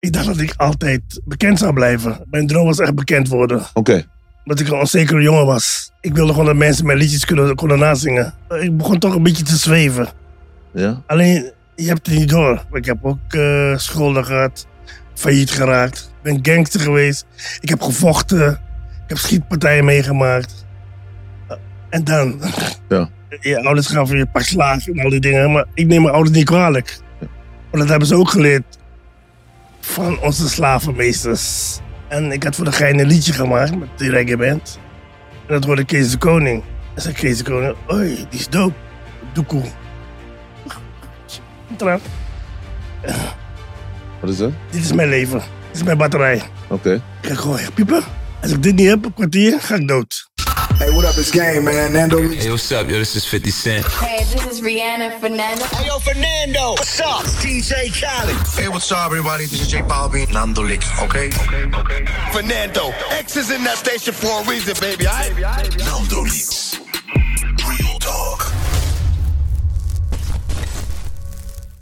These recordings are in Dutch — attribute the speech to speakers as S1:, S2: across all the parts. S1: Ik dacht dat ik altijd bekend zou blijven. Mijn droom was echt bekend worden. Omdat ik een onzekere jongen was. Ik wilde gewoon dat mensen mijn liedjes kunnen, konden nazingen. Ik begon toch een beetje te zweven.
S2: Ja?
S1: Alleen, je hebt het niet door. Ik heb ook eh schulden gehad, failliet geraakt. Ik ben gangster geweest. Ik heb gevochten. Ik heb schietpartijen meegemaakt. Eh, en dan?
S2: Ja.
S1: Je ouders gaan voor je pak slaag en al die dingen. Maar ik neem mijn ouders niet kwalijk. Want dat hebben ze ook geleerd van onze slavenmeesters. En ik had voor de gein een liedje gemaakt met die reggae band. En dat hoorde Kees de Koning. En zei Kees de Koning, oei, die is dope. Doekoe. Trap.
S2: Wat is dat?
S1: Dit is mijn leven. Dit is mijn batterij.
S2: Oké.
S1: Ik ga gewoon echt piepen. Als ik dit niet heb, een kwartier, ga ik dood.
S3: Hey, what up? It's game, man. Nando Reese.
S4: Hey, what's up? Yo, this is 50 Cent.
S5: Hey, this is Rihanna Fernandez.
S6: Hey, yo, Fernando. What's up? DJ Khaled.
S7: Hey, what's up, everybody? This is J Balvin. Nando Licks, okay? Okay, okay.
S6: Fernando. X is in that station for a reason, baby. I
S7: Nando Licks. Real talk.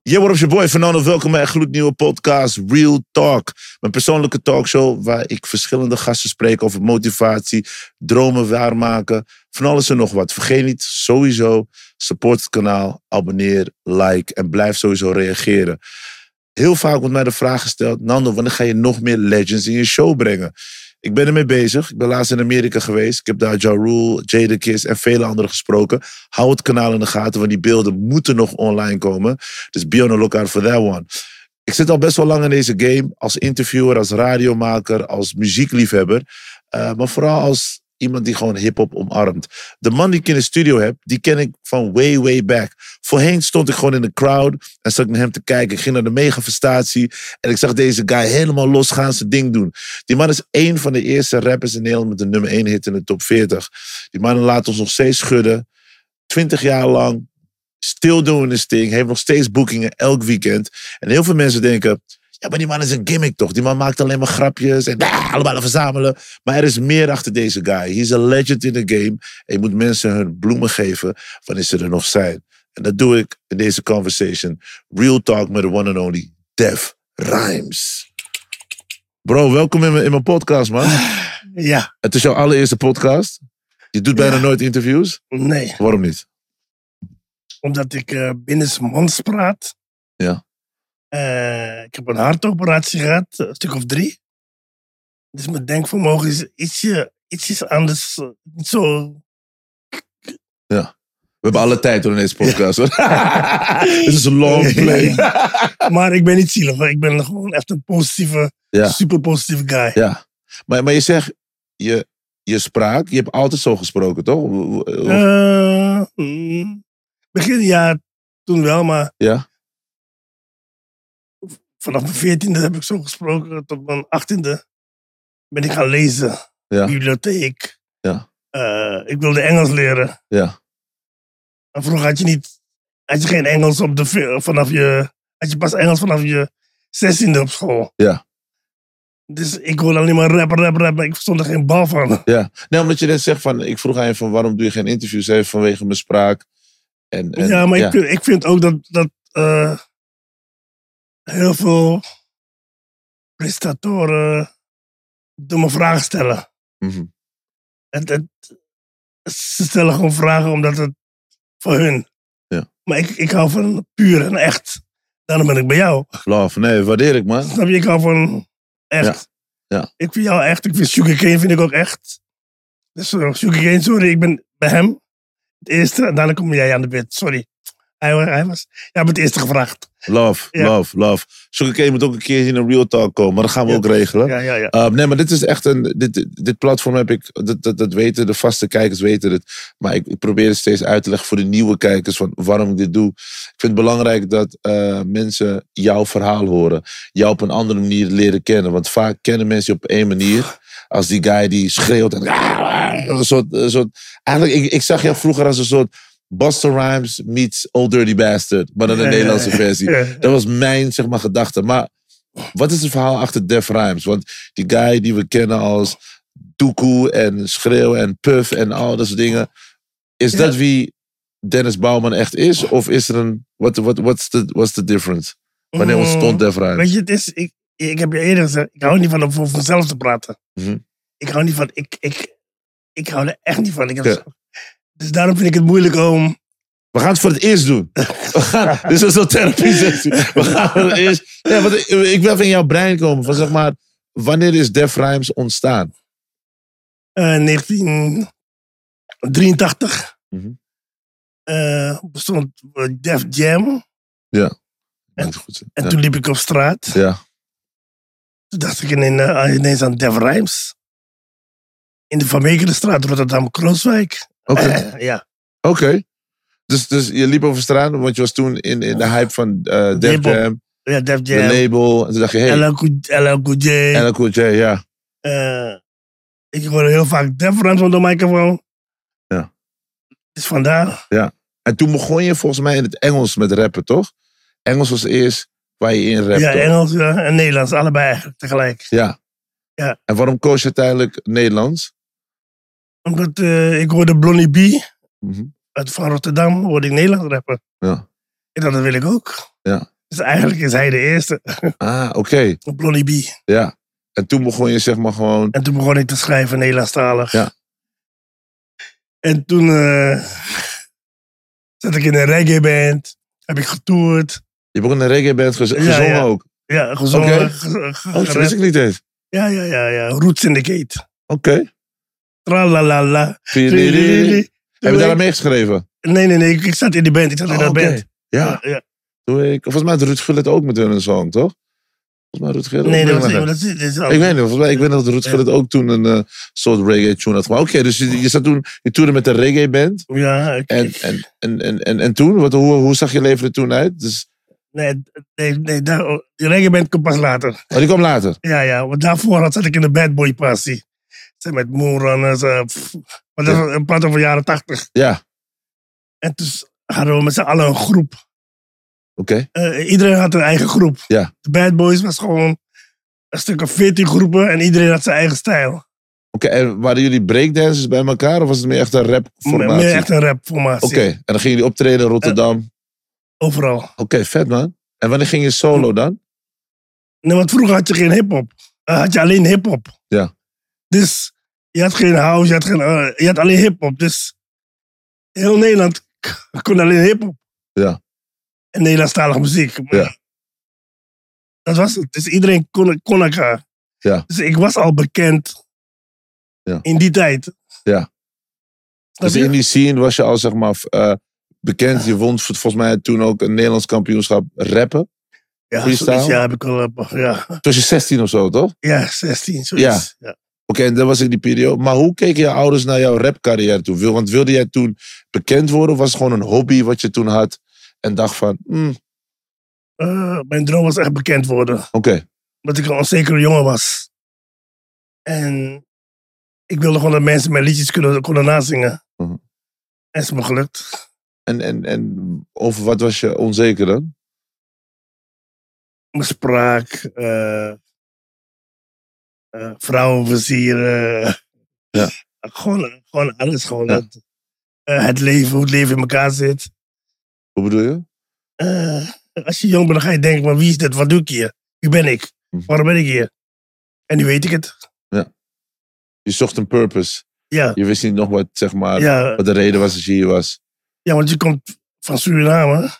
S2: Yeah, what up, your boy Fernando. Welkom bij een gloednieuwe podcast Real Talk. Mijn persoonlijke talkshow waar ik verschillende gasten spreek over motivatie, dromen waarmaken, van alles en nog wat. Vergeet niet, sowieso, support het kanaal, abonneer, like en blijf sowieso reageren. Heel vaak wordt mij de vraag gesteld, Nando, wanneer ga je nog meer legends in je show brengen? Ik ben ermee bezig. Ik ben laatst in Amerika geweest. Ik heb daar Ja Rule, Jadakiss en vele anderen gesproken. Hou het kanaal in de gaten, want die beelden moeten nog online komen. Dus be on the lookout for that one. Ik zit al best wel lang in deze game. Als interviewer, als radiomaker, als muziekliefhebber. eh, maar vooral als iemand die gewoon hip-hop omarmt. De man die ik in de studio heb, die ken ik van way, way back. Voorheen stond ik gewoon in de crowd en zat ik naar hem te kijken. Ik ging naar de megafestatie en ik zag deze guy helemaal losgaan zijn ding doen. Die man is één van de eerste rappers in Nederland met een nummer 1 hit in de top 40. Die man laat ons nog steeds schudden. Twintig jaar lang still doing this thing. Heeft nog steeds boekingen elk weekend. En heel veel mensen denken... Ja, maar die man is een gimmick toch? Die man maakt alleen maar grapjes en bah, allemaal verzamelen. Maar er is meer achter deze guy. He's a legend in the game. En je moet mensen hun bloemen geven wanneer ze er nog zijn. En dat doe ik in deze conversation. Real talk met de one and only Def Rhymes. Bro, welkom in mijn, in mijn podcast, man.
S1: Ja,
S2: Het is jouw allereerste podcast. Je doet bijna
S1: Ja.
S2: nooit interviews.
S1: nee.
S2: Waarom niet?
S1: Omdat ik eh binnensmonds praat.
S2: Ja.
S1: Eh, ik heb een hartoperatie gehad, een stuk of drie. Dus mijn denkvermogen is ietsje, ietsjes anders. eh, Niet zo...
S2: We hebben alle tijd door in deze podcast. hoor. Dit is een long play.
S1: maar ik ben niet zielig. hoor. Ik ben gewoon echt een positieve,
S2: Ja.
S1: super positieve guy.
S2: Ja. Maar, maar je zegt, je, je spraak, je hebt altijd zo gesproken, toch? Hoe- hoe- hoe-
S1: Eh, mm, begin ja, toen wel, maar
S2: ja?
S1: vanaf mijn veertiende heb ik zo gesproken. Tot mijn achttiende ben ik gaan lezen.
S2: Ja.
S1: Bibliotheek.
S2: Ja.
S1: Eh, ik wilde Engels leren.
S2: Ja.
S1: En vroeger had je, niet, had je geen Engels op de, ve- vanaf je... Had je pas Engels vanaf je zestiende op school.
S2: Ja.
S1: Dus ik hoorde alleen maar rap, rap, rap. Maar ik verstond er geen bal van.
S2: ja. Nee, omdat je net zegt van, ik vroeg aan je van, waarom doe je geen interviews? Hij zei, vanwege mijn spraak. En, en,
S1: ja, maar Ik, vind, ik vind ook dat, dat eh, heel veel prestatoren domme vragen stellen.
S2: Mhm.
S1: Het, het, ze stellen gewoon vragen omdat het voor hun.
S2: Ja.
S1: Maar ik, ik hou van puur en echt. Daarom ben ik bij jou.
S2: Love, nee, waardeer ik, man.
S1: Snap je? Ik hou van echt.
S2: Ja, ja.
S1: Ik vind jou echt. Ik vind Sugarcane vind ik ook echt. Dus eh, Sugarcane, sorry, ik ben bij hem. Het eerste, en daarna kom jij aan de beurt. Sorry. Hij, wa- hij was... Jij hebt het eerste gevraagd.
S2: Love,
S1: Ja.
S2: love, love. Sugarcane moet ook een keer hier in Real Talk komen, maar dat gaan we
S1: Ja.
S2: ook regelen.
S1: Ja, ja, ja.
S2: Uh, nee, maar dit is echt een. Dit, dit- dit platform heb ik. Dat, dat, dat weten de vaste kijkers weten het. Maar ik, ik probeer het steeds uit te leggen voor de nieuwe kijkers. van waarom ik dit doe. Ik vind het belangrijk dat eh, mensen jouw verhaal horen. Jou op een andere manier leren kennen. Want vaak kennen mensen je op één manier. Als die guy die schreeuwt. En, ah, een soort, een soort, eigenlijk, ik, ik zag jou vroeger als een soort. Buster Rhymes meets Old Dirty Bastard. Maar dan een
S1: Ja, ja,
S2: Nederlandse
S1: ja.
S2: versie. Dat was mijn zeg maar, gedachte. Maar wat is het verhaal achter Def Rhymes? Want die guy die we kennen als Doekoe en Schreeuw en Puff en al dat soort dingen. Is
S1: Ja.
S2: dat wie Dennis Bouwman echt is? Of is er een... What, what, what's, the, what's the difference? Wanneer
S1: Mm,
S2: ontstond Def
S1: Weet
S2: Rhymes?
S1: je, het is... Ik, ik heb je eerder gezegd, ik hou niet van om voor mezelf te praten.
S2: Mhm.
S1: Ik hou niet van, ik, ik, ik hou er echt niet van. Ik heb
S2: Ja.
S1: zo- dus daarom vind ik het moeilijk om...
S2: We gaan het voor het eerst doen. We gaan, dit is zo'n therapie sessie. We gaan voor het eerst. Ja, want ik, ik wil even in jouw brein komen. Van zeg maar, wanneer is Def Rhymes ontstaan?
S1: Eh, 1983
S2: Mhm.
S1: eh, bestond eh, Def Jam.
S2: Moet het goed zijn.
S1: En
S2: Ja.
S1: toen liep ik op straat.
S2: Ja.
S1: Toen dacht ik ineens, eh, ineens aan Def Rhymes. In de Van Meekelenstraat, Rotterdam-Krooswijk.
S2: Oké.
S1: Eh, ja,
S2: Oké. Dus, dus je liep over straat, want je was toen in, in de hype van eh Def
S1: Label.
S2: Jam,
S1: ja, Def
S2: de
S1: Jam,
S2: label. En toen dacht je, hey,
S1: LL Cool- LL Cool J.
S2: LL Cool J, ja.
S1: Eh, ik hoorde heel vaak Def Rhymes onder de microfoon.
S2: Ja.
S1: Dus vandaar.
S2: En toen begon je volgens mij in het Engels met rappen, toch? Engels was eerst waar je in rapte.
S1: Ja, Engels ja, en Nederlands, allebei eigenlijk tegelijk.
S2: Ja.
S1: Ja.
S2: En waarom koos je uiteindelijk Nederlands?
S1: Omdat eh, ik hoorde Blondie B.
S2: Mhm.
S1: uit van Rotterdam hoorde ik Nederlands rappen.
S2: Ja.
S1: En dat wil ik ook.
S2: Ja.
S1: Dus eigenlijk is hij de eerste,
S2: Ah, oké.
S1: Blondie B.
S2: Ja. En toen begon je zeg maar gewoon...
S1: En toen begon ik te schrijven Nederlandstalig.
S2: Ja.
S1: En toen eh, zat ik in een reggae band. Heb ik getoerd.
S2: Je begon een reggae band gez-
S1: Ja,
S2: gezongen
S1: ja.
S2: ook.
S1: Ja, gezongen.
S2: Oké.
S1: ge- ge-
S2: Oh, dat wist ik
S1: gerapt.
S2: niet eens.
S1: ja, ja, ja, ja. Roots in the Gate.
S2: Oké.
S1: Tralalala.
S2: Heb je daar aan meegeschreven?
S1: Nee, nee, nee. Ik, ik zat in die band. Ik zat in
S2: Oh,
S1: dat
S2: oké.
S1: band.
S2: Ja.
S1: ja.
S2: Doe ik... Volgens mij had Ruud Gullit ook met hun een song, toch? Volgens mij had Ruud Gullit ook
S1: Nee,
S2: met
S1: dat was,
S2: hun een-
S1: dat is, dat is
S2: Ik weet niet, volgens mij, ik weet dat Ruud
S1: Ja.
S2: Gullit ook toen een eh, soort reggae-tune had gemaakt. Oké, dus je, je zat toen, je toerde met een reggae-band.
S1: Ja, ik-
S2: En, en, en, en, en, en toen, wat, hoe, hoe zag je leven er toen uit? Dus,
S1: Nee, nee, nee daar, die reggae-band komt pas later.
S2: oh, die kwam later.
S1: Ja, ja, want daarvoor had, zat ik in de Bad Boy Passie. Zeg, Met Moonrunners. eh, pff. maar dat
S2: Ja.
S1: was een praat over jaren tachtig.
S2: Ja,
S1: En toen hadden we met z'n allen een groep.
S2: oké.
S1: Eh, iedereen had een eigen groep.
S2: Ja.
S1: De Bad Boys was gewoon een stuk of veertien groepen en iedereen had zijn eigen stijl.
S2: Oké, en waren jullie breakdancers bij elkaar of was het meer echt een
S1: Me-
S2: rap-formatie?
S1: Meer echt Eh, een
S2: Oké,
S1: rap-formatie.
S2: en dan gingen jullie optreden in Rotterdam. Oké,
S1: Overal.
S2: vet man. En wanneer ging je
S1: hm.
S2: solo dan?
S1: Nee, want vroeger had je geen hip-hop. Eh, had je alleen hip-hop.
S2: Ja.
S1: Dus je had geen house, je had, geen, eh, je had alleen hip-hop. Dus heel Nederland k- kon alleen hip-hop.
S2: Ja.
S1: En Nederlandstalige muziek. Maar
S2: Ja.
S1: Dat was het. Dus iedereen kon, kon elkaar.
S2: Ja.
S1: Dus ik was al bekend
S2: Ja.
S1: in die tijd.
S2: Ja.
S1: Snap
S2: Dus
S1: je?
S2: in die scene was je al zeg maar eh, bekend. Je won vol- volgens mij toen ook een Nederlands kampioenschap rappen.
S1: ja,
S2: freestyle?
S1: zoiets, ja, heb ik al. eh, Ja,
S2: Toen was je 16 of zo, toch?
S1: ja 16, zoiets. Ja.
S2: Oké, en dat was in die periode. Maar hoe keken je ouders naar jouw rapcarrière toe? Wil- Want wilde jij toen bekend worden? Of was het gewoon een hobby wat je toen had? En dacht van, hmm, oké.
S1: Eh, mijn droom was echt bekend worden. Omdat ik een onzekere jongen was. En ik wilde gewoon dat mensen mijn liedjes kunnen, konden nazingen.
S2: Mhm.
S1: En is me gelukt.
S2: En, en, en over wat was je onzeker dan?
S1: Mijn spraak, eh eh, vrouwen versieren.
S2: Ja.
S1: Gewoon, gewoon alles. Gewoon
S2: Ja.
S1: dat, eh, het leven, hoe het leven in elkaar zit.
S2: Hoe bedoel je?
S1: Eh, als je jong bent, dan ga je denken, maar wie is dit? Wat doe ik hier? Wie ben ik?
S2: Mhm.
S1: Waarom ben ik hier? En nu weet ik het.
S2: Je zocht een purpose.
S1: Ja,
S2: Je wist niet nog wat, zeg maar,
S1: ja,
S2: wat de reden was dat je hier was.
S1: Ja, want je komt van Suriname.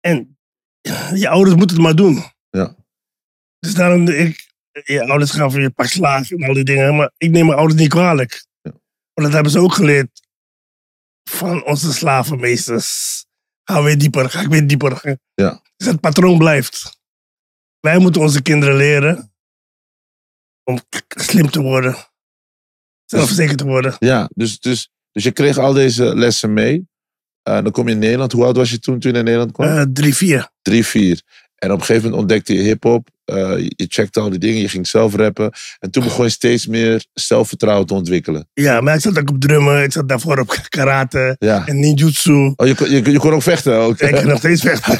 S1: En je ouders moeten het maar doen.
S2: Ja.
S1: Dus daarom, ik, je ouders gaan voor je pak slaag en al die dingen. Maar ik neem mijn ouders niet kwalijk.
S2: Ja.
S1: Want dat hebben ze ook geleerd van onze slavenmeesters. Ga weer dieper, ga ik weer dieper.
S2: Ja.
S1: Dus het patroon blijft. Wij moeten onze kinderen leren om k- k- slim te worden.
S2: Dus-
S1: Zelfverzekerd te worden.
S2: Ja, dus, dus, dus je kreeg al deze lessen mee. Eh, dan kom je in Nederland. Hoe oud was je toen, toen je in Nederland kwam?
S1: Eh, drie, vier.
S2: drie, vier. En op een gegeven moment ontdekte je hip-hop. eh, je je checkte al die dingen, je ging zelf rappen. En toen begon je steeds meer zelfvertrouwen te ontwikkelen.
S1: Ja, maar ik zat ook op drummen. Ik zat daarvoor op karate
S2: Ja.
S1: en ninjutsu.
S2: Oh, je, kon- je, kon- je kon ook vechten ook.
S1: Ik kan nog steeds vechten.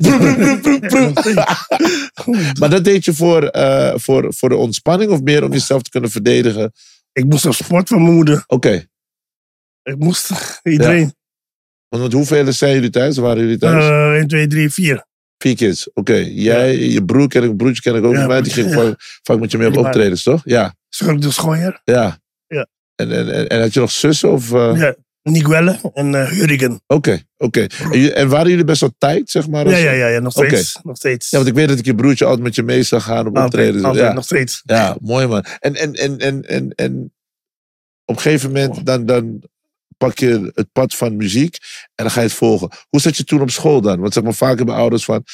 S2: Broem, broem, broem, broem, broem.
S1: Nog steeds.
S2: maar dat deed je voor, eh, voor, voor de ontspanning of meer om jezelf te kunnen verdedigen? Oké.
S1: ik moest op sport van mijn moeder. Ik moest iedereen.
S2: Want met hoeveel zijn jullie thuis? Waren jullie thuis?
S1: Eh 1, 2, 3, 4.
S2: Vier kids. Oké, jij, je broer ken ik, broertje ken ik ook
S1: Ja,
S2: nog bij. Die ging
S1: ja.
S2: vaak, vaak met je mee op
S1: Die waren-
S2: optredens, toch? Ja,
S1: Schurk de Schooier,
S2: ja.
S1: Ja.
S2: En, en, en, en had je nog zussen? Of, eh, Oké,
S1: ja, Niguelle en eh Hurrigan.
S2: oké. En, je- en waren jullie best wel tijd, zeg maar?
S1: Ja,
S2: als-
S1: ja, ja, ja, nog
S2: Oké.
S1: steeds. Nog steeds.
S2: Ja, want ik weet dat ik je broertje altijd met je mee zag gaan op
S1: altijd,
S2: optredens.
S1: altijd,
S2: ja.
S1: nog steeds.
S2: ja, mooi man. En, en, en, en, en, en op een gegeven moment dan, dan pak je het pad van muziek en dan ga je het volgen. Hoe zat je toen op school dan? Want zeg maar, vaak hebben ouders van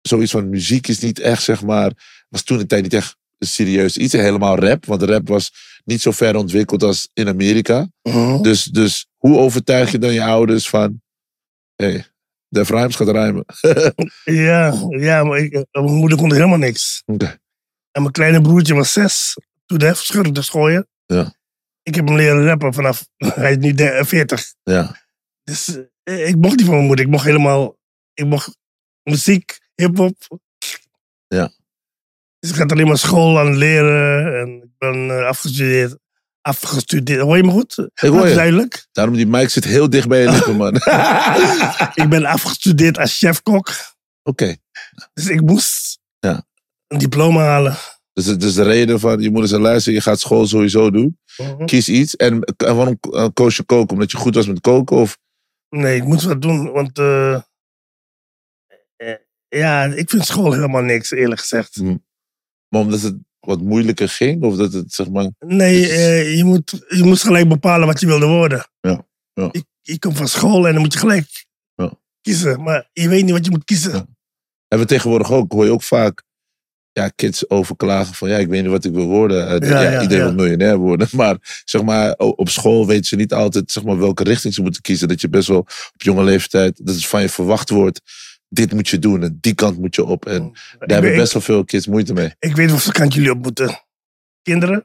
S2: zoiets van muziek is niet echt, zeg maar, was toen de tijd niet echt serieus iets. Helemaal rap, want rap was niet zo ver ontwikkeld als in Amerika.
S1: Mhm.
S2: Dus, dus hoe overtuig je dan je ouders van, hé, hey, Def Rhymes gaat rijmen.
S1: Ja, ja, maar ik, eh, mijn moeder kon er helemaal niks.
S2: Oké.
S1: En mijn kleine broertje was zes. Toen de Schurk de Schooier.
S2: Ja.
S1: Ik heb hem leren rappen vanaf, hij is nu de- eh, 40.
S2: Ja,
S1: Dus eh, ik mocht niet van mijn moeder. Ik mocht helemaal, ik mocht muziek, hip-hop.
S2: Ja.
S1: Dus ik had alleen maar school aan het leren. En ik ben eh, afgestudeerd. Afgestudeerd, hoor je me goed?
S2: ik hoor je.
S1: Duidelijk.
S2: Daarom die mic zit heel dicht bij je lippen, man. Oké.
S1: Ik ben afgestudeerd als chefkok. Dus ik moest
S2: Ja.
S1: een diploma halen.
S2: Dus, dus de reden van, je moeder zei, luister, je gaat school sowieso doen. Kies iets. En, en waarom eh, koos je koken? Omdat je goed was met koken? Of,
S1: Nee, ik moet wat doen, want eh, eh, ja, ik vind school helemaal niks, eerlijk gezegd.
S2: maar omdat het wat moeilijker ging? Of dat het, zeg maar...
S1: Nee,
S2: Dus-
S1: eh, je, moet, je moet gelijk bepalen wat je wilde worden.
S2: Ja, ja.
S1: Je, je komt van school en dan moet je gelijk
S2: Ja.
S1: kiezen, maar je weet niet wat je moet kiezen.
S2: Ja. Hebben we tegenwoordig ook, hoor je ook vaak... Ja, kids overklagen van, ja, ik weet niet wat ik wil worden. Eh,
S1: Ja,
S2: ja,
S1: ja,
S2: iedereen
S1: ja.
S2: wil miljonair worden. Maar, zeg maar, o- op school weten ze niet altijd, zeg maar, welke richting ze moeten kiezen. Dat je best wel op jonge leeftijd, dat het van je verwacht wordt. Dit moet je doen en die kant moet je op. En
S1: Ik
S2: daar hebben
S1: weet-
S2: best wel veel kids moeite mee.
S1: Ik weet welke kant jullie op moeten. Kinderen?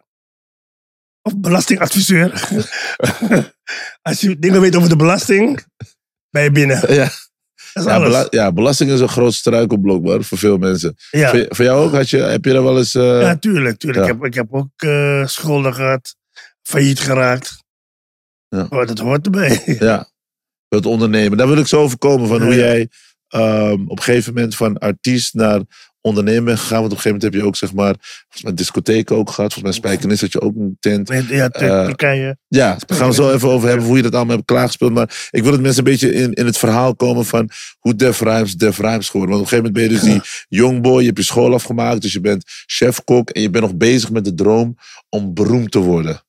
S1: Of belastingadviseur? Als je dingen weet over de belasting, ben je binnen.
S2: Ja.
S1: Dat is
S2: Ja,
S1: alles.
S2: bela- ja, belasting is een groot struikelblok man, voor veel mensen.
S1: ja.
S2: Voor, voor jou ook? Had je, heb je daar wel eens... eh,
S1: ja, tuurlijk. tuurlijk.
S2: ja.
S1: Ik, heb, ik heb ook eh schulden gehad, failliet geraakt.
S2: Ja.
S1: Maar dat hoort erbij.
S2: ja, het ondernemen. Daar wil ik zo over komen, van hoe
S1: Ja, ja.
S2: jij ehm, op een gegeven moment van artiest naar ondernemer bent gegaan. Want op een gegeven moment heb je ook, zeg maar, volgens mij discotheken ook gehad. Volgens mij Spijkenis had je ook een tent.
S1: Nee, Ja, Tur-
S2: Eh,
S1: Turkije.
S2: Ja, daar gaan we zo even over hebben hoe je dat allemaal hebt klaargespeeld. Maar ik wil dat mensen een beetje in, in het verhaal komen van hoe Def Rhymes Def Rhymes geworden. Want op een gegeven moment ben je dus die young boy, je hebt je school afgemaakt, dus je bent chefkok en je bent nog bezig met de droom om beroemd te worden.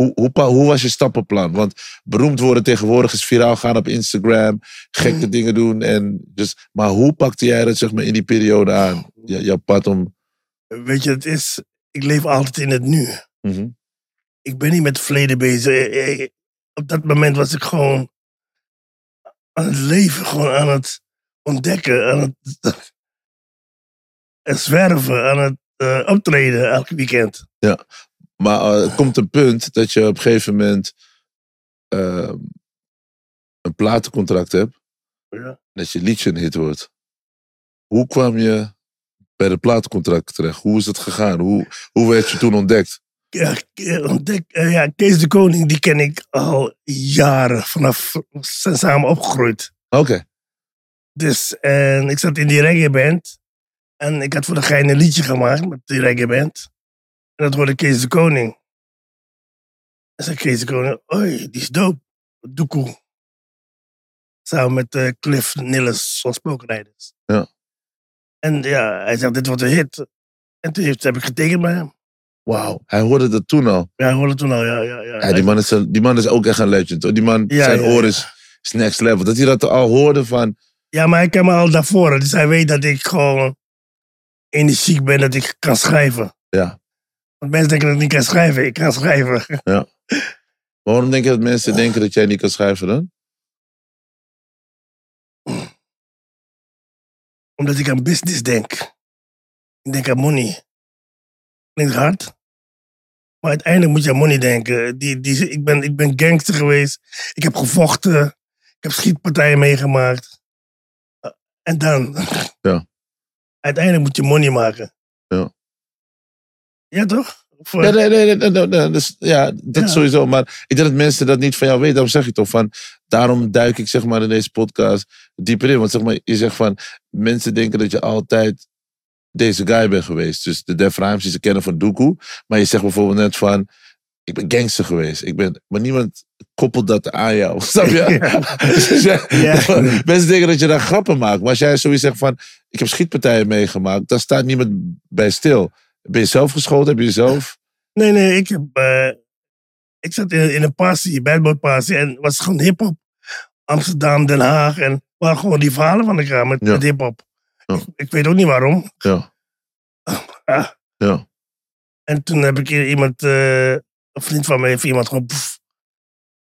S2: Hoe, hoe, pa- hoe was je stappenplan? Want beroemd worden tegenwoordig is viraal gaan op Instagram, gekke dingen doen. En dus, maar hoe pakte jij dat zeg maar, in die periode aan? Ja, jouw pad om.
S1: Weet je, het is, ik leef altijd in het nu.
S2: Mhm.
S1: ik ben niet met het verleden bezig. Eh, eh, Op dat moment was ik gewoon aan het leven, gewoon aan het ontdekken, aan het en zwerven, aan het eh, optreden elk weekend.
S2: Maar eh, er komt een punt dat je op een gegeven moment ehm, een platencontract hebt.
S1: Ja.
S2: Dat je liedje een hit wordt. Hoe kwam je bij de platencontract terecht? Hoe is dat gegaan? Hoe, hoe werd je toen ontdekt?
S1: Ja, eh, ontdek, eh, ja, Kees de Koning, die ken ik al jaren, vanaf we zijn samen opgegroeid.
S2: Oké.
S1: Dus, en ik zat in die reggae band. En ik had voor de gein een liedje gemaakt met die reggae band. En dat hoorde Kees de Koning. En zei Kees de Koning, oei, die is dope. Doekoe. Samen met eh, Cliff Nillis van Spookrijders.
S2: Ja.
S1: En ja, hij zegt, dit wordt een hit. En toen heeft, heb ik getekend bij hem.
S2: Wauw. Hij hoorde dat toen al.
S1: Ja, ik hoorde toen al, ja, ja, ja.
S2: Ja, die, man is een- die man is ook echt een legend. Hoor. Die man,
S1: Ja,
S2: zijn
S1: ja,
S2: oor
S1: ja.
S2: is, is next level. Dat hij dat al hoorde van...
S1: Ja, maar hij kent me al daarvoor. Dus hij weet dat ik gewoon energiek ben, dat ik kan schrijven.
S2: Ja.
S1: Want mensen denken dat ik niet kan schrijven. Ik kan schrijven.
S2: Waarom denk je dat mensen denken dat jij niet kan schrijven dan?
S1: Omdat ik aan business denk. Ik denk aan money. Klinkt hard. Maar uiteindelijk moet je aan money denken. Die, die, ik, ben, ik ben gangster geweest. Ik heb gevochten. Ik heb schietpartijen meegemaakt. Eh, En dan?
S2: Ja.
S1: Uiteindelijk moet je money maken.
S2: Ja.
S1: Ja, toch? Of, eh,
S2: Nee, nee, nee. nee, nee, nee, nee, dus, ja, dat
S1: Ja.
S2: sowieso. Maar ik denk dat mensen dat niet van jou weten. Daarom zeg ik toch van... Daarom duik ik zeg maar in deze podcast dieper in. Want zeg maar, je zegt van... Mensen denken dat je altijd deze guy bent geweest. Dus de Def Rhymes die ze kennen van Doekoe. Maar je zegt bijvoorbeeld net van... Ik ben gangster geweest. Ik ben, maar niemand koppelt dat aan jou. Snap je? Dus jij-
S1: Ja.
S2: Mensen denken dat je daar grappen maakt. Maar als jij zoiets zegt van... Ik heb schietpartijen meegemaakt. Daar staat niemand bij stil. Ben je zelf geschoten? Heb je jezelf...
S1: Nee, nee, ik heb... eh, ik zat in, in een passie, Bad Boy passie. En het was gewoon hiphop. Amsterdam, Den Haag. En het waren gewoon die verhalen van elkaar met,
S2: Ja.
S1: met hiphop.
S2: Ja.
S1: Ik, ik weet ook niet waarom.
S2: Ja.
S1: Ah.
S2: Ja.
S1: En toen heb ik hier iemand... eh, een vriend van mij heeft iemand gewoon... pff,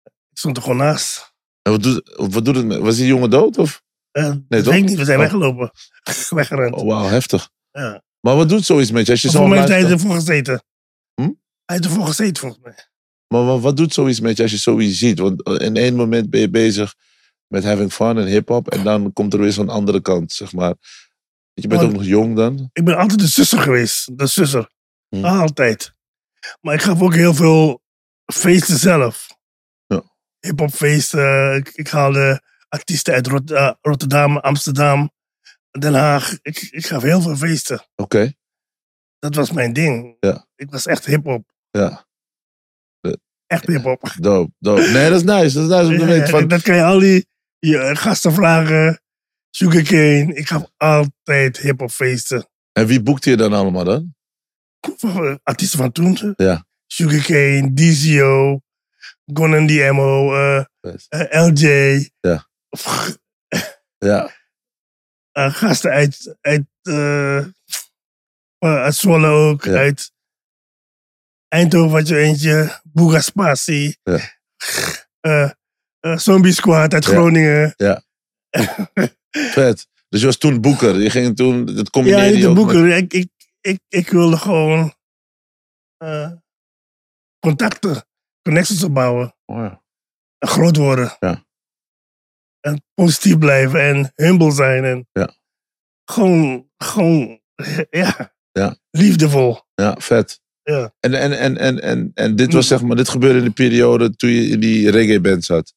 S1: ik stond er gewoon naast.
S2: En wat doet, wat doet het met... Was die jongen dood? Of?
S1: Eh, dat
S2: toch?
S1: weet ik niet, we zijn
S2: Oh.
S1: weggelopen. Weggerend.
S2: Oh, wauw, heftig.
S1: Ja.
S2: Maar wat doet zoiets met je? Als je
S1: Volgens
S2: zo'n
S1: mij heeft hij
S2: luistert-
S1: ervoor gezeten.
S2: Hm?
S1: Hij heeft ervoor gezeten, volgens mij.
S2: maar wat, wat doet zoiets met je als je zoiets ziet? Want eh, in één moment ben je bezig met having fun en hip-hop. En dan komt er weer zo'n andere kant, zeg maar. Je bent
S1: Want-
S2: ook nog jong dan.
S1: Ik ben altijd de zusser geweest. De zusser.
S2: Hm.
S1: Altijd. Maar ik gaf ook heel veel feesten zelf.
S2: Ja.
S1: Hip-hopfeesten. Ik, ik haalde artiesten uit Rot- eh, Rotterdam, Amsterdam, Den Haag. Ik, ik gaf heel veel feesten.
S2: Oké,
S1: Dat was mijn ding.
S2: Ja.
S1: Ik was echt hip-hop.
S2: ja.
S1: Echt hip-hop.
S2: Dope, dope. Nee, dat is nice. Dat is nice om te weten. Van,
S1: Dat kan je al die je gasten vragen. Sugarcane. Ik gaf altijd hip-hopfeesten.
S2: en wie boekte je dan allemaal dan?
S1: artiesten van toen.
S2: Ja.
S1: Sugarcane, Dizio, Gon and DMO, eh,
S2: Best.
S1: eh, LJ.
S2: Ja.
S1: Pff,
S2: Ja,
S1: eh, gasten uit, uit, eh, eh, uit Zwolle ook,
S2: Ja.
S1: uit Eindhoven had je eentje, Boega Spasi,
S2: Ja.
S1: eh, eh, Zombie Squad uit
S2: Ja.
S1: Groningen.
S2: vet. Dus je was toen boeker. Je ging toen... Dat
S1: Ja,
S2: combineerde
S1: niet
S2: je
S1: de
S2: ook met-
S1: boeken. Ik, ik, ik, ik wilde gewoon eh, contacten, connecties opbouwen.
S2: Oh, ja.
S1: en groot worden.
S2: Ja.
S1: En positief blijven en humble zijn. En
S2: Ja.
S1: Gewoon, gewoon, ja.
S2: Ja.
S1: Liefdevol.
S2: ja, vet.
S1: Ja. Mm.
S2: En, en, en, en, en, en dit was zeg maar... Dit gebeurde in de periode toen je in die reggae-band zat.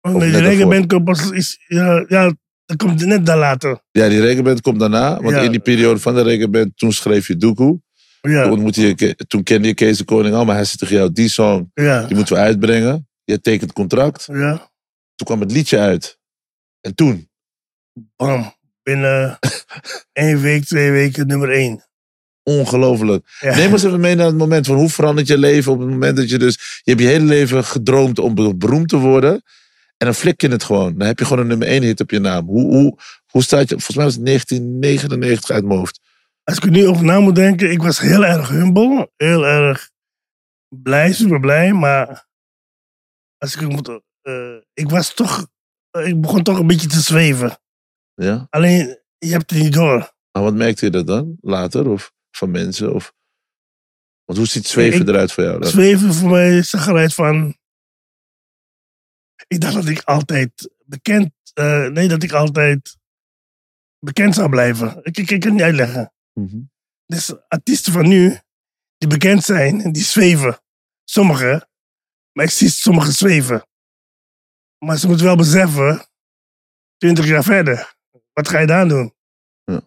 S1: Want met die
S2: Of net daarvoor.
S1: regenband komt pas is, ja, ja, dat komt net daar later.
S2: Ja, die rekenband komt daarna. Want
S1: Ja.
S2: in die periode van de rekenband, toen schreef je Doekoe. Toen,
S1: Ja,
S2: ontmoette je, Ke- toen kende je Kees de Koning al, maar hij zei tegen jou, die song,
S1: ja,
S2: die moeten we uitbrengen. Je tekent contract.
S1: ja.
S2: Toen kwam het liedje uit. En toen?
S1: Bam. Binnen één week, twee weken, nummer één.
S2: Ongelooflijk.
S1: Ja.
S2: Neem ons even mee naar het moment van hoe verandert je leven op het moment dat je dus... Je hebt je hele leven gedroomd om be- beroemd te worden. En dan flik je het gewoon. Dan heb je gewoon een nummer één hit op je naam. Hoe, hoe, hoe staat je... Volgens mij was het 1999 uit mijn hoofd.
S1: Als ik er nu over na moet denken, ik was heel erg humble. Heel erg blij, super blij. Maar als ik, er moet, eh, ik was toch, eh, ik begon toch een beetje te zweven.
S2: Ja?
S1: Alleen, je hebt het niet door.
S2: Maar wat merkte je dat dan? Later? Of van mensen? Of... Want hoe ziet zweven
S1: Ik-
S2: eruit voor jou dan?
S1: Zweven voor mij zag eruit van... Ik dacht dat ik altijd bekend... eh, nee, dat ik altijd bekend zou blijven. Ik, ik, ik kan het niet uitleggen.
S2: Mhm.
S1: Dus artiesten van nu, die bekend zijn, en die zweven. Sommigen. Maar ik zie sommigen zweven. Maar ze moeten wel beseffen, 20 jaar verder, wat ga je daar doen?
S2: Ja.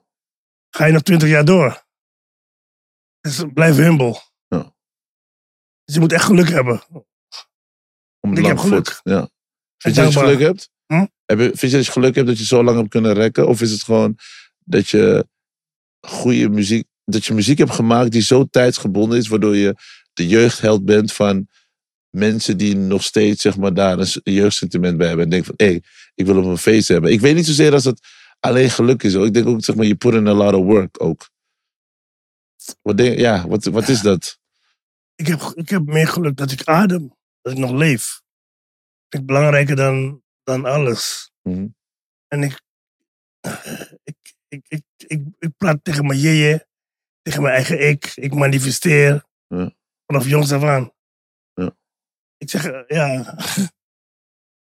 S1: Ga je nog 20 jaar door? Dus blijf humble.
S2: Ja.
S1: Dus je moet echt geluk hebben.
S2: Om het
S1: Ik
S2: lang
S1: heb geluk.
S2: voor- Ja. Vind je dat je
S1: dankbaar.
S2: dus geluk hebt?
S1: Hm?
S2: Heb je, vind je dat je geluk hebt dat je zo lang hebt kunnen rekken? Of is het gewoon dat je goede muziek, dat je muziek hebt gemaakt die zo tijdsgebonden is, waardoor je de jeugdheld bent van mensen die nog steeds zeg maar, daar een s- een jeugdsentiment bij hebben. En denken van, hé, ik wil op een feest hebben. Ik weet niet zozeer als het alleen geluk is. hoor. Ik denk ook, zeg maar, je put in a lot of work ook. Wat denk, ja, wat, wat is dat?
S1: Ik heb, ik heb meer geluk dat ik adem, dat ik nog leef. vind ik belangrijker dan, dan alles.
S2: Mhm.
S1: En ik, ik, ik, ik, ik, ik praat tegen mijn jeje, tegen mijn eigen ik. Ik manifesteer
S2: Ja.
S1: vanaf jongs af aan.
S2: Ja.
S1: Ik zeg, eh, ja,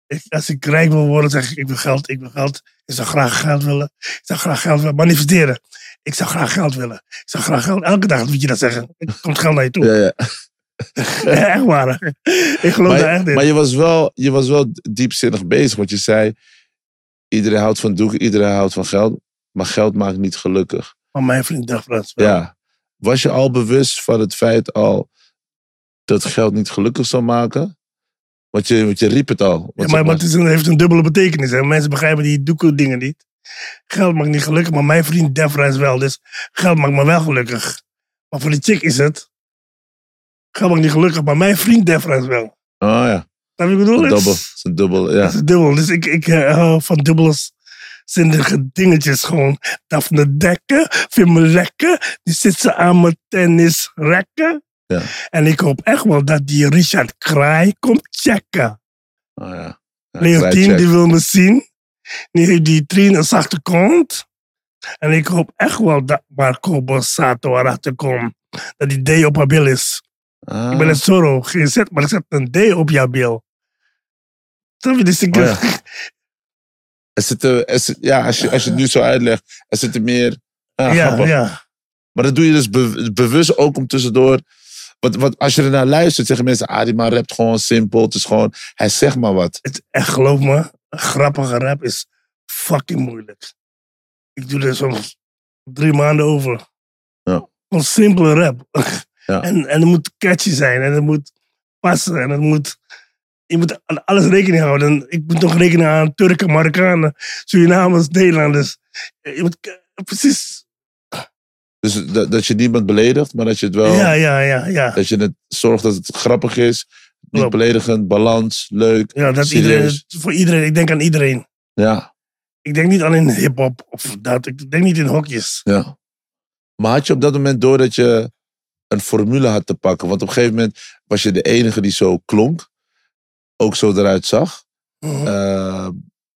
S1: Ik, als ik rijk wil worden, zeg ik, ik wil geld, ik wil geld. Ik zou graag geld willen. Ik zou graag geld willen. Manifesteren. Ik zou graag geld willen. Ik zou graag geld. Elke dag moet je dat zeggen. Er komt geld naar je toe.
S2: Ja, ja.
S1: Ja, echt waar. hè. Ik geloof daar
S2: Maar,
S1: echt in.
S2: maar je, was wel, je was wel diepzinnig bezig, want je zei: iedereen houdt van doeken, iedereen houdt van geld, maar geld maakt niet gelukkig.
S1: Maar Oh, mijn vriend dacht dat. wel.
S2: Ja. Was je al bewust van het feit al dat geld niet gelukkig zou maken? Want je, want je riep het al.
S1: Ja,
S2: Want
S1: maar,
S2: zeg
S1: maar het is een- heeft een dubbele betekenis. Hè? Mensen begrijpen die doekoe dingen niet. Geld maakt niet gelukkig, maar mijn vriend Defrens wel. Dus geld maakt me wel gelukkig. Maar voor die chick is het. Geld maakt niet gelukkig, maar mijn vriend Defrens wel.
S2: Oh ja,
S1: Dat ik bedoel?
S2: een
S1: Het is-
S2: dubbel. Het is een dubbel, ja.
S1: Het is dubbel. Dus ik, ik eh, hou van dubbels. Zinnige dingetjes gewoon. Daphne Dekker vind me lekker. Die zit ze aan mijn tennisrekken.
S2: Ja.
S1: En ik hoop echt wel dat die Richard Kraai komt checken.
S2: Oh, ja. ja
S1: Leontien
S2: kwijtcheck.
S1: die wil me zien. Die heeft die Trien een zachte kont. En ik hoop echt wel dat Marco Borsato erachter komt. Dat die D op haar bil is.
S2: Ah.
S1: Ik ben een Zorro gezet, maar er zit een D op jouw bil. Snap je? Dus ik,
S2: Oh ja. Er zitten, er zit- ja, als je, als je het nu zo uitlegt, er zitten meer...
S1: ja,
S2: Ah,
S1: ja,
S2: grappig. Maar dat doe je dus be- bewust ook om tussendoor... Want, want als je ernaar luistert, zeggen mensen... Ah, die man rapt gewoon simpel. Het is gewoon... Hij zegt maar wat.
S1: Het, en geloof me, een grappige rap is fucking moeilijk. Ik doe er soms drie maanden over.
S2: Ja.
S1: Een simpele rap.
S2: Ja.
S1: En, en het moet catchy zijn en het moet passen en het moet... Je moet aan alles rekening houden. En ik moet nog rekenen aan Turken, Marokkanen, Surinamers, Nederlanders. Je moet k- precies...
S2: Dus dat, dat je niemand beledigt, maar dat je het wel...
S1: Ja, ja, ja, ja.
S2: Dat je het zorgt dat het grappig is. Niet
S1: Klopt.
S2: beledigend, balans, leuk.
S1: ja dat
S2: serieus.
S1: iedereen, voor iedereen. Ik denk aan iedereen.
S2: Ja,
S1: Ik denk niet alleen hip-hop of dat. Ik denk niet in hokjes.
S2: ja. Maar had je op dat moment door dat je een formule had te pakken? Want op een gegeven moment was je de enige die zo klonk. Ook zo eruit zag.
S1: Mhm.
S2: Eh,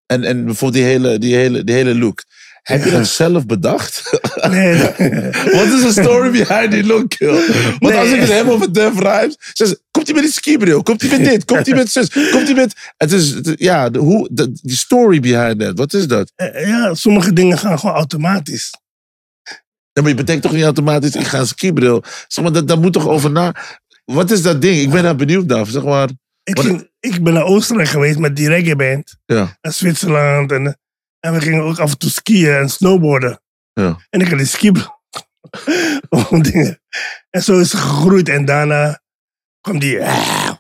S2: en, en bijvoorbeeld die hele, die, hele, die hele look. Heb je
S1: Ja.
S2: dat zelf bedacht?
S1: Nee, nee.
S2: Wat is de story behind die look, joh? Want
S1: Nee.
S2: als ik het heb over Def Rhymes, zegt ze, komt hij met die skibril? Komt hij met dit? Komt hij met zus? Komt hij met... Het is, het is- ja, de, hoe, de- die story behind that, wat is dat?
S1: Eh, ja, sommige dingen gaan gewoon automatisch.
S2: Ja, maar je bedenkt toch niet automatisch, ik ga een skibril. Zeg maar, dat, dat moet toch over na... Wat is dat ding? Ik ben daar benieuwd naar. Zeg maar,
S1: Ik,
S2: Wat-
S1: ging- ik ben naar Oostenrijk geweest met die reggae band.
S2: ja.
S1: En Zwitserland. En, en we gingen ook af en toe skiën en snowboarden.
S2: Ja.
S1: En ik had die skibel. Om dingen. En zo is het gegroeid. En daarna kwam die... Ah,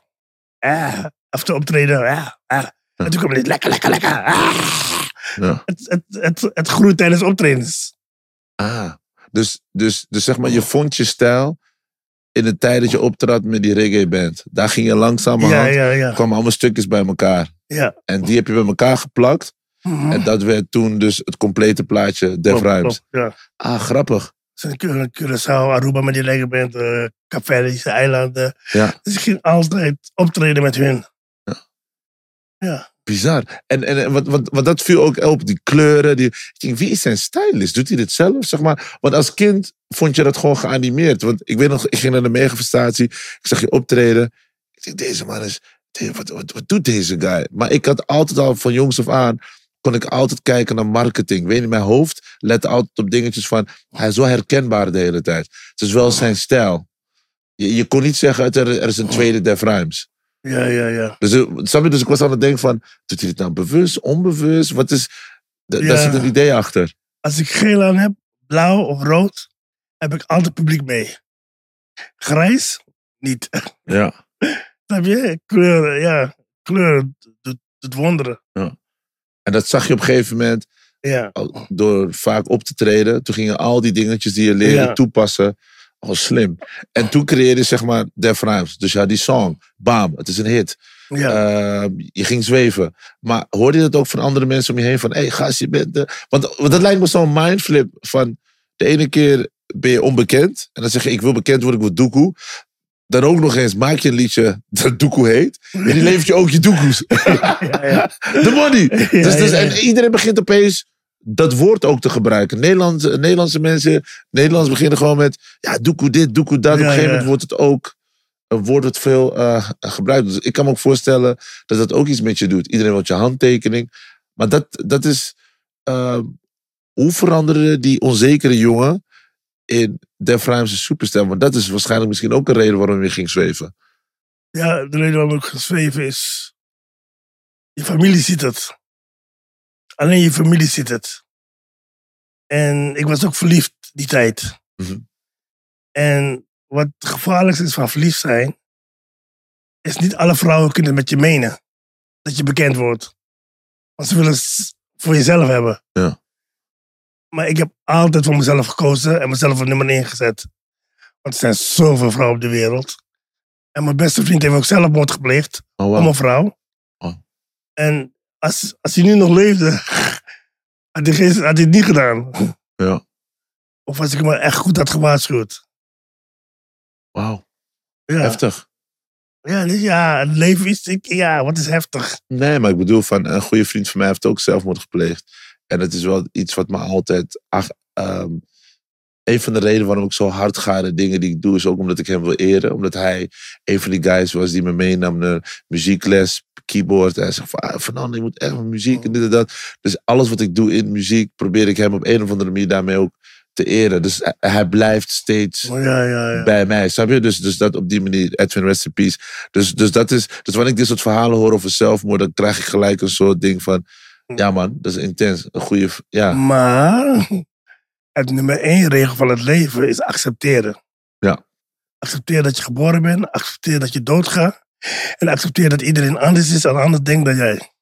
S1: ah, af te optreden. Ah, ah. En toen kwam dit lekker, lekker, lekker. ah.
S2: ja.
S1: Het, het, het, het groeit tijdens optredens.
S2: Ah. Dus, dus, dus zeg maar, je vond je stijl in de tijd dat je optrad met die reggae-band. Daar ging je
S1: Ja,
S2: langzamerhand,
S1: ja, ja.
S2: kwamen allemaal stukjes bij elkaar.
S1: ja.
S2: En die heb je bij elkaar geplakt.
S1: Mhm.
S2: En dat werd toen dus het complete plaatje Def
S1: Klopt,
S2: Rhymes.
S1: klopt, Ja.
S2: Ah, grappig.
S1: Zijn Cura- Curaçao, Aruba met die lekker band, eh Caverdische eilanden.
S2: Ja.
S1: Dus ik ging altijd optreden met hun. Ja.
S2: Bizar. En, en, en wat, wat, wat dat viel ook op, die kleuren. Die, ik denk, wie is zijn stylist? Doet hij dit zelf? Zeg maar, want als kind vond je dat gewoon geanimeerd. Want ik weet nog, ik ging naar de megafestatie. Ik zag je optreden. Ik denk, deze man is... de- Wat, wat, wat doet deze guy? Maar ik had altijd al, van jongs af aan... kon ik altijd kijken naar marketing. Weet je, mijn hoofd lette altijd op dingetjes van... Hij is wel herkenbaar de hele tijd. Het is wel zijn stijl. Je, je kon niet zeggen, het- er, er is een tweede Def Rhymes.
S1: Ja, ja, ja.
S2: Dus, eh, snap je? Dus ik was aan het denken van, doet hij dit nou bewust, onbewust? Wat is, da- daar
S1: Ja.
S2: zit een idee achter.
S1: Als ik geel aan heb, blauw of rood, heb ik altijd publiek mee. Grijs, niet.
S2: Ja.
S1: Snap je? Kleur, ja. Kleur doet, doet wonderen.
S2: En dat zag je op een gegeven moment
S1: Ja.
S2: al- door vaak op te treden. Toen gingen al die dingetjes die je leerde
S1: Ja.
S2: toepassen. Al slim. En toen creëerde je zeg maar Def Rhymes. Dus ja, die song. Bam, het is een hit.
S1: ja.
S2: Eh, je ging zweven. Maar hoorde je dat ook van andere mensen om je heen? Van, hé hey, gast, je bent... De... Want, want dat lijkt me zo'n mindflip van... De ene keer ben je onbekend. En dan zeg je, ik wil bekend worden, ik wil doekoe. Dan ook nog eens maak je een liedje dat doekoe heet. En die levert je ook je doekoes.
S1: ja, ja.
S2: De money.
S1: Ja,
S2: Dus, dus,
S1: ja, ja.
S2: en iedereen begint opeens dat woord ook te gebruiken. Nederlandse, Nederlandse mensen, Nederlands beginnen gewoon met... Ja, doekoe dit, doekoe dat. Op
S1: Ja,
S2: een gegeven
S1: ja.
S2: moment wordt het ook... eh, wordt het veel eh, gebruikt. Dus ik kan me ook voorstellen dat dat ook iets met je doet. Iedereen wil je handtekening. Maar dat, dat is. eh, hoe veranderde die onzekere jongen in Def Rijms' superstar? Want dat is waarschijnlijk misschien ook een reden waarom je ging zweven.
S1: Ja, de reden waarom ik geschreven is. Je familie ziet het. Alleen je familie ziet het. En ik was ook verliefd die tijd.
S2: Mhm.
S1: En wat gevaarlijk is van verliefd zijn, is niet alle vrouwen kunnen met je menen dat je bekend wordt. Want ze willen het voor jezelf hebben.
S2: Ja.
S1: Maar ik heb altijd voor mezelf gekozen en mezelf op nummer 1 gezet. Want er zijn zoveel vrouwen op de wereld. En mijn beste vriend heeft ook zelfmoord gepleegd.
S2: Oh,
S1: Om
S2: wauw.
S1: een vrouw.
S2: Wow.
S1: En als, als hij nu nog leefde, had hij, geen- had hij het niet gedaan.
S2: Ja.
S1: Of als ik hem echt goed had gewaarschuwd.
S2: Wauw.
S1: Ja,
S2: Heftig.
S1: Ja, dus ja, het leven is, ik, ja, wat is heftig.
S2: Nee, maar ik bedoel, van, een goede vriend van mij heeft ook zelfmoord gepleegd. En dat is wel iets wat me altijd. Ach, ehm, een van de redenen waarom ik zo hard ga in de dingen die ik doe, is ook omdat ik hem wil eren. Omdat hij een van die guys was die me meenam naar muziekles, keyboard. En hij zegt van, ah, Fernando, je moet echt met muziek en dit en dat. Dus alles wat ik doe in muziek, probeer ik hem op een of andere manier daarmee ook te eren. Dus hij- hij blijft steeds
S1: Maar Ja, ja, ja.
S2: bij mij. Snap je? Dus, dus dat op die manier, Edwin Rest in Peace. Dus, dus dat is, dus wanneer ik dit soort verhalen hoor over zelfmoord, dan krijg ik gelijk een soort ding van, ja man, dat is intens. Een goede, ja,
S1: Maar het nummer één regel van het leven is accepteren.
S2: Ja.
S1: Accepteer dat je geboren bent, accepteer dat je doodgaat. En accepteer dat iedereen anders is en anders denkt dan jij.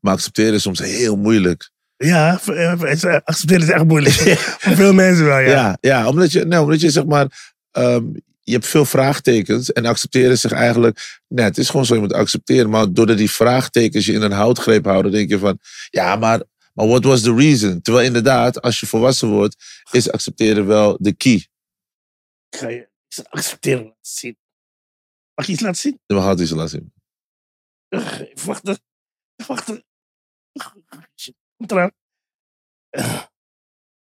S2: maar accepteren is soms heel moeilijk.
S1: Ja, v- eh, v- eh, accepteren is echt moeilijk. Voor veel mensen wel,
S2: Ja,
S1: ja.
S2: ja, omdat, je, nee, omdat je zeg maar, ehm, je hebt veel vraagtekens en accepteren zich eigenlijk, nee, het is gewoon zo, je moet accepteren. Maar doordat die vraagtekens je in een houtgreep houden, denk je van, ja maar, maar what was the reason? Terwijl inderdaad, als je volwassen wordt, is accepteren wel de key.
S1: Ik ga je iets accepteren laten zien. Mag je iets laten zien?
S2: We hadden iets laten zien.
S1: Ugh, even wachten. Even wachten. Ugh, shit, Komt eraan.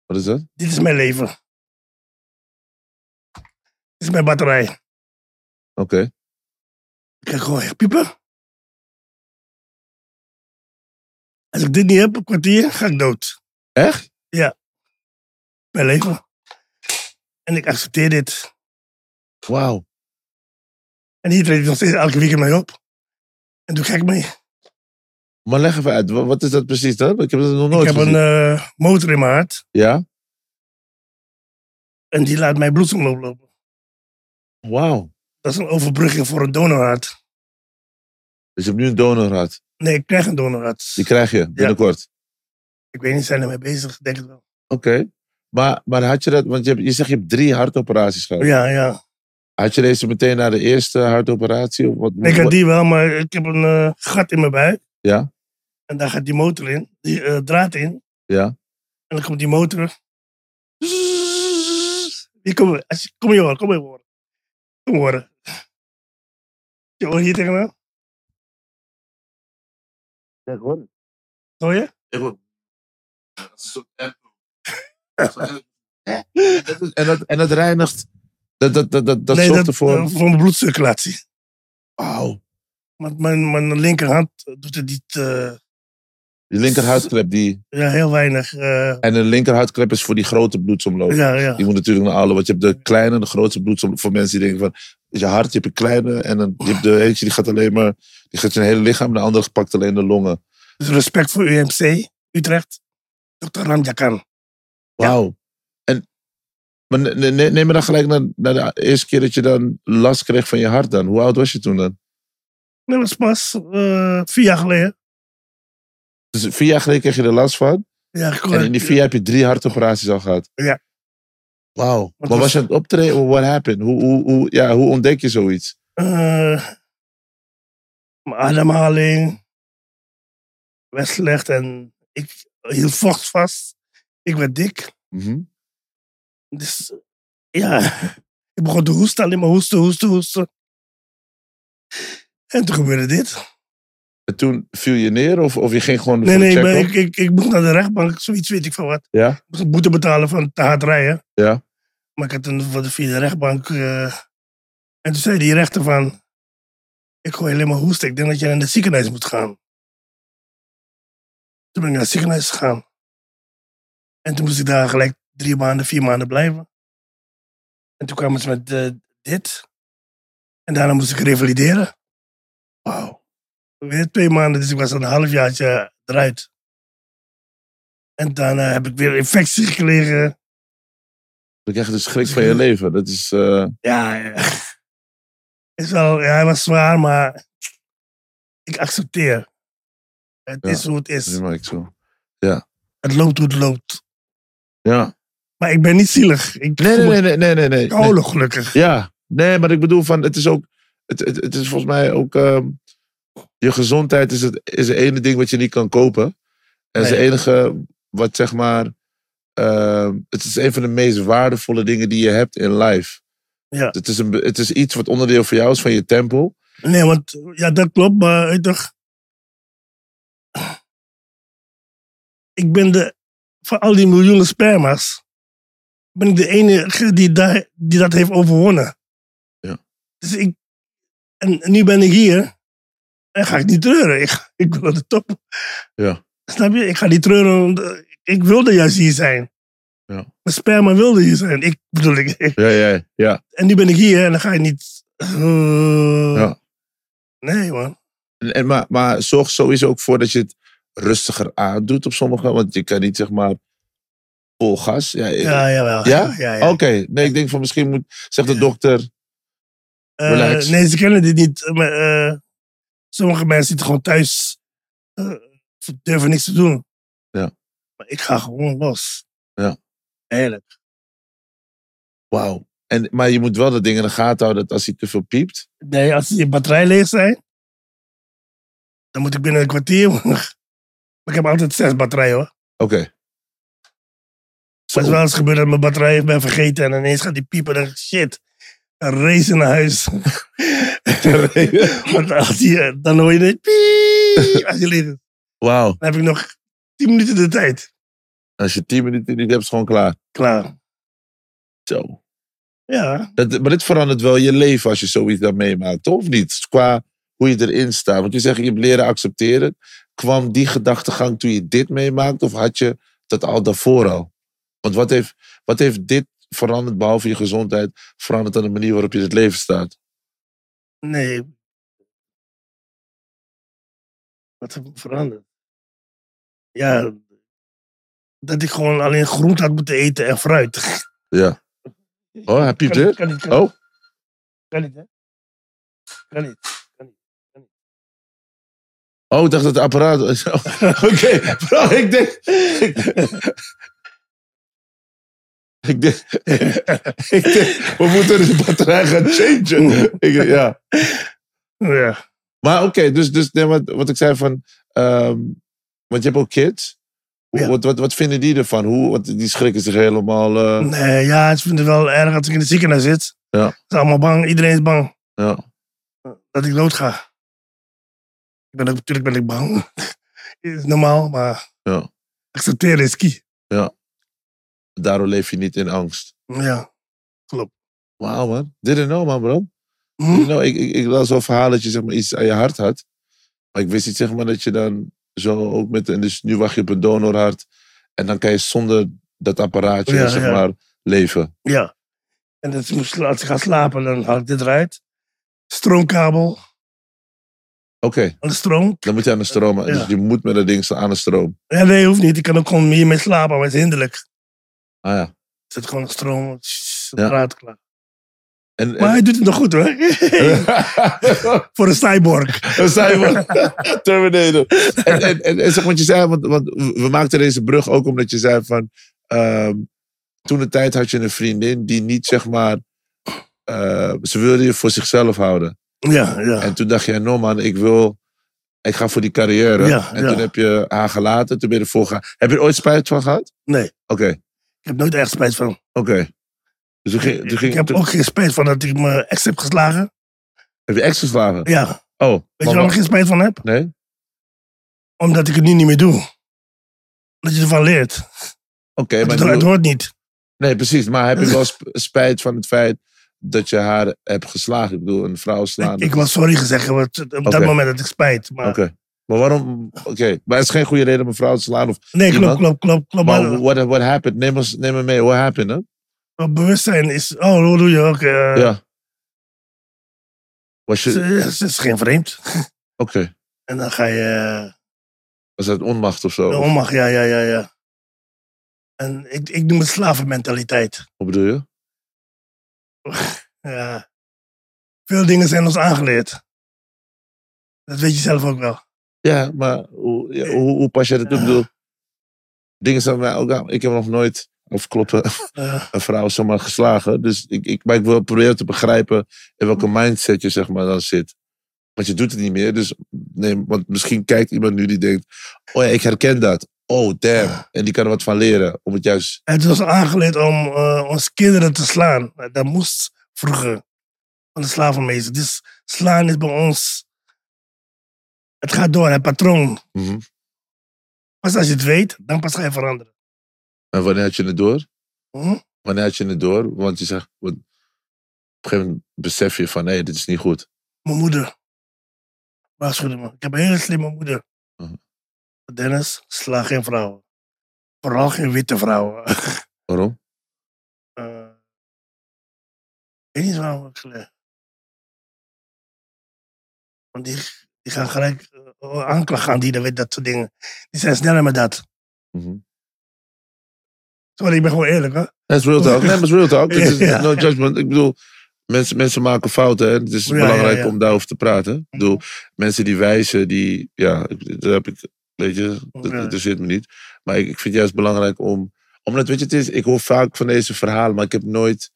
S2: Wat is dat?
S1: Dit is mijn leven. Dit is mijn batterij.
S2: Oké.
S1: Ik ga gooien. Piepen. Als ik dit niet heb, een kwartier, ga ik dood.
S2: Echt?
S1: Mijn leven. En ik accepteer dit.
S2: Wauw.
S1: En hier treed ik nog steeds elke weekend mee op. En doe gek mee.
S2: Maar leg even uit, wa- wat is dat precies dan? Ik heb dat nog nooit
S1: ik heb
S2: gezien.
S1: een eh, motor in mijn hart.
S2: Ja?
S1: En die laat mijn bloedsomloop lopen.
S2: Wauw.
S1: Dat is een overbrugging voor een donorhart.
S2: Dus je hebt nu een donorhart.
S1: Nee, ik krijg een donorhart.
S2: Die krijg je binnenkort.
S1: Ik weet niet, zijn er mee bezig? Ik Denk het wel.
S2: Oké. Maar, maar had je dat, want je, hebt, je zegt je hebt drie hartoperaties gehad.
S1: Ja, ja.
S2: Had je deze meteen na de eerste hartoperatie? Of wat,
S1: Nee, ik
S2: wat-
S1: had die wel, maar ik heb een eh, gat in mijn buik.
S2: Ja?
S1: En daar gaat die motor in, die eh, draad in.
S2: Ja.
S1: En dan komt die motor. Hier kom, als je, kom je horen, kom je horen. Kom horen. Je hoort hier tegenaan?
S2: Ja, hoor.
S1: Hoor je?
S2: Ik hoor. Dat is een soort En dat, en dat reinigt. Dat, dat, dat, dat, dat
S1: nee,
S2: zorgt
S1: dat,
S2: ervoor.
S1: eh, voor mijn bloedcirculatie.
S2: Wauw.
S1: Want mijn, mijn linkerhand doet het niet, eh,
S2: Je linkerhartklep die.
S1: ja, heel weinig. eh,
S2: En een linkerhartklep is voor die grote bloedsomloop.
S1: ja, ja.
S2: Die moet natuurlijk naar alle. Want je hebt de kleine en de grootste bloedsomloop. Voor mensen die denken van, is je hart, je hebt een kleine. En dan je hebt de eentje die gaat alleen maar, die gaat zijn hele lichaam. En de andere pakt alleen de longen.
S1: Dus respect voor UMC, Utrecht. Dr. Ramjakan.
S2: Wauw. En, maar ne- ne- ne- neem me dan gelijk naar, naar de eerste keer dat je dan last kreeg van je hart dan. Hoe oud was je toen dan?
S1: Dat was pas eh, vier jaar geleden.
S2: Dus vier jaar geleden kreeg je er last van.
S1: Ja, ik kon-
S2: En in die vier jaar heb je drie hartoperaties al gehad.
S1: Ja. dus-
S2: Wauw.
S1: Wat
S2: Maar
S1: was-
S2: was je aan het optreden? What happened? Hoe, hoe, hoe, ja, hoe ontdek je zoiets?
S1: eh, mijn ademhaling werd slecht en ik hield vocht vast. Ik werd dik.
S2: Mhm.
S1: Dus ja, ik begon te hoesten, alleen maar hoesten, hoesten, hoesten. En toen gebeurde dit.
S2: En toen viel je neer of, of je ging gewoon
S1: Nee,
S2: voor de
S1: nee, ik, ben-
S2: check-up?
S1: ik, ik, ik moest naar de rechtbank, zoiets weet ik van wat.
S2: Ja?
S1: Ik moest een boete betalen van te hard rijden.
S2: Ja.
S1: Maar ik had een, voor de- via de rechtbank eh, En toen zei die rechter van, ik gooi alleen maar hoesten. Ik denk dat je naar het ziekenhuis moet gaan. Toen ben ik naar het ziekenhuis gegaan. En toen moest ik daar gelijk drie maanden, vier maanden blijven. En toen kwamen ze met eh, dit. En daarna moest ik revalideren. Wauw. Weer twee maanden, dus ik was al een halfjaartje eruit. En daarna heb ik weer infecties gelegen.
S2: Dan krijg je de schrik van je leven. Dat is... eh,
S1: Ja, ja. Is wel, ja, hij was zwaar, maar ik accepteer. Het
S2: Ja.
S1: is hoe het
S2: dat
S1: is.
S2: maak ik zo.
S1: Het loopt hoe het loopt.
S2: Ja.
S1: Maar ik ben niet zielig. Ik
S2: Nee,
S1: voel
S2: nee,
S1: me
S2: nee, nee, nee, nee, nee.
S1: kolen gelukkig.
S2: Ja, nee, maar ik bedoel van, het is ook, het, het, het is volgens mij ook, ehm, je gezondheid is het, is het ene ding wat je niet kan kopen. En het is
S1: Nee.
S2: het enige wat zeg maar, ehm, het is een van de meest waardevolle dingen die je hebt in life.
S1: Ja.
S2: Het, is een, be- het is iets wat onderdeel voor jou is van je tempel.
S1: Nee, want ja, dat klopt, maar weet je toch. Ik ben de. Van al die miljoenen sperma's. ben ik de enige die, daar, die dat heeft overwonnen.
S2: Ja.
S1: Dus ik. En nu ben ik hier. En ga ik niet treuren. Ik, ik wil naar de top.
S2: Ja.
S1: Snap je? Ik ga niet treuren. want, eh, Ik wilde juist hier zijn.
S2: Ja.
S1: Mijn sperma wilde hier zijn. Ik bedoel, ik, ik-
S2: Ja, ja, ja.
S1: en nu ben ik hier en dan ga je niet. eh,
S2: Ja.
S1: Nee, man.
S2: En, en maar, maar zorg sowieso ook voor dat je het rustiger aandoet op sommige, want je kan niet zeg maar vol gas. Ja,
S1: Ja, jawel.
S2: Ja?
S1: ja,
S2: Oké, nee, ik denk van misschien moet, zegt de dokter,
S1: Eh,
S2: relax.
S1: nee, ze kennen dit niet. Maar, eh, sommige mensen zitten gewoon thuis. eh, Ze durven niks te doen.
S2: Ja.
S1: Maar ik ga gewoon los.
S2: Ja.
S1: Heerlijk.
S2: Wauw. En, maar je moet wel dat ding in de gaten houden dat als hij te veel piept.
S1: Nee, als je batterij leeg zijn, dan moet ik binnen een kwartier. maar ik heb altijd zes batterijen hoor.
S2: Oké.
S1: Het is wel eens gebeurd dat mijn batterij heeft ben vergeten en ineens gaat die piepen. Dan denk ik, shit. Een race naar huis. Want als je, dan hoor je dit. piep, Als je leeg is.
S2: Wauw.
S1: Dan heb ik nog 10 minuten de tijd.
S2: Als je tien minuten niet hebt, is het gewoon klaar.
S1: Klaar.
S2: Zo.
S1: Ja,
S2: Dat, maar dit verandert wel je leven als je zoiets dan meemaakt, toch? Of niet? Qua hoe je erin staat. Want je zegt, je hebt leren accepteren. Kwam die gedachtegang toen je dit meemaakte? Of had je dat al daarvoor al? Want wat heeft, wat heeft dit veranderd, behalve je gezondheid, veranderd aan de manier waarop je in het leven staat?
S1: nee. Wat heeft er veranderd? Ja, dat ik gewoon alleen groente had moeten eten en fruit.
S2: Ja. Oh, hij piept
S1: Kan niet,
S2: weer?
S1: kan niet, kan
S2: Oh,
S1: kan niet, hè? Kan niet.
S2: Oh, ik dacht dat het apparaat. Oké, bro, ik denk. Ik, ik denk, ik denk, We moeten de batterij gaan changen. Ik, ja.
S1: Ja,
S2: Maar oké, dus, dus nee, wat, wat ik zei van. ehm, want je hebt ook kids. Hoe-
S1: Ja.
S2: Wat, wat, wat vinden die ervan? Hoe, want die schrikken zich helemaal. eh,
S1: nee, ja, ze vinden het wel erg als ik in het ziekenhuis zit.
S2: Ja.
S1: Ze zijn allemaal bang, iedereen is bang
S2: ja.
S1: dat ik dood ga. Ik ben ook, natuurlijk ben ik bang. is normaal, maar
S2: Ja.
S1: accepteren is key.
S2: Daardoor leef je niet in angst.
S1: Ja.
S2: Wauw, man. Didn't know, man, bro.
S1: Hm?
S2: Nou, ik, ik, ik las wel verhalen dat je zeg maar, iets aan je hart had. Maar ik wist niet zeg maar, dat je dan zo ook met... En dus nu wacht je op een donorhart. En dan kan je zonder dat apparaatje
S1: Ja,
S2: zeg
S1: ja.
S2: maar, leven.
S1: Ja. En dat moest, als ik ga slapen, dan haal ik dit eruit. Stroomkabel,
S2: Oké,
S1: aan de stroom.
S2: dan moet je aan de stroom.
S1: Ja.
S2: Dus je moet met dat ding staan aan de stroom.
S1: Ja, nee, hoeft niet. Ik kan ook gewoon hiermee slapen, maar het is hinderlijk.
S2: Ah ja.
S1: Er zit gewoon stroom, tss,
S2: Ja.
S1: draad klaar.
S2: En,
S1: Maar
S2: en,
S1: hij doet het nog goed hoor. Voor een cyborg.
S2: Dan zijn we Terminator. En, en, en, en zeg wat je zei, want, want we maakten deze brug ook omdat je zei van... ehm, toen de tijd had je een vriendin die niet zeg maar... eh, ze wilde je voor zichzelf houden.
S1: Ja, ja.
S2: En toen dacht jij, no man, ik wil... Ik ga voor die carrière.
S1: Ja,
S2: en
S1: ja.
S2: toen heb je haar gelaten. Toen ben je ervoor gegaan. Heb je er ooit spijt van gehad?
S1: Nee,
S2: Oké,
S1: ik heb nooit echt spijt van.
S2: oké. Dus toen ging, toen ging,
S1: Ik heb
S2: toen-
S1: ook geen spijt van dat ik mijn ex heb geslagen.
S2: heb je ex geslagen?
S1: Ja.
S2: Oh,
S1: Weet
S2: maar
S1: je waar ik
S2: wa-
S1: geen spijt van heb?
S2: Nee?
S1: Omdat ik het nu niet meer doe. Dat je ervan leert.
S2: Oké,
S1: Het,
S2: maar...
S1: het hoort niet.
S2: nee, precies. Maar heb je wel sp- spijt van het feit dat je haar hebt geslagen? Ik bedoel, een vrouw slaan.
S1: Ik,
S2: dat
S1: ik
S2: is-
S1: was sorry gezegd, want op dat
S2: Oké.
S1: moment had ik spijt. Maar,
S2: Oké. Maar waarom? Oké, maar het is geen goede reden om een vrouw te slaan. Of,
S1: Nee, klopt,
S2: Iemand?
S1: klopt, klopt. klopt Oh, maar,
S2: maar what, what happened? Neem, ons, neem me mee, what happened? Hè?
S1: maar bewustzijn is, oh, hoe doe je? Oké, eh,
S2: Ja. Was je. Oké.
S1: ze, ze is geen vreemd. En dan ga je... eh,
S2: Was dat onmacht of zo?
S1: De onmacht, ja, ja, ja, ja. En ik, ik noem het slavenmentaliteit.
S2: Wat bedoel je?
S1: Ja. Veel dingen zijn ons aangeleerd. Dat weet je zelf ook wel.
S2: Ja, maar hoe, ja, hoe, hoe pas jij dat toe? Ik bedoel, dingen zijn mij ook aan. Ik heb nog nooit, of kloppen,
S1: Eh,
S2: een vrouw zomaar geslagen. Dus ik, ik, maar ik wil proberen te begrijpen
S1: Mm.
S2: in welke mindset je zeg maar dan zit. Want je doet het niet meer. Dus nee, want misschien kijkt iemand nu die denkt, oh ja, ik herken dat. Oh, damn. En die kan er wat van leren. Om het juist...
S1: het was aangeleerd om eh ons kinderen te slaan. Dat moest vroeger. Van de slavenmeester. Dus slaan is bij ons... Het gaat door, het patroon.
S2: Mhm.
S1: Pas als je het weet, dan pas ga je veranderen.
S2: En wanneer had je het door?
S1: Hm?
S2: Wanneer had je het door? Want je zegt, want op een gegeven moment besef je van, hé, dit is niet goed.
S1: Mijn moeder. Waarschuwde me. Ik heb een hele slimme moeder.
S2: Mhm.
S1: Dennis, sla geen vrouwen. Vooral geen witte vrouwen.
S2: Waarom?
S1: Eh, ik weet niet waarom ik gelegd. Want die, die gaan gelijk eh, aanklagen aan die, dat weet dat soort dingen. Die zijn sneller met dat.
S2: Mhm.
S1: Mm-hmm. Sorry, ik ben gewoon eerlijk hoor.
S2: Dat is real talk. Nee, maar het is real talk. Het is
S1: Ja.
S2: no judgment. Ik bedoel, mensen, mensen maken fouten. Hè? Het is
S1: Ja,
S2: belangrijk
S1: ja, ja.
S2: om daarover te praten. Ik bedoel, mensen die wijzen, die... Ja, ik- daar heb ik... Weet je, dat- dat
S1: Ja.
S2: interesseert me niet. Maar ik, ik vind het juist belangrijk om... Omdat, weet je, het is, ik hoor vaak van deze verhalen, maar ik heb nooit...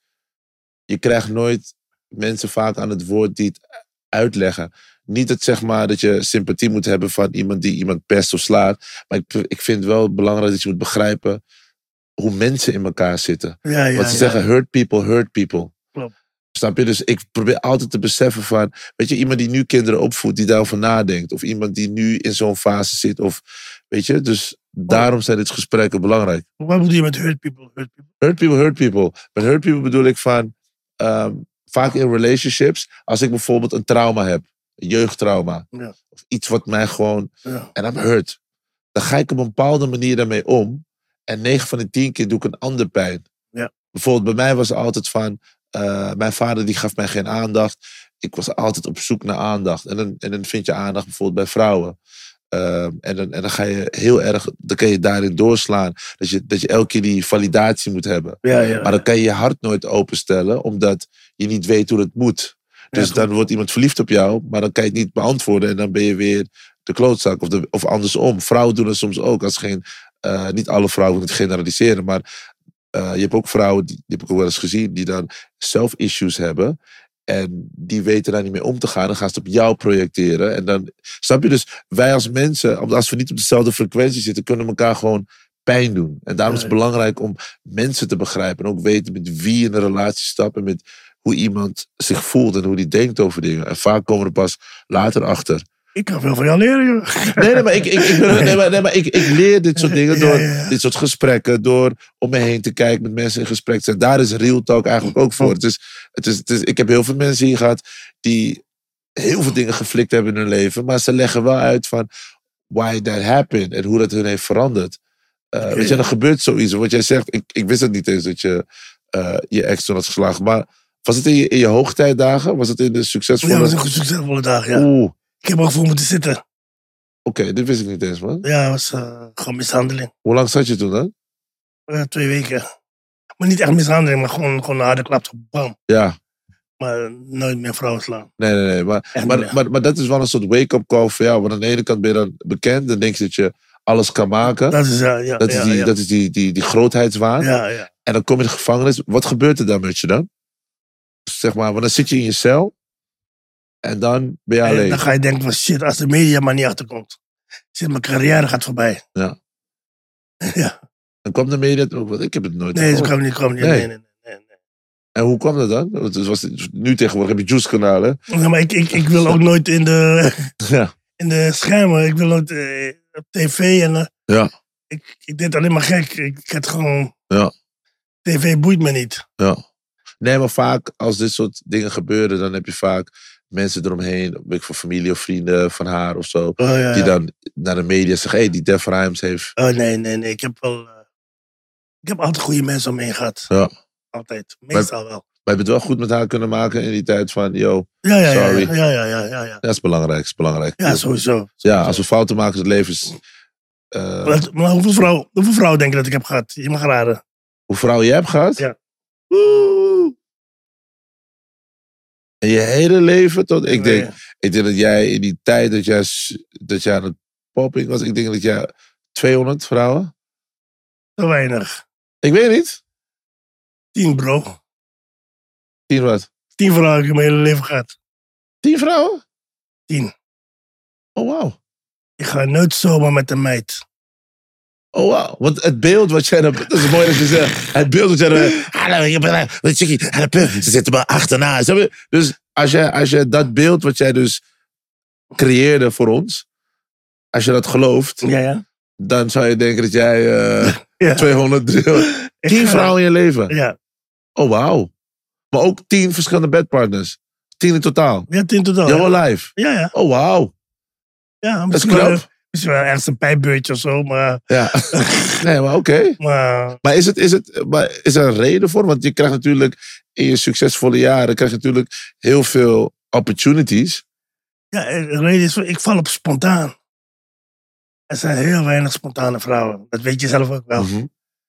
S2: Je krijgt nooit mensen vaak aan het woord die het uitleggen. Niet dat, zeg maar, dat je sympathie moet hebben van iemand die iemand pest of slaat. Maar ik, ik vind wel belangrijk dat je moet begrijpen hoe mensen in elkaar zitten.
S1: Ja, ja,
S2: Want ze
S1: ja.
S2: zeggen hurt people, hurt people.
S1: Klopt.
S2: Snap je? Dus ik probeer altijd te beseffen van... Weet je, iemand die nu kinderen opvoedt, die daarover nadenkt. Of iemand die nu in zo'n fase zit. Of, weet je? Dus daarom zijn dit gesprekken belangrijk.
S1: Wat bedoel je met hurt people? Hurt people?
S2: Hurt people, hurt people. Met hurt people bedoel ik van... ehm, vaak in relationships, als ik bijvoorbeeld een trauma heb. Een jeugdtrauma.
S1: Ja.
S2: Of iets wat mij gewoon
S1: Ja.
S2: en I'm hurt. Dan ga ik op een bepaalde manier daarmee om. En 9 van de 10 keer doe ik een ander pijn.
S1: Ja.
S2: Bijvoorbeeld bij mij was het altijd van... eh, mijn vader die gaf mij geen aandacht. Ik was altijd op zoek naar aandacht. En dan, en dan vind je aandacht bijvoorbeeld bij vrouwen. Ehm, en, dan, en dan ga je heel erg... Dan kan je daarin doorslaan. Dat je, dat je elke keer die validatie moet hebben.
S1: Ja, ja.
S2: Maar dan kan je je hart nooit openstellen, omdat je niet weet hoe het moet. Dus
S1: klopt.
S2: dan wordt iemand verliefd op jou, maar dan kan je het niet beantwoorden. En dan ben je weer de klootzak. Of, de, of andersom. Vrouwen doen dat soms ook. Als geen, eh, niet alle vrouwen, ik wil het generaliseren. Maar eh, je hebt ook vrouwen, die, die heb ik ook wel eens gezien, die dan zelf issues hebben. En die weten daar niet mee om te gaan. Dan gaan ze het op jou projecteren. En dan, snap je? Dus wij als mensen, om- als we niet op dezelfde frequentie zitten, kunnen elkaar gewoon pijn doen. En daarom is het
S1: Ja.
S2: belangrijk om mensen te begrijpen. En ook weten met wie je in een relatie stapt. En met hoe iemand zich voelt en hoe die denkt over dingen. En vaak komen we er pas later achter.
S1: Ik kan veel van jou leren, joh.
S2: Nee, nee, maar ik, ik, ik, ben- nee, maar, nee, maar ik, ik leer dit soort dingen
S1: Ja,
S2: door
S1: ja, ja.
S2: dit soort gesprekken, door om me heen te kijken, met mensen in gesprek te zijn. Daar is real talk eigenlijk ook voor. Het is, het is, het is, ik heb heel veel mensen hier gehad die heel veel dingen geflikt hebben in hun leven, maar ze leggen wel uit van why that happened en hoe dat hun heeft veranderd. Eh,
S1: Oké.
S2: Weet je, dan gebeurt zoiets. Want jij zegt, ik, ik wist het niet eens dat je eh, je ex toen had geslagen. Maar was het in je, in je hoogtijdagen? Was het in de
S1: Ja, dat
S2: succesvolle...
S1: was een goed succesvolle dag, ja.
S2: Oeh, oké,
S1: Ik heb er voor moeten zitten.
S2: dit wist ik niet eens, man.
S1: Ja, het was eh, gewoon mishandeling.
S2: Hoe lang zat je toen dan?
S1: Eh, twee weken. Maar niet echt mishandeling, maar gewoon, gewoon een harde klap. zo, Bam.
S2: Ja,
S1: Maar nooit meer vrouwen slaan.
S2: nee, nee, nee. Maar,
S1: Echt niet
S2: maar,
S1: meer.
S2: maar, maar dat is wel een soort wake-up call voor jou. Want aan de ene kant ben je dan bekend. Dan denk je dat je alles kan maken.
S1: Dat is, ja, ja,
S2: Dat
S1: ja,
S2: is die,
S1: ja.
S2: dat is die, die, die grootheidswaarde.
S1: ja, ja.
S2: En dan kom je in de gevangenis. Wat gebeurt er dan met je dan? Zeg maar, want dan zit je in je cel. En dan ben je
S1: En
S2: alleen.
S1: dan ga je denken van shit, als de media maar niet achterkomt. Shit, mijn carrière gaat voorbij.
S2: Ja.
S1: ja.
S2: Dan kwam de media ook. Want oh, ik heb het nooit
S1: Nee, ze
S2: gehoord.
S1: kwam niet, kwam niet.
S2: Nee.
S1: Nee, nee, nee. nee,
S2: En hoe kwam dat dan? Want het was, nu tegenwoordig heb je juice-kanalen.
S1: nee. Ja, maar ik, ik, ik wil ook nooit in de,
S2: Ja.
S1: in de schermen. Ik wil nooit eh, op tv. En, eh,
S2: Ja.
S1: ik, ik deed alleen maar gek. Ik, ik had gewoon...
S2: Ja.
S1: TV boeit me niet.
S2: ja. Nee, maar vaak als dit soort dingen gebeuren, dan heb je vaak mensen eromheen, weet ik voor familie of vrienden van haar of zo,
S1: Oh, ja,
S2: die
S1: ja.
S2: dan naar de media zeggen, hey, die Def Rhymes heeft...
S1: Oh, nee, nee, nee. Ik heb wel... eh, ik heb altijd goede mensen om me heen gehad.
S2: Ja.
S1: Altijd. Meestal wel.
S2: We hebben het wel goed met haar kunnen maken in die tijd van, yo,
S1: Ja, ja, ja.
S2: Sorry.
S1: Ja, ja, ja, ja, ja.
S2: dat is belangrijk, dat is belangrijk.
S1: Ja, sowieso.
S2: Ja, als we fouten maken, het leven is... eh,
S1: Maar, maar hoeveel vrouwen hoeveel vrouw denk je dat ik heb gehad? Je mag raden.
S2: hoe vrouw je hebt gehad?
S1: Ja.
S2: Oeh. En je hele leven tot... Ik denk, ik denk dat jij in die tijd dat jij, s- dat jij aan het popping was, ik denk dat jij 200 vrouwen...
S1: Te weinig.
S2: Ik weet niet.
S1: Tien, bro.
S2: Tien wat?
S1: Tien vrouwen heb ik in mijn hele leven gehad.
S2: Tien vrouwen?
S1: Tien.
S2: Oh, wauw.
S1: Ik ga nooit zomaar met een meid.
S2: Oh, wauw. Want het beeld wat jij... dan- Dat is mooi dat je zegt. Het beeld wat jij... dan- Hallo, ik ben een- een chickie. Hallo, puh. Ze zitten me achterna. Snap je? Dus als jij, als jij dat beeld wat jij dus creëerde voor ons... Als je dat gelooft,
S1: ja.
S2: dan zou je denken dat jij eh,
S1: Ja.
S2: 200, 300...
S1: Ik
S2: Tien
S1: ga-
S2: vrouwen in je leven.
S1: Ja.
S2: Oh, wauw. Maar ook tien verschillende bedpartners. Tien in totaal.
S1: Ja, tien totaal.
S2: Jouw
S1: Oh, Ja,
S2: life.
S1: ja. ja.
S2: Oh, wauw.
S1: ja
S2: Dat is
S1: misschien, wel,
S2: knap.
S1: misschien wel ergens een pijpbeurtje of zo, maar...
S2: Ja. Nee, maar oké.
S1: maar
S2: Maar is, het, is, het, maar is er een reden voor? Want je krijgt natuurlijk in je succesvolle jaren krijg je natuurlijk heel veel opportunities.
S1: ja, de reden is, ik val op spontaan. Er zijn heel weinig spontane vrouwen. Dat weet je zelf ook wel.
S2: Mhm.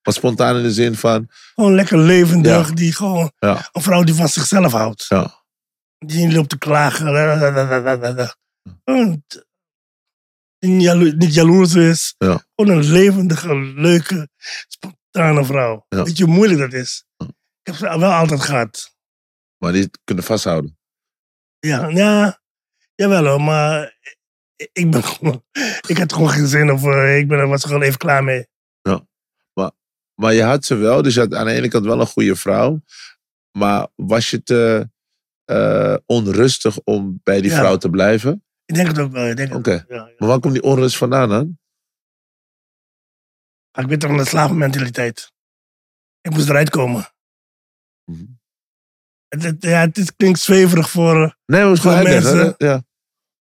S2: Maar spontaan in de zin van,
S1: Gewoon lekker levendig,
S2: Ja.
S1: die gewoon...
S2: Ja.
S1: Een vrouw die van zichzelf houdt.
S2: ja,
S1: Die niet loopt te klagen. da, da, da, da, da, da, da.
S2: Hm.
S1: Gewoon t- die niet jalo- niet jaloers is.
S2: Ja.
S1: Gewoon een levendige, leuke, spontane vrouw.
S2: Ja. Hm.
S1: Weet je hoe moeilijk dat is?
S2: Ja.
S1: Ik heb ze wel altijd gehad.
S2: maar die kunnen vasthouden.
S1: Ja, ja jawel hoor, maar ik, ik ben gewoon... Ik had gewoon geen zin of eh, ik ben, er- was er gewoon even klaar mee.
S2: Maar je had ze wel, dus je had aan de ene kant wel een goede vrouw. Maar was je te eh, onrustig om bij die
S1: Ja.
S2: vrouw te blijven?
S1: Ik denk het ook wel. Ik denk het
S2: Oké.
S1: ook, ja, ja.
S2: Maar waar komt die onrust vandaan dan?
S1: Maar ik ben toch van de slavenmentaliteit. Ik moest eruit komen.
S2: Mhm.
S1: Het, het- ja, het is- klinkt zweverig voor... eh,
S2: Nee, maar het is gewoon
S1: Voor
S2: uitleggen,
S1: mensen-
S2: hè? Ja. Niks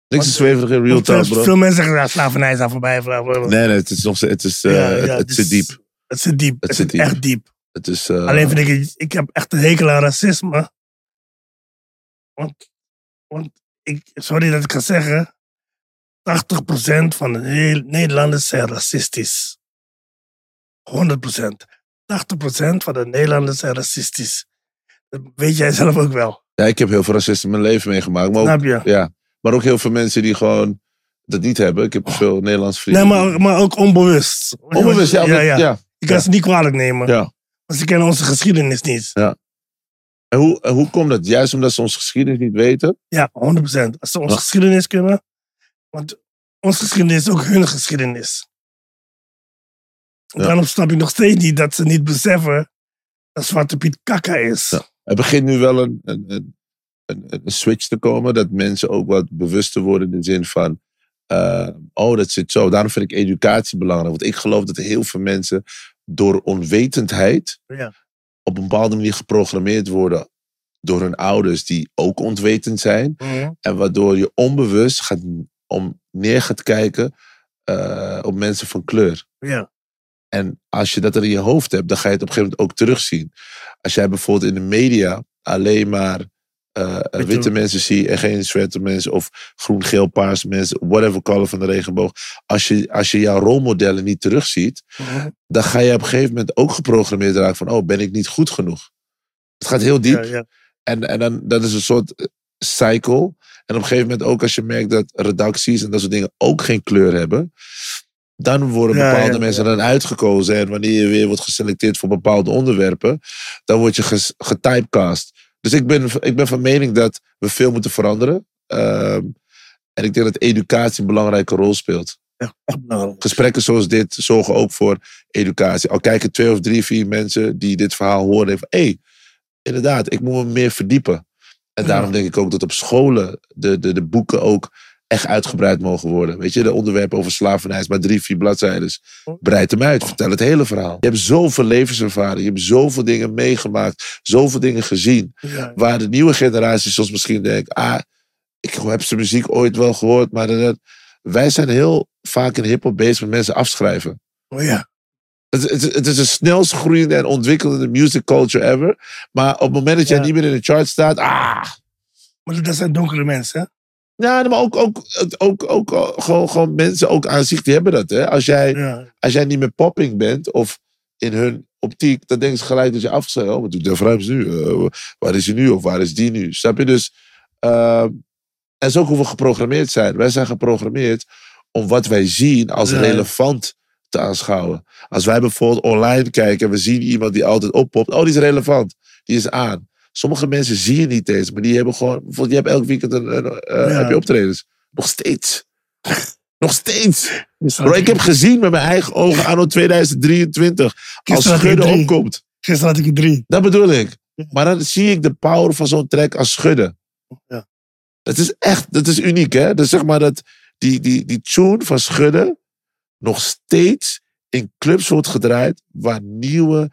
S1: Want- eh,
S2: is zweverig in real
S1: Want
S2: time,
S1: veel,
S2: bro.
S1: veel mensen zeggen, ja, slavernij is aan voorbij. bla, bla, bla.
S2: Nee, nee, het is nog steeds- het is, eh,
S1: Ja,
S2: het,
S1: ja,
S2: het
S1: dus
S2: zit diep.
S1: Het zit diep. Het, zit
S2: diep.
S1: echt diep.
S2: Het is, eh,
S1: Alleen vind ik, het- ik heb echt een hekel aan racisme. Want, want ik, sorry dat ik ga zeggen, 80% van de Ne- Nederlanders zijn racistisch. 100%. 80% van de Nederlanders zijn racistisch. Dat weet jij zelf ook wel.
S2: Ja, ik heb heel veel racisme in mijn leven meegemaakt. Maar ook,
S1: Snap je?
S2: ja, maar ook heel veel mensen die gewoon dat niet hebben. Ik heb veel Nederlandse
S1: Oh. Nee,
S2: vrienden.
S1: maar, maar ook onbewust.
S2: Onbewust, ja.
S1: ja,
S2: omdat- ja.
S1: Je kan
S2: ja.
S1: ze niet kwalijk nemen.
S2: Ja.
S1: Want ze kennen onze geschiedenis niet.
S2: En hoe, en hoe komt dat? Juist omdat ze onze geschiedenis niet weten.
S1: Ja, 100%. Als ze onze
S2: Ja.
S1: geschiedenis kunnen. Want onze geschiedenis is ook hun geschiedenis.
S2: Ja.
S1: Daarom snap ik nog steeds niet dat ze niet beseffen dat Zwarte Piet kakka is.
S2: Ja. Er begint nu wel een, een, een, een, een switch te komen. Dat mensen ook wat bewuster worden in de zin van... eh, oh, dat zit zo. Daarom vind ik educatie belangrijk. Want ik geloof dat heel veel mensen door onwetendheid...
S1: Ja.
S2: op een bepaalde manier geprogrammeerd worden... door hun ouders die ook onwetend zijn.
S1: Mhm.
S2: En waardoor je onbewust gaat om, neer gaat kijken eh, op mensen van kleur.
S1: Ja.
S2: En als je dat er in je hoofd hebt, dan ga je het op een gegeven moment ook terugzien. Als jij bijvoorbeeld in de media alleen maar eh,
S1: Witte-
S2: witte mensen ziet en geen zwarte mensen of groen, geel, paars mensen, whatever color van de regenboog. Als je, als je jouw rolmodellen niet terugziet,
S1: Mhm.
S2: dan ga je op een gegeven moment ook geprogrammeerd raken van, oh, ben ik niet goed genoeg? Het gaat heel diep.
S1: Ja, ja.
S2: En, en dan, dat is een soort eh, cycle. En op een gegeven moment ook als je merkt dat redacties en dat soort dingen ook geen kleur hebben. Dan worden
S1: Ja,
S2: bepaalde
S1: ja,
S2: mensen dan uitgekozen. En wanneer je weer wordt geselecteerd voor bepaalde onderwerpen, dan word je ges- getypecast. Dus ik ben, ik ben van mening dat we veel moeten veranderen. Ehm, en ik denk dat educatie een belangrijke rol speelt.
S1: Echt belangrijk.
S2: Gesprekken zoals dit zorgen ook voor educatie. Al kijken twee of drie, vier mensen die dit verhaal horen. en van, Hé, hey, inderdaad, ik moet me meer verdiepen. En
S1: Ja.
S2: daarom denk ik ook dat op scholen de, de, de boeken ook echt uitgebreid mogen worden. Weet je, de onderwerp over slavernij is maar drie, vier bladzijden. Breid hem uit, vertel het hele verhaal. Je hebt zoveel levenservaring, je hebt zoveel dingen meegemaakt, zoveel dingen gezien.
S1: Ja.
S2: Waar de nieuwe generatie soms misschien denkt, ah, ik heb zijn muziek ooit wel gehoord, maar dat- dat- wij zijn heel vaak in hip-hop bezig met mensen afschrijven.
S1: Oh ja.
S2: Het, het, het is de snelst groeiende en ontwikkelende music culture ever. Maar op het moment dat jij
S1: Ja.
S2: niet meer in de chart staat, ah,
S1: Maar dat zijn donkere mensen, hè?
S2: ja, maar ook, ook, het- ook, ook, ook gewoon, gewoon mensen ook aan zich, die hebben dat. Hè? Als, jij,
S1: Ja.
S2: als jij niet meer popping bent of in hun optiek, dan denken ze gelijk dat je afgezet Oh, wat doet de Rhymes nu? Eh, waar is hij nu? Of waar is die nu? Snap je? Dus, ehm, en zo hoe we geprogrammeerd zijn. Wij zijn geprogrammeerd om wat wij zien als
S1: Ja.
S2: relevant te aanschouwen. Als wij bijvoorbeeld online kijken en we zien iemand die altijd oppopt. Oh, die is relevant. Die is aan. Sommige mensen zie je niet eens, maar die hebben gewoon... Bijvoorbeeld, je hebt elk weekend een, een, eh,
S1: Ja.
S2: heb je optredens. Nog steeds. Nog steeds. Bro,
S1: Gisteren,
S2: ik
S1: had ik,
S2: heb gezien met mijn eigen ogen anno 2023. Als
S1: Gisteren had ik
S2: Schudde
S1: drie.
S2: opkomt.
S1: gisteren had ik er drie.
S2: Dat bedoel ik. Maar dan zie ik de power van zo'n track als Schudde.
S1: Ja.
S2: Dat is echt, dat is uniek hè. Dus zeg maar dat die, die, die tune van Schudde nog steeds in clubs wordt gedraaid waar nieuwe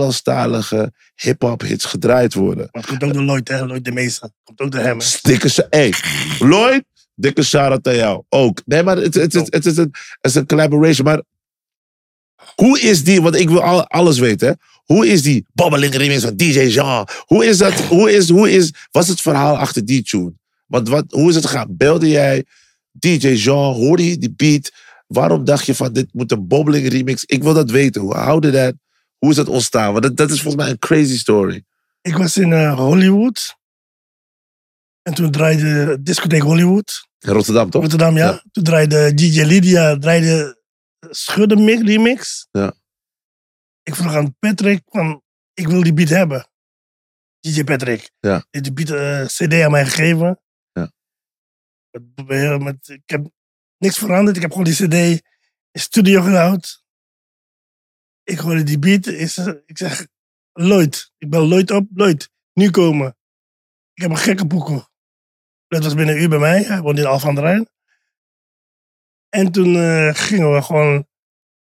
S2: Nederlandstalige hip-hop hits gedraaid worden.
S1: Maar het komt ook door Lloyd, hè? Lloyd de Meester. Komt ook door hem, hè?
S2: Dikke sa- Hey, Lloyd, dikke shout-out aan jou. Ook. Nee, maar het, het, het, het, is, een, het is een collaboration. Maar hoe is die, want ik wil al, alles weten, hè. Hoe is die babbeling remix van DJ Jean? Hoe is dat, hoe is, hoe is, wat is het verhaal achter die tune? Want wat, hoe is het gegaan? Belde jij DJ Jean? Hoorde je die beat? Waarom dacht je van, dit moet een bobbeling remix? Ik wil dat weten. Hoe houden dat? Hoe is dat ontstaan? Want dat, dat is volgens mij een crazy story.
S1: Ik was in eh, Hollywood. En toen draaide discotheek Hollywood.
S2: In Rotterdam, toch?
S1: Rotterdam, ja.
S2: Ja.
S1: Toen draaide DJ Lydia, draaide Schudde mi- remix.
S2: Ja.
S1: Ik vroeg aan Patrick, van, ik wil die beat hebben. DJ Patrick.
S2: Ja.
S1: Die heeft die beat, eh, cd aan mij gegeven.
S2: Ja.
S1: Met, eh, met- ik heb niks veranderd. Ik heb gewoon die cd in studio gehaald. Ik hoorde die beat. Is, ik zeg, Lloyd. Ik bel Lloyd op. Lloyd, nu komen. Ik heb een gekke boekel. Dat was binnen een uur bij mij. Hij woonde in Alphen aan de Rijn. En toen eh, gingen we gewoon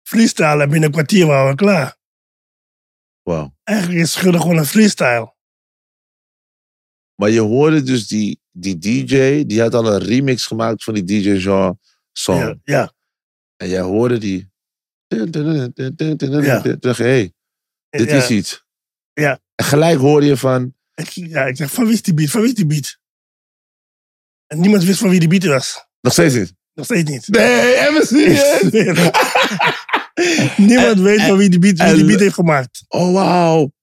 S1: freestylen. En binnen een kwartier waren we klaar.
S2: Wauw.
S1: Eigenlijk is Schudde gewoon een freestyle.
S2: Maar je hoorde dus die, die DJ, die had al een remix gemaakt van die DJ Jean song.
S1: Ja, ja,
S2: En jij hoorde die.
S1: Ja.
S2: Toen dacht je, hé, hey, dit
S1: ja.
S2: is iets.
S1: Ja.
S2: En gelijk hoorde je van,
S1: Ik, ja, ik zeg, van wie is die beat? Van wie is die beat? En niemand wist van wie die beat was.
S2: nog steeds niet.
S1: Nog steeds niet.
S2: Nee, even serieus.
S1: niemand weet van wie die beat, wie die
S2: en-
S1: beat heeft gemaakt.
S2: Oh, wauw.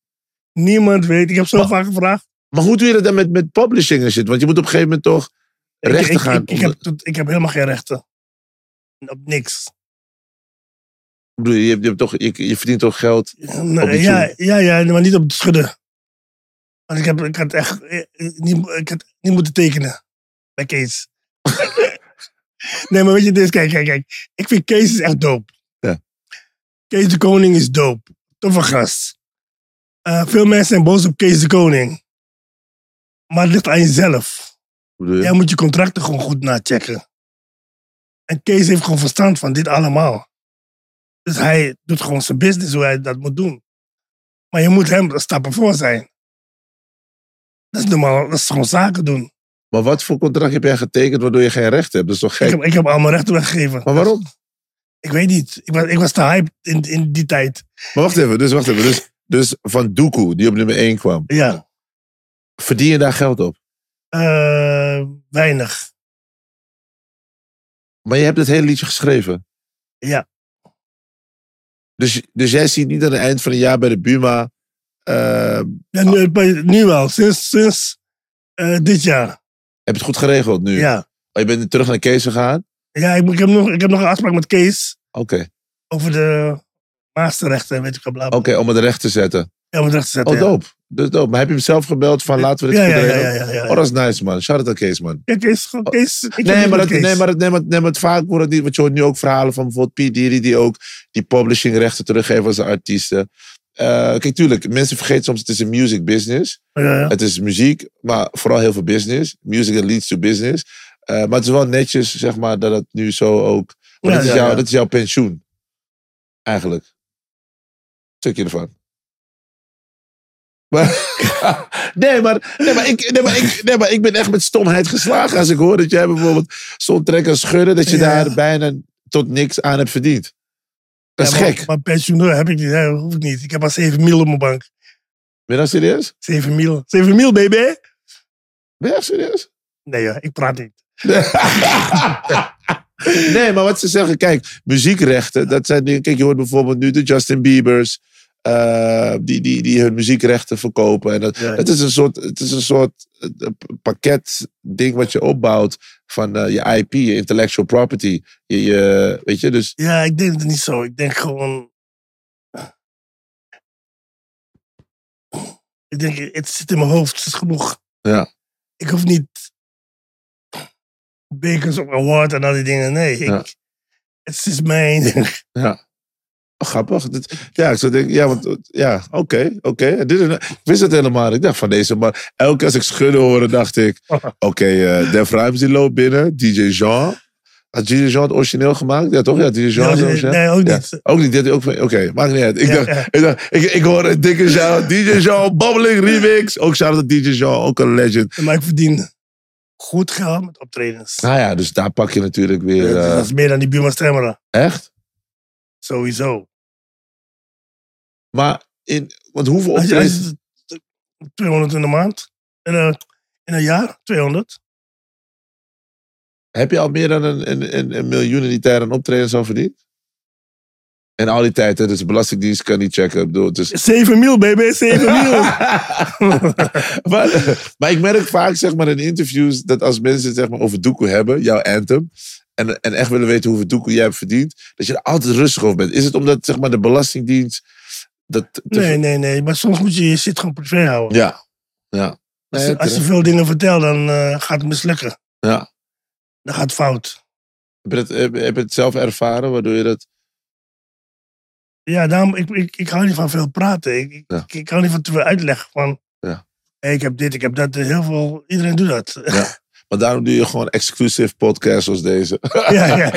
S1: Niemand weet. Ik heb zo vaak gevraagd.
S2: Maar hoe doe je dat dan met, met publishing en shit? Want je moet op een gegeven moment toch
S1: Ik-
S2: rechten
S1: ik,
S2: gaan.
S1: Ik, ik, heb, tot- ik heb helemaal geen rechten. Op niks.
S2: Ik bedoel, je, hebt- je, hebt toch, je, je verdient toch geld.
S1: Nee,
S2: Op die
S1: ja, ja, ja, maar niet op het schudden. Want ik, heb, ik had echt eh, eh, niet, ik had niet moeten tekenen bij Kees. nee, maar weet je, dit is, kijk, kijk, kijk. Ik vind Kees is echt dope.
S2: Ja.
S1: Kees de Koning is dope. Toffe gast. Eh, veel mensen zijn boos op Kees de Koning. Maar het ligt aan jezelf.
S2: Bedoel je?
S1: Jij moet je contracten gewoon goed nachecken. En Kees heeft gewoon verstand van dit allemaal. Dus hij doet gewoon zijn business hoe hij dat moet doen. Maar je moet hem stappen voor zijn. Dat is normaal, dat is gewoon zaken doen.
S2: Maar wat voor contract heb jij getekend waardoor je geen recht hebt? Dat is toch
S1: Ik
S2: gek?
S1: heb, ik heb al mijn rechten weggegeven.
S2: Maar waarom?
S1: Ik weet niet. Ik was, ik was te hyped in, in die tijd.
S2: Maar wacht even, dus wacht even. Dus, dus van Doekoe, die op nummer 1 kwam.
S1: Ja.
S2: Verdien je daar geld op?
S1: Eh, weinig.
S2: Maar je hebt het hele liedje geschreven.
S1: Ja.
S2: Dus, dus jij ziet niet aan het eind van een jaar bij de Buma. eh,
S1: Ja, nu, bij- nu wel, sinds, sinds eh, dit jaar.
S2: heb je het goed geregeld nu?
S1: Ja.
S2: Oh, je bent terug naar Kees gegaan?
S1: Ja, ik, moet- ik, heb nog, ik heb nog een afspraak met Kees
S2: Oké,
S1: over de masterrechten en weet ik wat. bla, bla.
S2: oké, om het recht te zetten.
S1: Ja, om het recht te zetten.
S2: Oh,
S1: ja.
S2: dope. Dat is dope. Maar heb je hem zelf gebeld van laten we dit
S1: Ja,
S2: goed
S1: ja, ja,
S2: regelen?
S1: ja, ja, ja.
S2: Oh, dat is nice, man. Shout out aan Kees, man.
S1: Ja, Kees, gewoon Kees. Ik heb
S2: Nee
S1: niet
S2: maar,
S1: met
S2: dat,
S1: Kees.
S2: nee, maar dat, nee, maar, nee, maar het vaak wordt het niet. Want je hoort nu ook verhalen van bijvoorbeeld P. Diddy, die ook die publishingrechten teruggeven aan zijn artiesten. Eh, kijk, tuurlijk, mensen vergeten soms, het is een music business.
S1: Ja, ja.
S2: Het is muziek, maar vooral heel veel business. Music that leads to business. Eh, maar het is wel netjes, zeg maar, dat het nu zo ook... Maar
S1: Ja,
S2: Oh, dat, is
S1: ja,
S2: jouw,
S1: ja.
S2: dat is jouw pensioen. Eigenlijk. Stukje ervan. Maar, nee, maar, nee, maar ik, nee, maar ik, nee, maar ik ben echt met stomheid geslagen als ik hoor dat jij bijvoorbeeld zo'n trek kan schudden, dat je
S1: Ja.
S2: daar bijna tot niks aan hebt verdiend. Dat is
S1: Ja, maar-
S2: gek.
S1: Maar pensioen heb ik niet, hè, hoef ik niet. Ik heb maar 7 mil op mijn bank.
S2: Ben je nou serieus?
S1: 7 mil. 7 mil, baby!
S2: Ben je echt serieus?
S1: Nee, ja, ik praat niet.
S2: nee, maar wat ze zeggen, kijk, muziekrechten, dat zijn dingen. Kijk, je hoort bijvoorbeeld nu de Justin Bieber's, eh, die, die, die hun muziekrechten verkopen. En dat,
S1: Ja.
S2: het is een soort, het is een soort eh, pakket ding wat je opbouwt van eh, je IP, je intellectual property. Je, je, weet je, dus
S1: Ja, ik denk het niet zo. Ik denk gewoon... Ik denk, het zit in mijn hoofd, het is genoeg.
S2: Ja.
S1: Ik hoef niet... Bekers op award en al die dingen. Nee, ik,
S2: Ja.
S1: het is mijn...
S2: oh, grappig. Dit- ja, ik zou denken, ja, want eh, ja, oké, oké. En dit is een- Ik wist het helemaal. niet. Ik dacht van deze man, elke keer als ik schudden hoorde, dacht ik, oké, eh, Def Rhymes die loopt binnen, DJ Jean. Had DJ Jean het origineel gemaakt? Ja, toch? Ja, DJ Jean. is het
S1: nee,
S2: origineel.
S1: nee, ook
S2: Ja.
S1: niet.
S2: Ook niet, dit ook van- oké, maakt niet uit. Ik,
S1: Ja,
S2: dacht,
S1: ja.
S2: Ik, dacht, ik, ik hoor een dikke Jean, DJ Jean, Bubbling Remix. Ook shout out DJ Jean, ook een legend.
S1: Maar ik verdien goed geld met optredens.
S2: Nou ja, dus daar pak je natuurlijk weer,
S1: Dus
S2: eh,
S1: dat is meer dan die buurman Stemmeren.
S2: echt.
S1: Sowieso.
S2: Maar, in, want hoeveel
S1: Als je- als
S2: optredens...
S1: je- 200 in de maand. In een, in een jaar, 200.
S2: Heb je al meer dan een, een, een, een miljoen in die tijd aan optredens al verdiend? En al die tijd, hè, dus de Belastingdienst kan niet checken. Ik bedoel, het is-
S1: 7 mil, baby, 7 mil.
S2: maar, maar ik merk vaak zeg maar, in interviews dat als mensen het zeg maar, over doekoe hebben, jouw anthem, en, en echt willen weten hoeveel doekoe jij hebt verdiend, dat je er altijd rustig over bent. Is het omdat zeg maar, de Belastingdienst dat. te-
S1: Nee, nee, nee. Maar soms moet je je shit gewoon privé houden.
S2: Ja. ja.
S1: Als,
S2: Nee,
S1: je- als je
S2: terecht.
S1: veel dingen vertelt, dan eh, gaat het mislukken.
S2: Ja.
S1: Dan gaat het fout.
S2: heb, je het, heb, heb je het zelf ervaren waardoor je dat.
S1: Ja, daarom, ik, ik, ik hou niet van veel praten. Ik, ik,
S2: Ja.
S1: ik hou niet van te veel uitleggen. Van,
S2: Ja.
S1: hey, ik heb dit, ik heb dat. Heel veel, iedereen doet dat.
S2: Maar daarom doe je gewoon exclusive podcasts zoals deze.
S1: ja, ja, ja.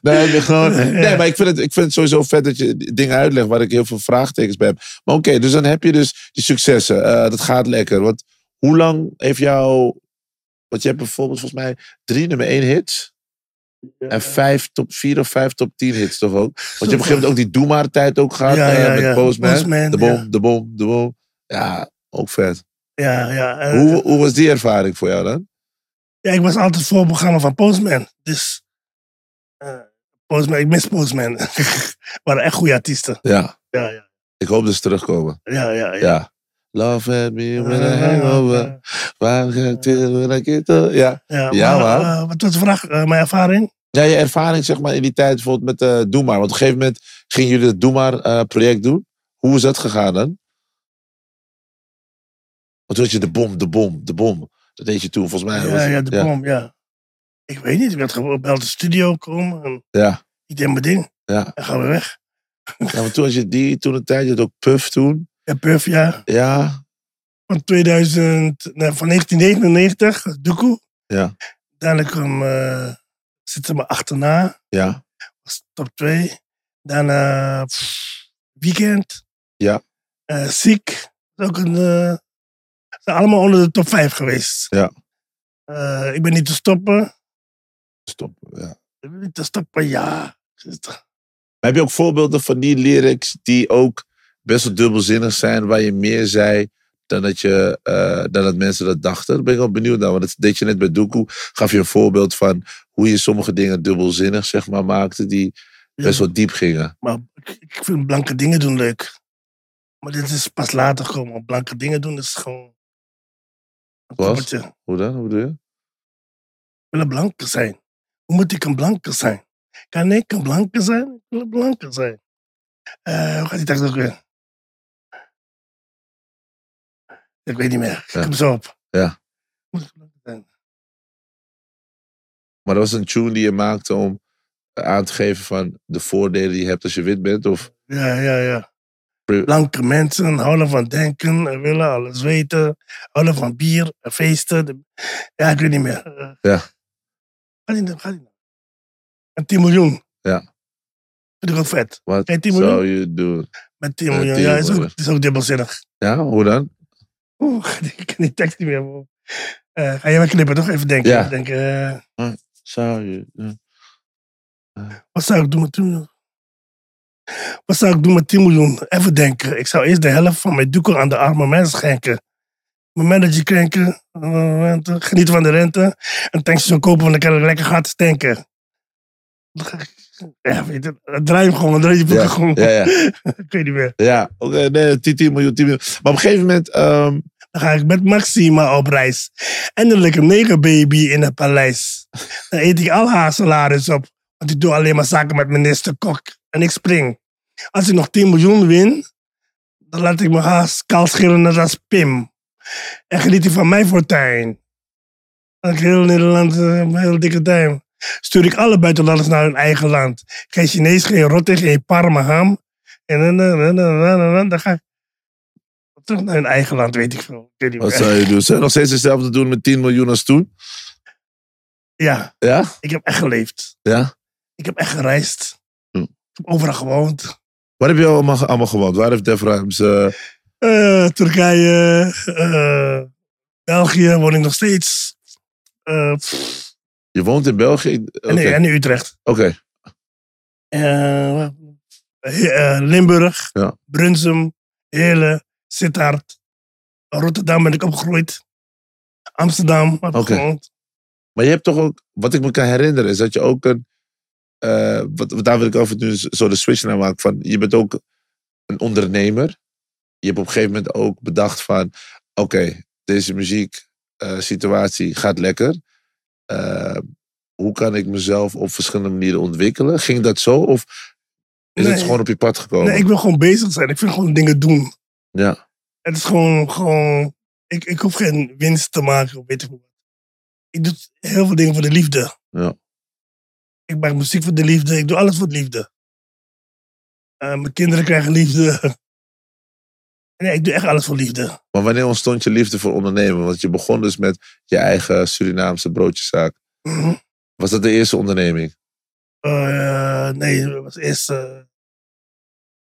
S2: nee, ik ben gewoon,
S1: Ja.
S2: nee, maar ik vind, het, ik vind het sowieso vet dat je dingen uitlegt waar ik heel veel vraagtekens bij heb. Maar oké, dus dan heb je dus die successen. Eh, dat gaat lekker. Want hoe lang heeft jou... Want je hebt bijvoorbeeld volgens mij drie nummer één hits. En vijf top vier of vijf top tien hits toch ook? Want je hebt op een gegeven moment ook die Doe Maar tijd ook gehad.
S1: Ja,
S2: eh,
S1: ja,
S2: met
S1: ja.
S2: Postman.
S1: Postman,
S2: de bom,
S1: ja.
S2: de bom, de bom. Ja, ook vet.
S1: Ja, ja. En-
S2: Hoe, hoe was die ervaring voor jou dan?
S1: Ja, ik was altijd voor het programma van Postman. Dus eh, Postman, ik mis Postman. waren echt goede artiesten.
S2: Ja,
S1: Ja, ja,
S2: ik hoop dat ze terugkomen.
S1: ja. ja, Eh, ja. Ah.
S2: Ja. Love had me when I hangover. Waar gaat het weer naar kitten? Ja.
S1: Ja,
S2: Ja,
S1: maar,
S2: maar-
S1: eh, wat was de vraag? Eh, mijn ervaring?
S2: ja, je ervaring zeg maar in die tijd bijvoorbeeld met eh Doe Maar. Want op een gegeven moment gingen jullie het Doe Maar eh, project doen. Hoe is dat gegaan dan? Want toen had je de bom, de bom, de bom. Dat deed je toen volgens mij.
S1: Ja,
S2: was-
S1: ja, de bom, ja. Ik weet niet, ik werd gebeld de studio komen. En
S2: Ja,
S1: ik deed mijn ding
S2: ja.
S1: en gaan we weg.
S2: ja, want toen had je die, toen een tijd, je had ook Puff toen.
S1: Ja, Puff, ja.
S2: Ja,
S1: Van 2000, nee, van 1999, Doekoe.
S2: Ja.
S1: Daarna kwam, eh zitten ze me achterna,
S2: ja,
S1: was top 2. Daarna pff, Weekend.
S2: Ja.
S1: Eh, ziek. Dat is Ook een, eh, ze zijn allemaal onder de top 5 geweest.
S2: Ja.
S1: Eh, ik ben niet te stoppen.
S2: stop. Ja.
S1: Ik ben niet te stoppen, ja.
S2: Maar heb je ook voorbeelden van die lyrics die ook best wel dubbelzinnig zijn, waar je meer zei dan dat, je, eh, dan dat mensen dat dachten? Daar ben ik wel benieuwd naar, want dat deed je net bij Doekoe. Gaf je een voorbeeld van hoe je sommige dingen dubbelzinnig zeg maar, maakte, die best wel diep gingen.
S1: Maar ik, ik vind blanke dingen doen leuk. Maar dit is pas later gekomen. Blanke dingen doen is gewoon... Een
S2: Wat?
S1: toppertje. Ik
S2: Hoe dan? Hoe bedoel je?
S1: wil een blanke zijn. Hoe moet ik een blanke zijn? Kan ik een blanke zijn? Ik wil een blanke zijn. Eh, hoe gaat die tekst ook weer? Ik weet niet meer. Ik
S2: Ja.
S1: kom zo op.
S2: Ja.
S1: Moet ik een blanke zijn?
S2: Maar dat was een tune die je maakte eh, om aan te geven van de voordelen die je hebt als je wit bent? Of
S1: Ja, ja, ja. Blanke mensen houden van denken, eh, willen alles weten, houden van bier, eh, feesten. de- Ja, ik weet niet meer. Eh,
S2: Ja.
S1: Ga niet, ga niet. En 10 miljoen.
S2: Ja.
S1: Vind ik ook vet.
S2: Wat
S1: Hey, Timo,
S2: zou je doen?
S1: Met 10
S2: Ja,
S1: miljoen.
S2: 10
S1: Ja, is ook,
S2: miljoen.
S1: is ook dubbelzinnig.
S2: Ja, hoe dan?
S1: Oeh, ik kan die tekst niet meer. bro. Eh, ga jij maar knippen, toch? Even denken.
S2: Ja.
S1: Even denken eh,
S2: Zou je doen?
S1: wat zou ik doen met 10 miljoen? Wat zou ik doen met 10 miljoen? Even denken. Ik zou eerst de helft van mijn doekel aan de arme mensen schenken. Mijn manager krenken, eh, rente, genieten van de rente. En tankjes kopen, want dan kan ik lekker gaan tanken. Dan ga ik- Ja, weet je, het draai hem gewoon, draai je boeken gewoon.
S2: Ja, ja.
S1: Ik weet niet meer.
S2: ja. oké, nee, 10, 10 miljoen, 10 miljoen. Maar op een gegeven moment, ehm,
S1: Dan ga ik met Maxima op reis. En dan lig ik een negerbaby in het paleis. Dan eet ik al haar salaris op. Want ik doe alleen maar zaken met minister Kok. En ik spring. Als ik nog 10 miljoen win, dan laat ik mijn haar kaal scheren net als Pim. En geniet ik van mijn fortuin. Dan heb ik heel Nederland eh, een heel dikke duim. Stuur ik alle buitenlanders naar hun eigen land. Geen Chinees, geen Rotte, geen Parma ham. En dan, dan, dan, dan, dan, dan, dan ga ik terug naar hun eigen land, weet ik veel. Ik weet niet
S2: wat
S1: meer.
S2: zou je doen? Zou je nog steeds hetzelfde doen met 10 miljoen als toen?
S1: Ja,
S2: Ja?
S1: ik heb echt geleefd.
S2: Ja?
S1: Ik heb echt gereisd.
S2: Hm.
S1: Ik heb overal gewoond.
S2: Waar heb je allemaal, allemaal gewoond? Waar heeft Def Rhymes, eh,
S1: Eh, Turkije, eh, België woon ik nog steeds. Eh, pff,
S2: je woont in België? Oké.
S1: en, en in Utrecht.
S2: Oké.
S1: Eh, waar- eh, Limburg,
S2: Ja.
S1: Brunsum, Hele, Sittard. Rotterdam ben ik opgegroeid. Amsterdam heb ik
S2: Oké.
S1: gewoond.
S2: Maar je hebt toch ook, wat ik me kan herinneren, is dat je ook een. eh, wat, wat daar wil ik over nu zo de switch naar maken. Van, je bent ook een ondernemer. Je hebt op een gegeven moment ook bedacht van: oké, deze muzieksituatie gaat lekker. Eh, hoe kan ik mezelf op verschillende manieren ontwikkelen? Ging dat zo of is
S1: Nee.
S2: het gewoon op je pad gekomen?
S1: Nee, ik wil gewoon bezig zijn. Ik wil gewoon dingen doen.
S2: Ja,
S1: Het is gewoon, gewoon ik, ik hoef geen winst te maken of weet ik wat. Ik doe heel veel dingen voor de liefde.
S2: Ja.
S1: Ik maak muziek voor de liefde. Ik doe alles voor de liefde. Eh, mijn kinderen krijgen liefde. Nee, ik doe echt alles voor liefde.
S2: maar wanneer ontstond je liefde voor ondernemen? Want je begon dus met je eigen Surinaamse broodjeszaak.
S1: Mhm.
S2: Was dat de eerste onderneming?
S1: Eh, nee, dat was eerst eh,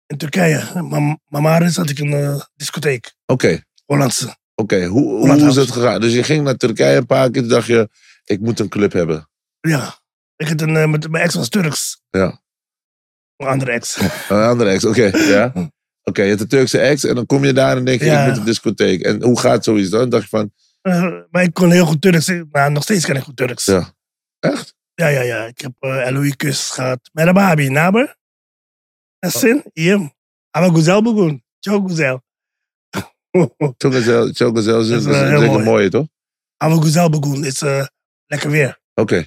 S1: in Turkije. Mam Mamaris had ik een eh, discotheek.
S2: Oké.
S1: Hollandse.
S2: Oké, hoe,
S1: laat
S2: hoe is
S1: houden
S2: dat
S1: ze?
S2: gegaan? Dus je ging naar Turkije een paar keer, toen dacht je, ik moet een club hebben.
S1: Ja. Ik had een, eh, met, mijn ex was Turks.
S2: Ja.
S1: Een andere ex.
S2: Een andere ex, oké. ja. Oké, je hebt een Turkse ex en dan kom je daar en denk je,
S1: Ja.
S2: ik moet een discotheek. En hoe gaat zoiets dan? Dan dacht je van,
S1: Eh, maar ik kon heel goed Turks. Nou, nog steeds kan ik goed Turks.
S2: Ja. echt?
S1: ja, ja. ja. Ik heb uh, Kus gehad. Merababi, naber? Nassin, Iem. Ama Guzel Bugun. Ciao Guzel.
S2: Chocozel is, is,
S1: Dat
S2: is,
S1: is wel heel
S2: een
S1: mooi.
S2: mooie, toch?
S1: Ama Guzel Bugun is eh, lekker weer.
S2: Oké.
S1: Ja.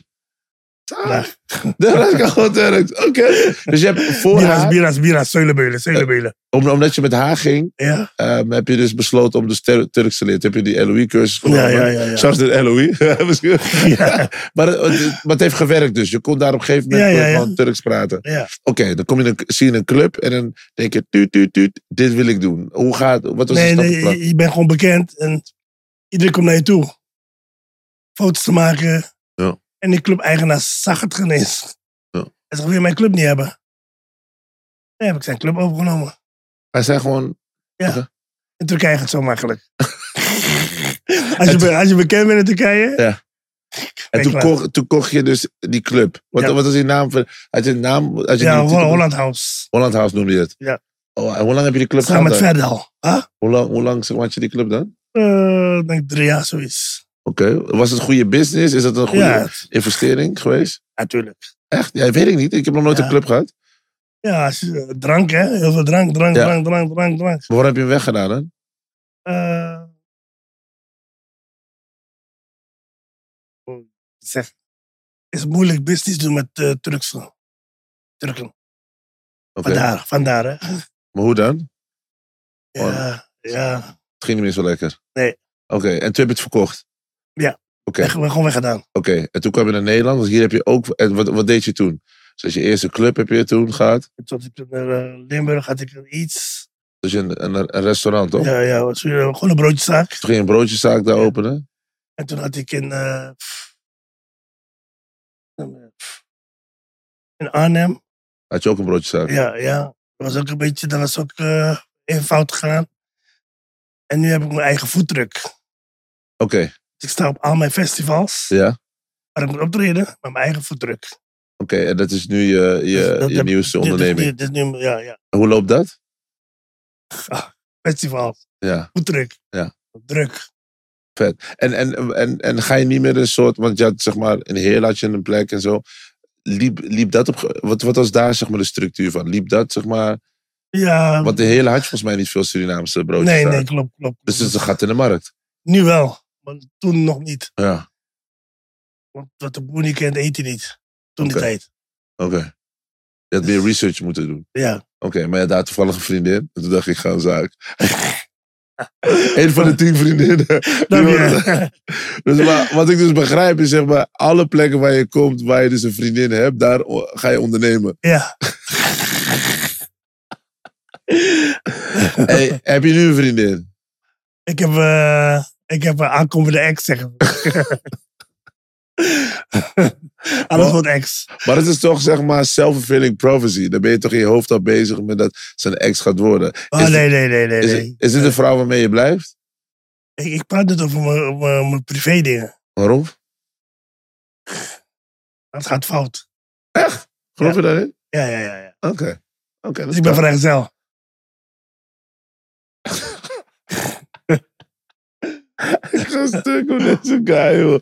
S2: Ah, Dat is gewoon Turks. Oké. Dus je hebt voor
S1: Biras,
S2: haar,
S1: biras, biras. Zeulenbeulen, Zeulenbeulen.
S2: om- omdat je met haar ging,
S1: Ja.
S2: ehm, heb je dus besloten om dus Tur- Turks te leren. Toen heb je die LOE-cursus genomen.
S1: Ja, ja, ja, ja.
S2: Zoals de LOE. Misschien.
S1: Ja.
S2: Maar het, het- maar het heeft gewerkt dus. Je kon daar op een gegeven moment
S1: Ja, ja, ja.
S2: gewoon Turks praten.
S1: Ja.
S2: Oké, dan kom je in een, zie je een club en dan denk je, tuut, tuut, tuut, dit wil ik doen. Hoe gaat, wat was
S1: Nee,
S2: het
S1: nee,
S2: stappenplan?
S1: je- je bent gewoon bekend. En iedereen komt naar je toe. Foto's te maken.
S2: Ja.
S1: En die club-eigenaar zag het geen eens.
S2: Ja.
S1: Hij zegt, wil je mijn club niet hebben? Nee, heb ik zijn club overgenomen.
S2: Hij zei gewoon,
S1: In Turkije gaat het zo makkelijk. als, je, be- als je bekend bent in Turkije.
S2: Ja. en
S1: Ben
S2: toen
S1: klaar.
S2: kocht, toen kocht je dus die club. Wat,
S1: Ja.
S2: wat was die naam? van- Had je een naam? Had je
S1: Ja,
S2: die
S1: Hol-
S2: titel?
S1: Holland House.
S2: Holland House noemde je het.
S1: Ja.
S2: Oh, en hoe lang heb je die club
S1: Samen
S2: gehad
S1: met
S2: dan?
S1: Verdal. Huh?
S2: Hoe lang, hoe lang zeg maar, had je die club dan?
S1: Eh, ik denk drie jaar zoiets.
S2: Oké, was het goede business? Is dat een goede
S1: Ja,
S2: investering geweest?
S1: natuurlijk.
S2: Echt? Ja, weet ik niet. Ik heb nog nooit
S1: Ja.
S2: een club gehad.
S1: Ja, als je, eh, drank hè. Heel veel drank, drank,
S2: Ja.
S1: drank, drank, drank, drank.
S2: Maar waarom heb je hem weggedaan dan?
S1: Eh, hoe Oh, zeg, is moeilijk business doen met eh Turkse. Turken.
S2: Oké.
S1: Vandaar, vandaar hè.
S2: Maar hoe dan? Oh.
S1: Ja, ja.
S2: Het ging niet meer zo lekker.
S1: Nee.
S2: Oké, en toen heb je het verkocht.
S1: Ja.
S2: Oké,
S1: Weg, gewoon weggedaan.
S2: oké. en toen kwam je naar Nederland, want hier heb je ook. En wat, wat deed je toen? Dus als je eerste club heb je toen gehad.
S1: Tot ik naar eh, Limburg had ik er iets.
S2: Dus in een, een restaurant, toch?
S1: Ja, ja, was weer, eh, gewoon een broodjeszaak.
S2: Toen ging je een broodjeszaak daar openen.
S1: En toen had ik in, eh, pff, eh, pff, in Arnhem,
S2: Had je ook een broodjeszaak?
S1: ja, ja. Dat was ook een beetje, dat was ook eh even fout gegaan. En nu heb ik mijn eigen voetdruk.
S2: Oké,
S1: Dus ik sta op al mijn festivals,
S2: ja. Oké,
S1: waar ik moet optreden, met mijn eigen voetdruk.
S2: en dat is nu je,
S1: Dus
S2: je,
S1: dat
S2: je
S1: heb-
S2: nieuwste
S1: dit- dit-
S2: onderneming.
S1: Dit, dit, nu, ja, ja.
S2: Hoe loopt dat?
S1: Festivals,
S2: Ja.
S1: voetdruk.
S2: Ja.
S1: Druk.
S2: En, en, en, en ga je niet meer een soort, want je had zeg maar in Heerlen had je een plek en zo. Liep, liep dat op, ge- wat, wat was daar zeg maar de structuur van? Liep dat zeg maar,
S1: Ja,
S2: want in Heerlen had je volgens mij niet veel Surinaamse broodjes
S1: Um, nee, nee, klopt, klopt.
S2: Dus het is een gat in de markt.
S1: Nu wel, maar toen nog niet.
S2: Ja,
S1: Want wat de boer niet kent, eet hij niet. Toen
S2: Oké.
S1: die tijd.
S2: oké. Je had meer research moeten doen.
S1: Ja.
S2: Oké, maar ja, daar toevallig een vriendin. En toen dacht ik, ik ga een zaak. Eén van de tien vriendinnen. Die
S1: Dank
S2: worden-
S1: je.
S2: Dus maar, wat ik dus begrijp is, zeg maar, alle plekken waar je komt, waar je dus een vriendin hebt, daar o- ga je ondernemen.
S1: Ja,
S2: Hey, heb je nu een vriendin?
S1: ik heb, eh, ik heb een aankomende ex, zeggen we. Alles wordt ex.
S2: Maar het is toch, zeg maar, self-fulfilling prophecy. Dan ben je toch in je hoofd al bezig met dat ze een ex gaat worden.
S1: Oh,
S2: Is-
S1: nee, nee, nee, nee.
S2: Is,
S1: nee.
S2: het- is dit een vrouw waarmee je blijft?
S1: Ik, ik praat niet over mijn- mijn mijn privé dingen.
S2: Waarom?
S1: Dat gaat fout.
S2: Geloof je daarin?
S1: Ja, ja, ja. ja.
S2: Oké. Oké, dat
S1: Dus
S2: is
S1: ik ben
S2: waar.
S1: vrijgezel.
S2: Ik ga stuk op deze guy, joh.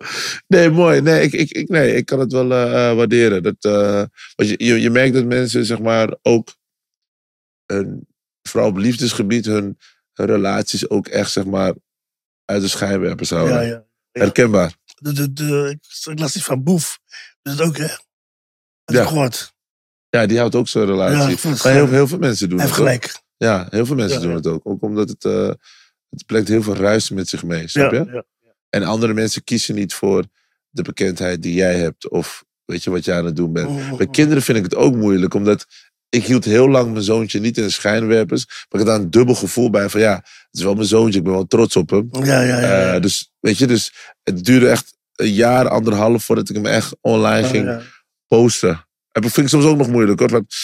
S2: Nee, mooi. Nee, ik, ik, ik, nee, ik kan het wel eh, eh, waarderen. Dat, eh, want je, je, je merkt dat mensen, zeg maar, ook... Hun, vooral op liefdesgebied hun, hun relaties ook echt, zeg maar, uit de schijnwerpers houden.
S1: Ja, ja.
S2: Herkenbaar.
S1: De, de, de, ik- ik las iets van Boef. Dus dat ook, hè? Dat
S2: Ja.
S1: heb ik gehoord.
S2: Ja, die houdt ook zijn
S1: Ja,
S2: relatie.
S1: ik vond het
S2: maar heel,
S1: gelijk.
S2: heel veel mensen doen
S1: Hij
S2: het
S1: heeft
S2: ook.
S1: gelijk.
S2: Ja, heel veel mensen
S1: Ja,
S2: doen
S1: ja.
S2: het ook. Ook omdat het, eh het brengt heel veel ruis met zich mee, snap je?
S1: Ja, ja.
S2: En andere mensen kiezen niet voor de bekendheid die jij hebt. Of weet je wat jij aan het doen bent.
S1: Mm, mm,
S2: Eh, Bij
S1: mm.
S2: kinderen vind ik het ook moeilijk, omdat ik hield heel lang mijn zoontje niet in de schijnwerpers. Maar ik had daar een dubbel gevoel bij van ja, het is wel mijn zoontje, ik ben wel trots op hem.
S1: Ja, ja, ja. ja.
S2: Eh, dus weet je, dus het duurde echt een jaar, anderhalf voordat ik hem echt online
S1: Ja,
S2: ging
S1: Oh, ja.
S2: posten. En dat vind ik soms ook nog moeilijk hoor. want-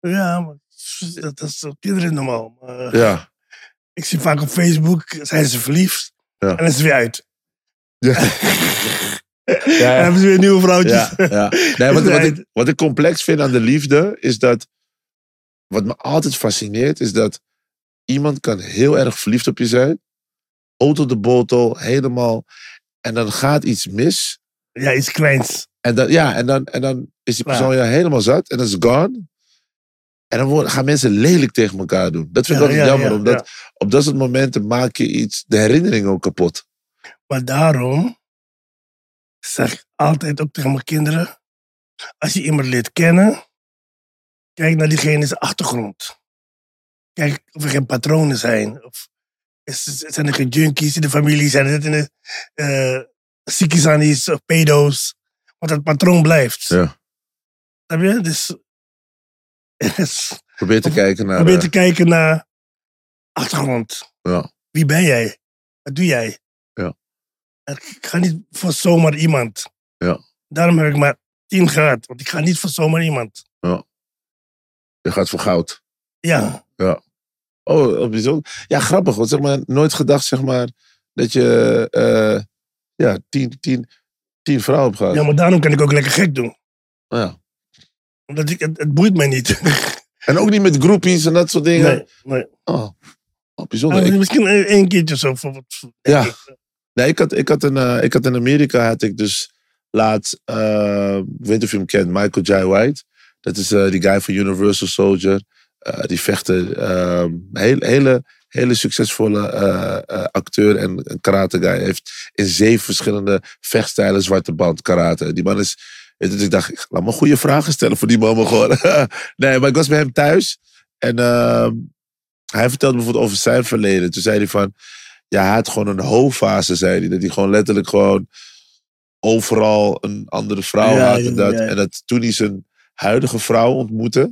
S1: Ja, maar dat, dat is voor kinderen normaal. Maar, eh,
S2: ja.
S1: Ik zie vaak op Facebook, zijn ze verliefd.
S2: Ja.
S1: En dan is ze weer uit.
S2: Ja.
S1: En dan hebben ze weer nieuwe vrouwtjes.
S2: Ja, ja. Nee, wat,
S1: Dus
S2: wat,
S1: hij-
S2: ik, wat ik complex vind aan de liefde is dat. Wat me altijd fascineert is dat iemand kan heel erg verliefd op je zijn. Auto de botel, helemaal. En dan gaat iets mis.
S1: Ja, iets kleins.
S2: En dan, ja, en dan, en dan is die
S1: Klaar.
S2: persoon jou helemaal zat en dan is het gone. En dan worden, gaan mensen lelijk tegen elkaar doen. Dat vind ik
S1: Ja,
S2: altijd
S1: ja,
S2: jammer,
S1: ja,
S2: omdat op dat soort momenten maak je iets, de herinnering ook kapot.
S1: Maar daarom zeg ik altijd ook tegen mijn kinderen: als je iemand leert kennen, kijk naar diegene's achtergrond. Kijk of er geen patronen zijn. Of is, is- zijn er geen junkies in de familie? Zijn er zitten eh ziekjes aan iets of pedo's? Want dat patroon blijft.
S2: Ja.
S1: Snap je? Dus. dus
S2: Probeer te kijken naar.
S1: probeer
S2: eh,
S1: te kijken naar achtergrond.
S2: Ja.
S1: Wie ben jij? Wat doe jij?
S2: Ja.
S1: En Ik ga niet voor zomaar iemand.
S2: Ja.
S1: Daarom heb ik maar tien gehad, want ik ga niet voor zomaar iemand.
S2: je gaat voor goud.
S1: Ja,
S2: Oh, oh, bijzonder. Ja, grappig. Want zeg maar, nooit gedacht zeg maar, dat je eh, ja, tien, tien, tien vrouwen hebt gehad.
S1: ja
S2: Ja,
S1: maar daarom kan ik ook lekker gek doen. Omdat ik, het, het boeit mij niet.
S2: En ook niet met groepies en dat soort dingen.
S1: Nee, nee.
S2: Oh. oh, bijzonder. Ik-
S1: Ah, misschien één één keertje zo. Voor, wat- voor-
S2: Ja.
S1: denk ik.
S2: Nee, ik had, ik had, een, eh, ik had in Amerika had ik dus laatst, eh, ik weet niet of je hem kent, Michael Jai White. Dat is eh, die guy van Universal Soldier. Eh, die vechter, ehm, heel, hele, hele succesvolle eh, eh, acteur en, en karate guy. Hij heeft in zeven verschillende vechtstijlen zwarte band karate. Die man is, weet je, dus ik dacht, ik- laat me goede vragen stellen voor die man maar gewoon. nee, maar ik was bij hem thuis en ehm, hij vertelde bijvoorbeeld over zijn verleden. Toen zei hij van, ja, hij had gewoon een hoofdfase, zei hij. Dat hij gewoon letterlijk gewoon overal een andere vrouw
S1: Ja,
S2: had. En
S1: ja,
S2: dat,
S1: ja.
S2: en dat toen hij zijn huidige vrouw ontmoette,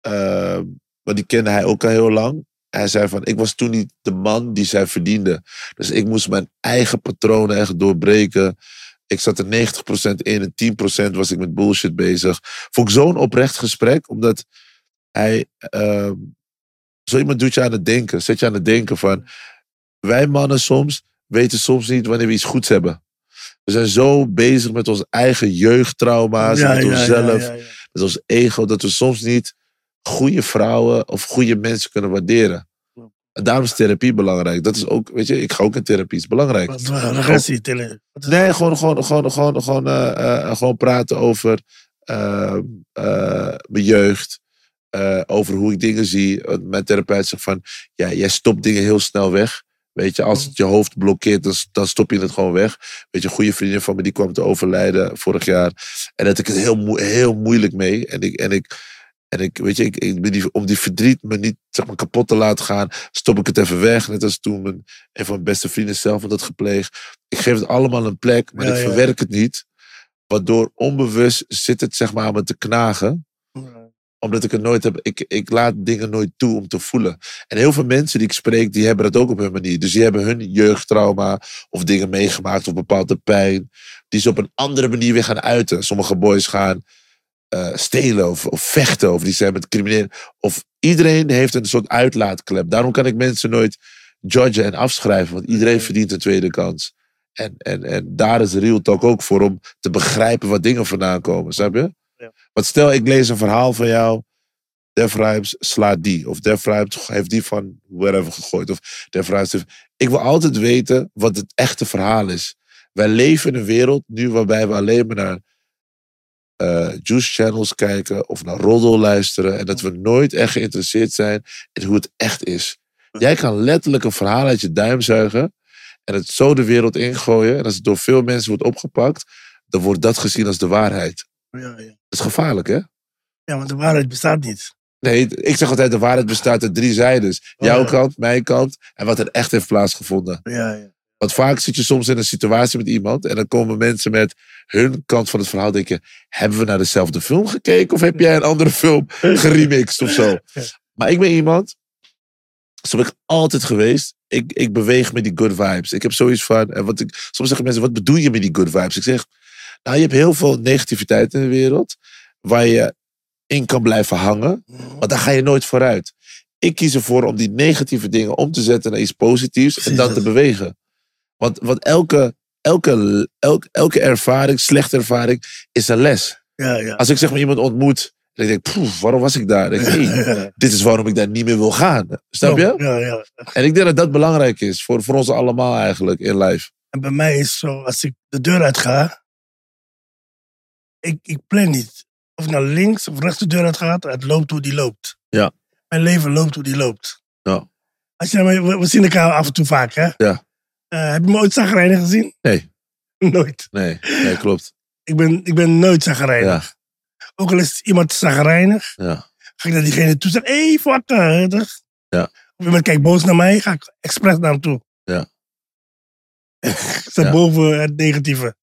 S2: ehm, Want die kende hij ook al heel lang. Hij zei van, ik was toen niet de man die zij verdiende. Dus ik moest mijn eigen patronen echt doorbreken. Ik zat er 90% in en 10% was ik met bullshit bezig. Vond ik zo'n oprecht gesprek, omdat hij... ehm, zo iemand doet je aan het denken. Zet je aan het denken van... Wij mannen soms weten soms niet wanneer we iets goeds hebben. We zijn zo bezig met onze eigen jeugdtrauma's,
S1: Ja,
S2: met
S1: ja, ja,
S2: onszelf
S1: ja, ja.
S2: met ons ego, dat we soms niet goede vrouwen of goede mensen kunnen waarderen. En daarom is therapie belangrijk. Dat is ook, weet je, ik ga ook in therapie, is belangrijk.
S1: Wat wat- agressie, Tilly.
S2: Nee, gewoon, gewoon, gewoon, gewoon, gewoon, eh, eh, gewoon praten over eh, eh, mijn jeugd. eh, over hoe ik dingen zie. Want Mijn therapeut zegt van, ja, jij stopt dingen heel snel weg. Weet je, als het je hoofd blokkeert, dan, dan stop je het gewoon weg. Weet je, een goede vriendin van me, die kwam te overlijden vorig jaar. En dat ik het heel, moe- heel moeilijk mee. En ik, en ik, en ik weet je, ik, ik ben die, om die verdriet me niet zeg maar, kapot te laten gaan, stop ik het even weg. Net als toen mijn, een van mijn beste vrienden zelf had dat gepleegd ik geef het allemaal een plek, maar
S1: Ja,
S2: ik
S1: ja.
S2: verwerk het niet. Waardoor onbewust zit het zeg maar aan me te knagen. Omdat ik het nooit heb. Ik, ik laat dingen nooit toe om te voelen. En heel veel mensen die ik spreek, die hebben dat ook op hun manier. Dus die hebben hun jeugdtrauma of dingen meegemaakt of bepaalde pijn. Die ze op een andere manier weer gaan uiten. Sommige boys gaan eh, stelen of, of vechten. Of die zijn met criminelen. Of iedereen heeft een soort uitlaatklep. Daarom kan ik mensen nooit judgen en afschrijven. Want iedereen verdient een tweede kans. En, en, en daar is Real Talk ook voor om te begrijpen wat dingen vandaan komen, snap je?
S1: Ja.
S2: Want stel, ik lees een verhaal van jou. Def Rhymes slaat die. Of Def Rhymes heeft die van wherever gegooid. Of Def Rhymes heeft... Ik wil altijd weten wat het echte verhaal is. Wij leven in een wereld nu waarbij we alleen maar naar eh, juice channels kijken. Of naar roddel luisteren. En dat we nooit echt geïnteresseerd zijn in hoe het echt is. Jij kan letterlijk een verhaal uit je duim zuigen en het zo de wereld ingooien. En als het door veel mensen wordt opgepakt, dan wordt dat gezien als de waarheid.
S1: Ja, ja.
S2: Dat is gevaarlijk, hè?
S1: ja, want de waarheid bestaat niet.
S2: Nee, ik zeg altijd, de waarheid bestaat uit drie zijdes.
S1: Oh,
S2: Jouw
S1: ja.
S2: kant, mijn kant en wat er echt heeft plaatsgevonden.
S1: Ja, ja.
S2: Want vaak zit je soms in een situatie met iemand en dan komen mensen met hun kant van het verhaal. Denk je, hebben we naar dezelfde film gekeken of heb jij een andere film geremixed of zo? Maar ik ben iemand, zo ben ik altijd geweest. Ik, ik beweeg met die good vibes. Ik heb zoiets van, en wat ik, soms zeggen mensen, wat bedoel je met die good vibes? Ik zeg, nou je hebt heel veel negativiteit in de wereld waar je in kan blijven hangen. Want daar ga je nooit vooruit. Ik kies ervoor om die negatieve dingen om te zetten naar iets positiefs en
S1: Precies
S2: dan
S1: dat.
S2: te bewegen. Want, want elke, elke, elke, elke ervaring, slechte ervaring, is een les.
S1: Ja, ja.
S2: Als ik zeg maar iemand ontmoet, en ik denk, "Poeh, waarom was ik daar? Dan denk ik, "Hey, dit is waarom ik daar niet meer wil gaan. Snap je?
S1: Ja, ja.
S2: En ik denk dat dat belangrijk is voor, voor ons allemaal eigenlijk in life.
S1: En bij mij is zo, als ik de deur uit ga, ik, ik plan niet. Of ik naar links of rechts de deur uit gaat, het loopt hoe die loopt.
S2: Ja.
S1: Mijn leven loopt hoe die loopt.
S2: Ja.
S1: Als je, we, we zien elkaar af en toe vaak, hè?
S2: Ja.
S1: Eh, heb je me ooit zagrijnig gezien?
S2: Nee.
S1: Nooit.
S2: Nee, nee klopt.
S1: Ik ben, ik ben nooit zagrijnig.
S2: Ja,
S1: Ook al is iemand zagrijnig,
S2: ja.
S1: ga ik naar diegene toe zeggen, hé, hey, fucker. toch?
S2: Ja.
S1: Of iemand kijkt boos naar mij, ga ik expres naar hem toe.
S2: Ja.
S1: ik sta
S2: Ja.
S1: boven het negatieve.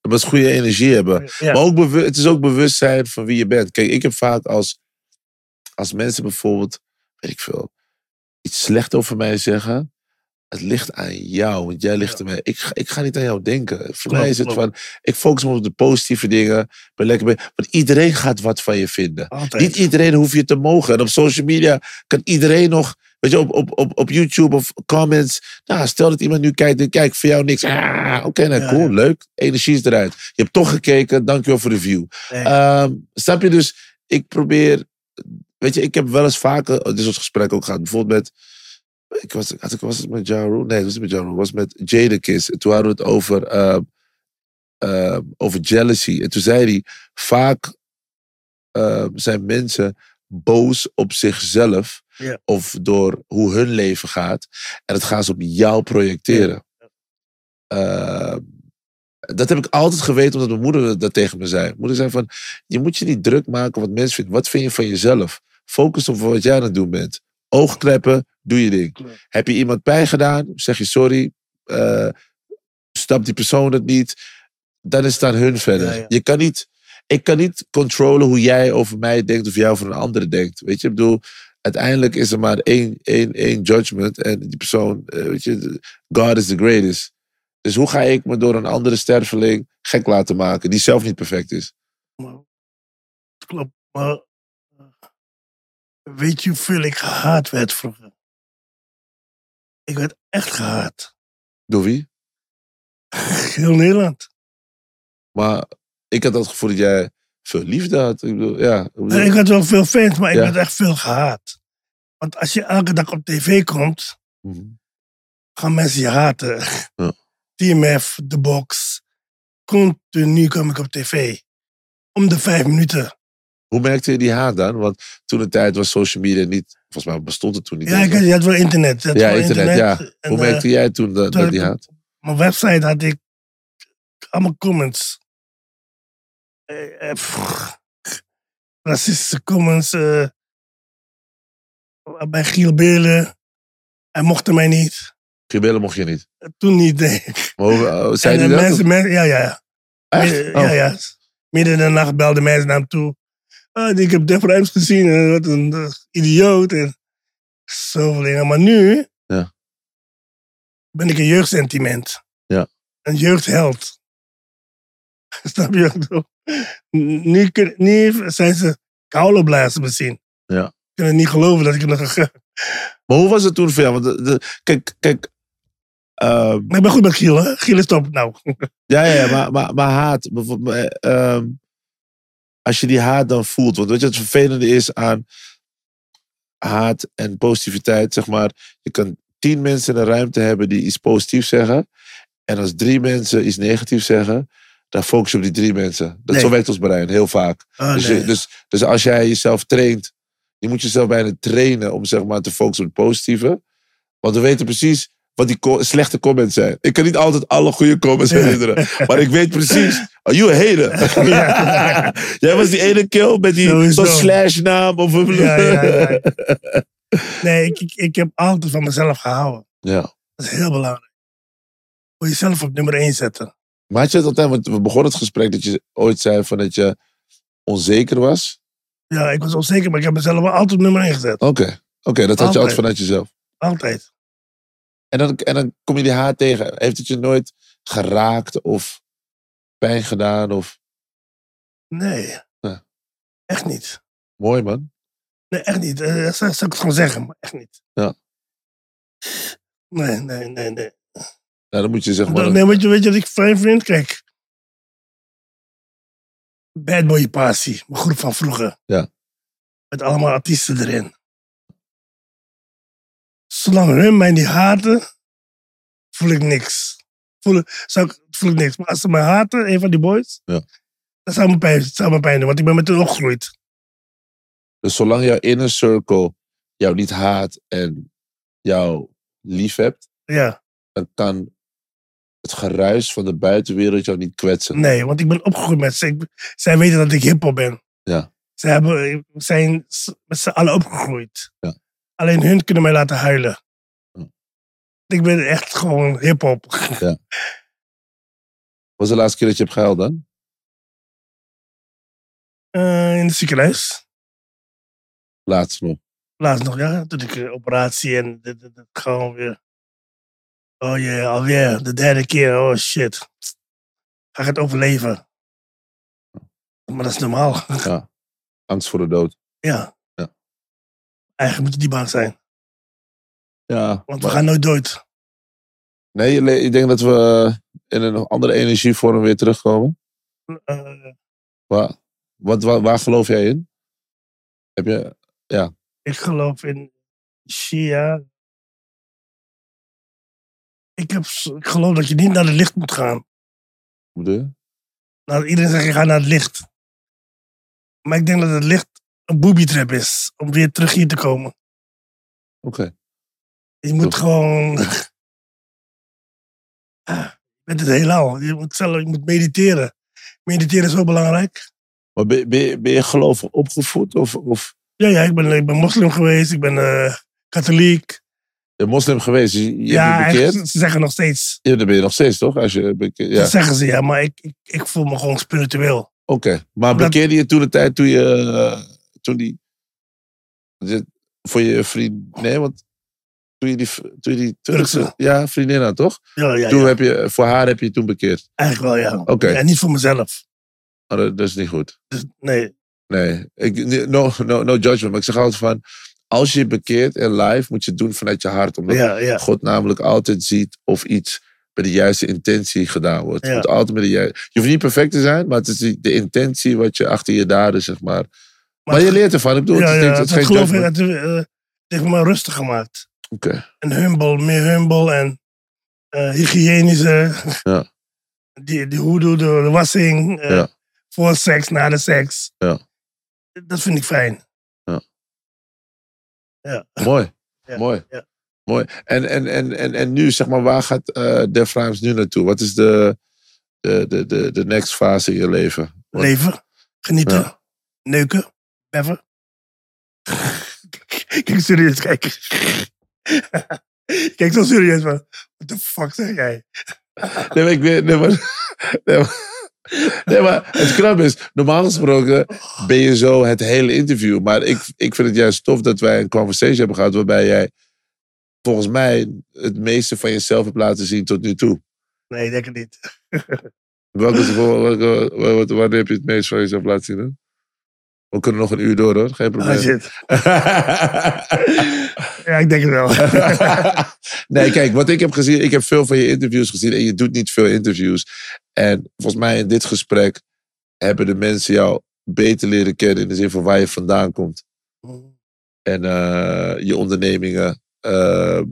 S2: Dat is goede energie hebben.
S1: Ja.
S2: Maar ook bewust, het is ook bewustzijn van wie je bent. Kijk, ik heb vaak als, als mensen bijvoorbeeld, weet ik veel, iets slecht over mij zeggen. Het ligt aan jou, want jij ligt ermee. Ik, ga- ik ga niet aan jou denken. Voor mij is het
S1: klopt.
S2: van, ik focus me op de positieve dingen. ik Ben lekker mee. Want iedereen gaat wat van je vinden.
S1: Altijd.
S2: Niet iedereen hoef je te mogen. En op social media kan iedereen nog, weet je, op, op, op, op YouTube of comments. Nou, stel dat iemand nu kijkt en kijkt voor jou niks. Ah, Oké, nou
S1: Ja,
S2: cool,
S1: ja.
S2: leuk. Energie is eruit. Je hebt toch gekeken, dankjewel voor de view.
S1: Nee.
S2: Ehm, snap je dus, ik probeer, weet je, ik heb wel eens vaker, oh, dit is ons gesprek ook gehad, bijvoorbeeld met, ik was, had ik, was het met Ja Rule? Nee, het was niet met Ja Rule, het was met Jadakiss. En toen hadden we het over, ehm, ehm, over jealousy. En toen zei hij, vaak ehm, zijn mensen boos op zichzelf
S1: Ja.
S2: of door hoe hun leven gaat. En dat gaan ze op jou projecteren. Ehm, dat heb ik altijd geweten omdat mijn moeder dat tegen me zei. Mijn moeder zei van, je moet je niet druk maken wat mensen vinden. Wat vind je van jezelf? Focus op wat jij aan het doen bent. Oogkleppen, doe je ding.
S1: Klopt.
S2: Heb je iemand pijn gedaan? Zeg je sorry. Eh snapt die persoon het niet? Dan is het aan hun verder.
S1: Ja, ja.
S2: Je kan niet, ik kan niet controleren hoe jij over mij denkt of jij over een andere denkt. Weet je, ik bedoel, Uiteindelijk is er maar één, één, één judgment. En die persoon, eh, weet je, de- God is the greatest. Dus hoe ga ik me door een andere sterfeling gek laten maken die zelf niet perfect is?
S1: Maar, het klopt, maar eh, weet je hoeveel ik gehaat werd vroeger? Ik werd echt gehaat.
S2: Door wie?
S1: Heel Nederland.
S2: Maar ik had het gevoel dat jij veel liefde had. Ik bedoel, ja. ik bedoel-
S1: En Ik had wel veel fans, maar ik
S2: Ja.
S1: werd echt veel gehaat. Want als je elke dag op tv komt,
S2: Mhm.
S1: gaan mensen je haten.
S2: Ja.
S1: Team F, de box. Continu kwam ik op tv. Om de vijf minuten.
S2: Hoe merkte je die haat dan? Want toen de tijd was social media niet... Volgens mij bestond het toen niet.
S1: Ja,
S2: eens,
S1: ik
S2: hè?
S1: had, je had wel internet. je had
S2: Ja,
S1: wel
S2: internet, ja.
S1: En,
S2: Hoe
S1: eh,
S2: merkte jij toen dat,
S1: toen
S2: dat die
S1: ik-
S2: haat?
S1: mijn website had ik allemaal comments. Eh, eh, pff, racistische comments. eh, bij Giel Belen. Hij mocht mij niet.
S2: Gebellen mocht je niet.
S1: Toen niet, denk ik.
S2: Maar hoe, eh, zei
S1: En
S2: die
S1: de
S2: dat?
S1: mensen, mensen- ja, ja, ja.
S2: Echt?
S1: Midden,
S2: Oh.
S1: ja, ja. Midden in de nacht belden mensen naar hem toe. Ah, ik heb Def Rijms gezien. eh, wat een eh, idioot. En zoveel dingen. Maar nu
S2: Ja.
S1: ben ik een jeugdsentiment.
S2: Ja.
S1: Een jeugdheld. Snap je? wat ik bedoel? Nu, kun- nu zijn ze koulenblazen misschien.
S2: Ja.
S1: Kunnen niet geloven dat ik het nog heb gedaan.
S2: Maar hoe was het toen voor jou? Want de- de- kijk, kijk ehm,
S1: Maar ik ben goed met Giel, hè? Giel is top. Nou,
S2: ja, ja, ja, maar, maar, maar haat. bijvoorbeeld, eh, ehm, als je die haat dan voelt. Want weet je wat het vervelende is aan haat en positiviteit? Zeg maar, je kan tien mensen in een ruimte hebben die iets positiefs zeggen. En als drie mensen iets negatiefs zeggen, dan focus je op die drie mensen. Dat,
S1: Nee.
S2: Zo werkt ons brein heel vaak.
S1: ah,
S2: Dus,
S1: nee.
S2: je- dus, dus als jij jezelf traint, je moet jezelf bijna trainen om zeg maar, te focussen op het positieve. Want we weten precies wat die co- slechte comments zijn. Ik kan niet altijd alle goede comments herinneren. Maar ik weet precies, oh, you a hater.
S1: Ja.
S2: jij was die ene kill met
S1: Zo
S2: die
S1: is
S2: zo'n
S1: dat.
S2: slash naam. Of een
S1: Ja, ja, ja. Nee, ik, ik, ik heb altijd van mezelf gehouden.
S2: Ja.
S1: Dat is heel belangrijk. Moet jezelf op nummer 1 zetten.
S2: Maar had je dat altijd, want we begonnen het gesprek dat je ooit zei van dat je onzeker was.
S1: Ja, ik was onzeker, maar ik heb mezelf wel altijd op nummer 1 gezet.
S2: Oké, oké, dat had je altijd
S1: Altijd.
S2: vanuit jezelf.
S1: Altijd.
S2: En dan, en dan kom je die haat tegen. Heeft het je nooit geraakt of pijn gedaan? Of...
S1: Nee.
S2: Ja.
S1: Echt niet.
S2: Mooi man.
S1: Nee, echt niet. Eh, Dat zou, zou ik het gewoon zeggen, maar echt niet.
S2: Ja.
S1: Nee, nee, nee, nee.
S2: Nou, dan moet je zeg maar...
S1: nee weet, je, weet je wat ik fijn vind? Kijk. Bad Boy Passie, mijn groep van vroeger.
S2: Ja.
S1: Met allemaal artiesten erin. Zolang hun mij niet haten, voel ik niks. Voel, zou ik, voel ik niks. Maar als ze mij haten, een van die boys,
S2: Ja.
S1: dat zou me, pijn, zou me pijn doen, want ik ben met hen opgegroeid.
S2: Dus zolang jouw inner circle jou niet haat en jou lief hebt,
S1: Ja,
S2: dan kan het geruis van de buitenwereld jou niet kwetsen.
S1: nee, want ik ben opgegroeid met ze. Ik- zij weten dat ik hiphop ben.
S2: Ja.
S1: Ze hebben, zijn s- met z'n allen opgegroeid.
S2: Ja.
S1: Alleen hun kunnen mij laten huilen.
S2: Hm.
S1: Ik ben echt gewoon hip-hop.
S2: Was de laatste keer dat je hebt gehuild dan?
S1: Eh, in het ziekenhuis.
S2: Laatst nog.
S1: Laatst nog, ja. Toen ik eh, operatie en dit- dit- dit gewoon weer. Oh ja, alweer. De derde keer. Oh shit. Ga ik het overleven?
S2: Hm.
S1: Maar dat is normaal.
S2: Angst voor de dood.
S1: Ja.
S2: Ja.
S1: Eigenlijk moet je die bang zijn.
S2: Ja.
S1: Want
S2: maar-
S1: we gaan nooit dood.
S2: Nee, je le- ik denk dat we in een andere energievorm weer terugkomen.
S1: Eh,
S2: Waar, wat, waar, waar geloof jij in? Heb je,
S1: ik geloof in Shia. Ik, heb, s- ik geloof dat je niet naar het licht moet gaan.
S2: hoe bedoel je?
S1: Nou, iedereen zegt, je gaat naar het licht. Maar ik denk dat het licht een booby trap is. Om weer terug hier te komen.
S2: Oké.
S1: Je moet
S2: Toch.
S1: gewoon... Ah, je bent het heelal. Je moet, zelf, je moet mediteren. Mediteren is zo belangrijk.
S2: Maar ben, ben, je- ben je geloof opgevoed? Of, of
S1: Ja, ja ik, ben, ik ben moslim geweest. Ik ben eh, katholiek.
S2: je bent moslim geweest? dus Je, je
S1: ja,
S2: bent bekeerd?
S1: eigenlijk, ze zeggen nog steeds.
S2: Ja, dat ben je nog steeds, toch? Als je, beke- ja,
S1: Dat
S2: oké.
S1: zeggen ze, ja. Maar ik, ik, ik voel me gewoon spiritueel. Dat-
S2: Maar bekeerde je toen de tijd toen je... eh, Toen die... je- Voor je vriend. Nee, want toen je die, toen je die Turkse
S1: Turkse.
S2: ja, vriendin had, toch?
S1: Ja, ja,
S2: toen
S1: ja.
S2: Heb je, voor haar heb je toen bekeerd.
S1: Eigenlijk wel, ja.
S2: Oké.
S1: En niet voor mezelf.
S2: Maar dat, dat is niet goed.
S1: Dus nee,
S2: Nee, ik, no, no, no judgment. Maar ik zeg altijd van, als je bekeert en live, moet je het doen vanuit je hart. Omdat
S1: ja, ja.
S2: God namelijk altijd ziet of iets met de juiste intentie gedaan wordt.
S1: Ja.
S2: Het moet altijd met de juiste... Je hoeft niet perfect te zijn, maar het is die- de intentie wat je achter je daden, zeg maar. Maar, je leert ervan. Ik bedoel,
S1: ja,
S2: het is
S1: ja,
S2: niks- het
S1: dat
S2: is geen
S1: geloof ik
S2: judgment.
S1: dat heeft tegen me rustig gemaakt.
S2: Oké.
S1: En humble, meer humble en eh, hygiënische.
S2: Ja.
S1: Die, die hoedoe, de, de wassing. eh,
S2: Ja.
S1: Voor seks, na de seks.
S2: Ja.
S1: Dat vind ik fijn.
S2: Mooi.
S1: Ja,
S2: Mooi.
S1: ja.
S2: Mooi. En, en, en, en, en nu, zeg maar, waar gaat eh Def Rhymes nu naartoe? Wat is de, de, de, de, de next fase in je leven? Wat-
S1: Leven, genieten,
S2: Ja.
S1: neuken, beffen. Kijk serieus, kijk. Kijk zo serieus, man. What the fuck zeg jij?
S2: Nee, maar ik weet... Nee, maar, nee, maar, nee, maar het knap is, normaal gesproken ben je zo het hele interview. Maar ik, ik vind het juist tof dat wij een conversation hebben gehad... waarbij jij volgens mij het meeste van jezelf hebt laten zien tot nu toe.
S1: Nee, ik denk het niet.
S2: Welke, welke, wat- wanneer heb je het meest van jezelf laten zien? hè? We kunnen nog een uur door, hoor. Geen
S1: Ah,
S2: probleem.
S1: shit. Ja, ik denk het wel.
S2: nee, kijk, wat ik heb gezien, ik heb veel van je interviews gezien en je doet niet veel interviews. En volgens mij in dit gesprek hebben de mensen jou beter leren kennen in de zin van waar je vandaan komt en eh, je ondernemingen. Eh,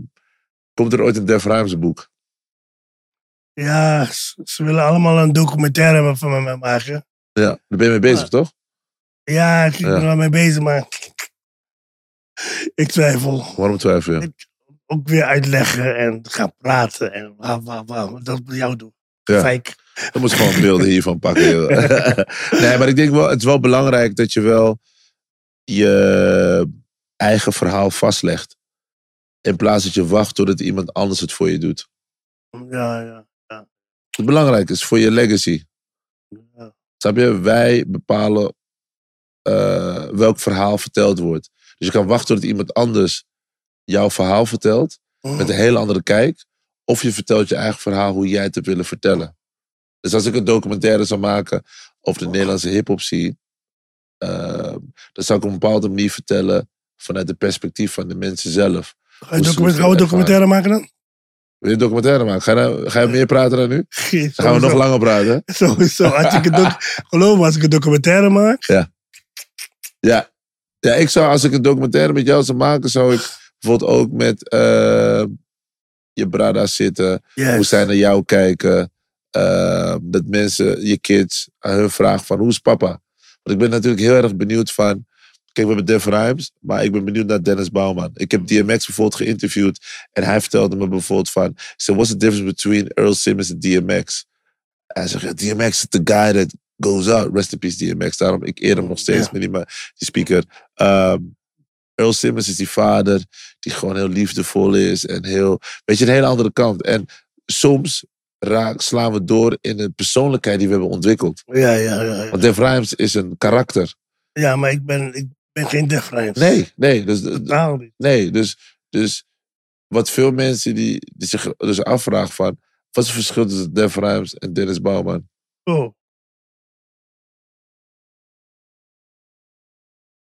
S2: komt er ooit een Def Ruimse boek?
S1: Ja, ze ze willen allemaal een documentaire hebben van me maken.
S2: Ja, daar ben je mee bezig, toch?
S1: Ja, ik ben
S2: Ja.
S1: er wel mee bezig, maar ik twijfel.
S2: Waarom twijfel je?
S1: Ook weer uitleggen en gaan praten en wauw, wauw, wauw. Dat moet jou doen.
S2: Ja.
S1: Fijk.
S2: Dan moet je gewoon beelden hiervan pakken. joh. nee, maar ik denk wel, het is wel belangrijk dat je wel je eigen verhaal vastlegt. In plaats dat je wacht totdat iemand anders het voor je doet.
S1: Ja, ja,
S2: Het belangrijk is voor je legacy.
S1: ja.
S2: Snap je? Wij bepalen eh, welk verhaal verteld wordt. Dus je kan wachten totdat iemand anders jouw verhaal vertelt. Met een heel andere kijk. Of je vertelt je eigen verhaal hoe jij het hebt willen vertellen. Dus als ik een documentaire zou maken over de Nederlandse hip-hop scene. eh, dan zou ik op een bepaalde manier vertellen vanuit het perspectief van de mensen zelf.
S1: Ga je
S2: Hoe
S1: document-
S2: ze-
S1: gaan we een documentaire maken dan?
S2: Wil je een documentaire maken? Ga je, nou- ga je meer praten dan nu?
S1: Geen-
S2: Dan gaan we nog
S1: sowieso.
S2: langer praten.
S1: Sowieso. Als ik een doc- Geloof me, als ik een documentaire maak.
S2: Ja. ja, ik zou als ik een documentaire met jou zou maken, zou ik bijvoorbeeld ook met eh, je brada zitten.
S1: Yes.
S2: Hoe zij naar jou kijken. Eh, dat mensen, je kids, aan hun vragen van hoe is papa? Want ik ben natuurlijk heel erg benieuwd van... Kijk, we hebben Def Rhymes, maar ik ben benieuwd naar Dennis Bouwman. Ik heb DMX bijvoorbeeld geïnterviewd en hij vertelde me bijvoorbeeld van... So what's the difference between Earl Simmons en DMX? Hij zegt, "Ja, DMX is the guy that goes out. Rest in peace DMX. Daarom, ik eer hem nog steeds
S1: Ja.
S2: met die, ma- die speaker. Ehm, Earl Simmons is die vader die gewoon heel liefdevol is en heel... Weet je, een hele andere kant. En soms raak, slaan we door in een persoonlijkheid die we hebben ontwikkeld.
S1: Ja, ja, ja, ja.
S2: Want Def Rhymes is een karakter.
S1: Ja, maar ik ben, ik ben geen Def Rhymes.
S2: Nee, nee. Dus,
S1: Totaal niet.
S2: nee, dus, dus wat veel mensen die, die zich dus afvragen van... Wat is het verschil tussen Def Rhymes en Dennis Bouwman?
S1: Oh.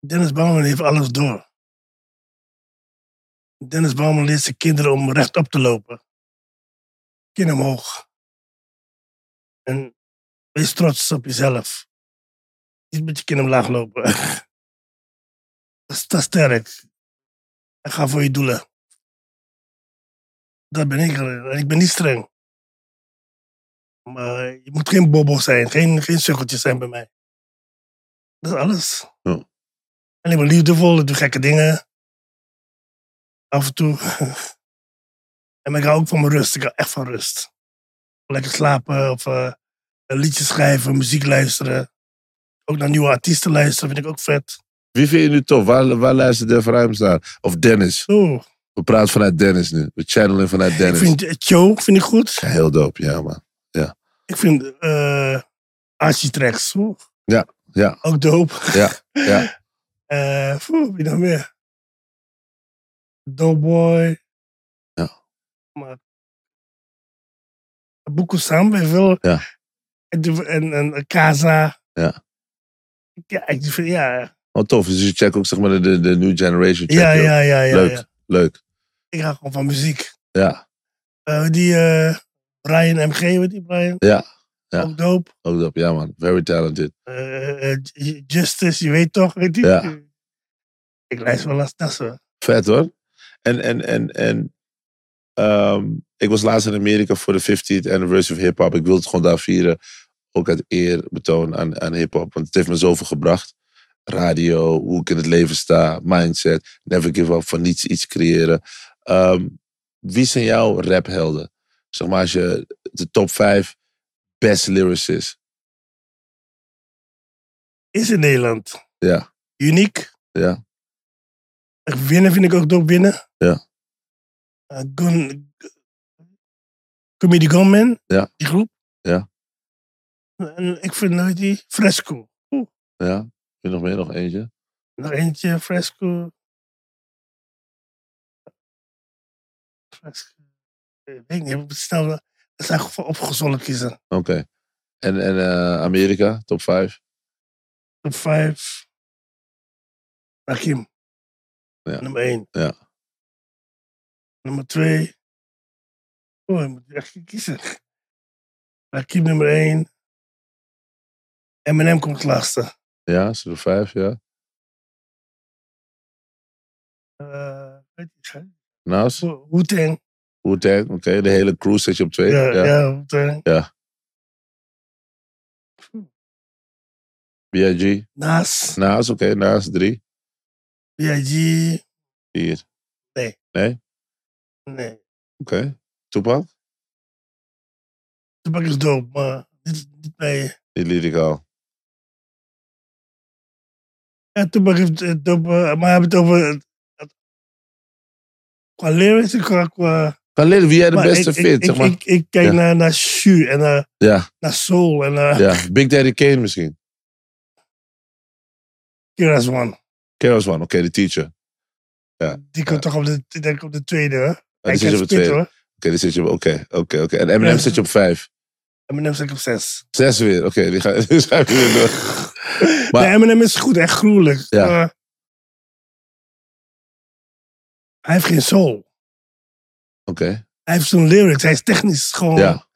S1: Dennis Bouwman heeft alles door. Dennis Bouwman leert zijn kinderen om rechtop te lopen. Kin omhoog. En wees trots op jezelf. Niet met je kin omlaag lopen. Sta sterk. En ga voor je doelen. Dat ben ik. En ik ben niet streng. Maar eh, je moet geen bobo zijn, geen, geen sukkeltje zijn bij mij. Dat is alles.
S2: Ja.
S1: En ik ben liefdevol, ik doe gekke dingen. Af en toe. en maar ik hou ook van mijn rust, ik hou echt van rust. Lekker slapen of eh, een liedje schrijven, muziek luisteren. Ook naar nieuwe artiesten luisteren vind ik ook vet.
S2: Wie vind je nu tof? Waar, waar luistert Def Rhymes naar? Of Dennis?
S1: Zo,
S2: We praten vanuit Dennis nu. We channelen vanuit
S1: ik
S2: Dennis.
S1: vind eh, Cho vind ik goed.
S2: Ja, heel dope, ja man.
S1: Ik vind eh Archie Tracks zo.
S2: Ja, ja.
S1: ook dope.
S2: Ja, ja.
S1: Eh, poeh, wie nog meer? Doughboy.
S2: Ja.
S1: Maar Boeko Sam en veel.
S2: Ja.
S1: En, de- en, en Kaza.
S2: Ja.
S1: Ja, ik vind, ja.
S2: Oh, tof. Dus je checkt ook zeg maar de, de new generation. check
S1: Ja,
S2: je ook.
S1: ja, ja, ja,
S2: Leuk,
S1: ja.
S2: leuk.
S1: Ik hou gewoon van muziek.
S2: Ja,
S1: Eh, die eh, Brian MG, weet die Brian?
S2: ja. Ja.
S1: Ook dope.
S2: Ook dat. Ja, man. Very talented.
S1: Eh, eh, J- Justice, je weet toch? Weet die?
S2: Ja.
S1: Ik luister wel als tassen.
S2: Vet hoor. En, en, en, en ehm, ik was laatst in Amerika voor de 50th anniversary of hip-hop. Ik wilde het gewoon daar vieren. Ook uit eer betoon aan, aan hip-hop. Want het heeft me zoveel gebracht. Radio, hoe ik in het leven sta, mindset. Never give up, van niets iets creëren. Ehm, wie zijn jouw raphelden? Zeg maar als je de top 5 best lyricists.
S1: Is in Nederland.
S2: Ja.
S1: Uniek.
S2: Ja.
S1: Winnen vind ik ook dope winnen.
S2: Ja.
S1: Eh, Gun, Comedy Gunman.
S2: Ja.
S1: Die groep.
S2: Ja.
S1: En ik vind nooit die Fresco. Oeh,
S2: Ja, heb je nog meer? Nog eentje?
S1: nog eentje, Fresco. Fresco. Ik weet niet, ik moet snel. Dat zijn gewoon opgezonde kiezen.
S2: Oké. En, en eh, Amerika, top 5?
S1: Top 5. Rakim.
S2: Ja.
S1: Nummer 1.
S2: Ja.
S1: Nummer 2. Oh, je moet echt kiezen. Rakim nummer 1. M&M komt laatste.
S2: Ja, is er de 5? Ja.
S1: Eh, weet je,
S2: Naast?
S1: Wu- Wu-Tang.
S2: Wu-Tang, oké. De hele crew zet je op twee.
S1: Ja,
S2: Ja,
S1: ja. Wu-Tang.
S2: B.I.G.
S1: Nas.
S2: Naast, oké. Naast, drie.
S1: B.I.G.
S2: Vier.
S1: Nee.
S2: Oké. Toepak?
S1: Tupac is dope, maar dit is niet bij...
S2: Die liet ik al.
S1: Ja, Tupac heeft eh, dope, eh, maar we hebben het over... het- het- Qua lyrics en qua... qua
S2: Kan leren wie jij de
S1: Maar
S2: beste
S1: ik,
S2: vindt,
S1: ik,
S2: zeg maar.
S1: Ik, ik kijk
S2: Ja.
S1: naar, naar Shu en naar,
S2: ja,
S1: naar Soul en naar
S2: ja. Big Daddy Kane misschien.
S1: Kira's One.
S2: Keros One, oké, de teacher. Ah, Oké,
S1: Die komt toch op de, ik denk op de tweede, hè?
S2: die
S1: ik
S2: zit je op de tweede. Oké,
S1: hoor.
S2: die zit je op, oké, oké, oké. En Eminem
S1: Ja.
S2: zit je op vijf.
S1: Eminem zit op zes.
S2: Zes weer, oké, die gaan die gaan we weer door. Maar-
S1: Maar Eminem is goed, echt gruwelijk.
S2: Ja.
S1: Maar hij heeft geen soul.
S2: Oké,
S1: Hij heeft zo'n lyrics. Hij is technisch gewoon
S2: ja.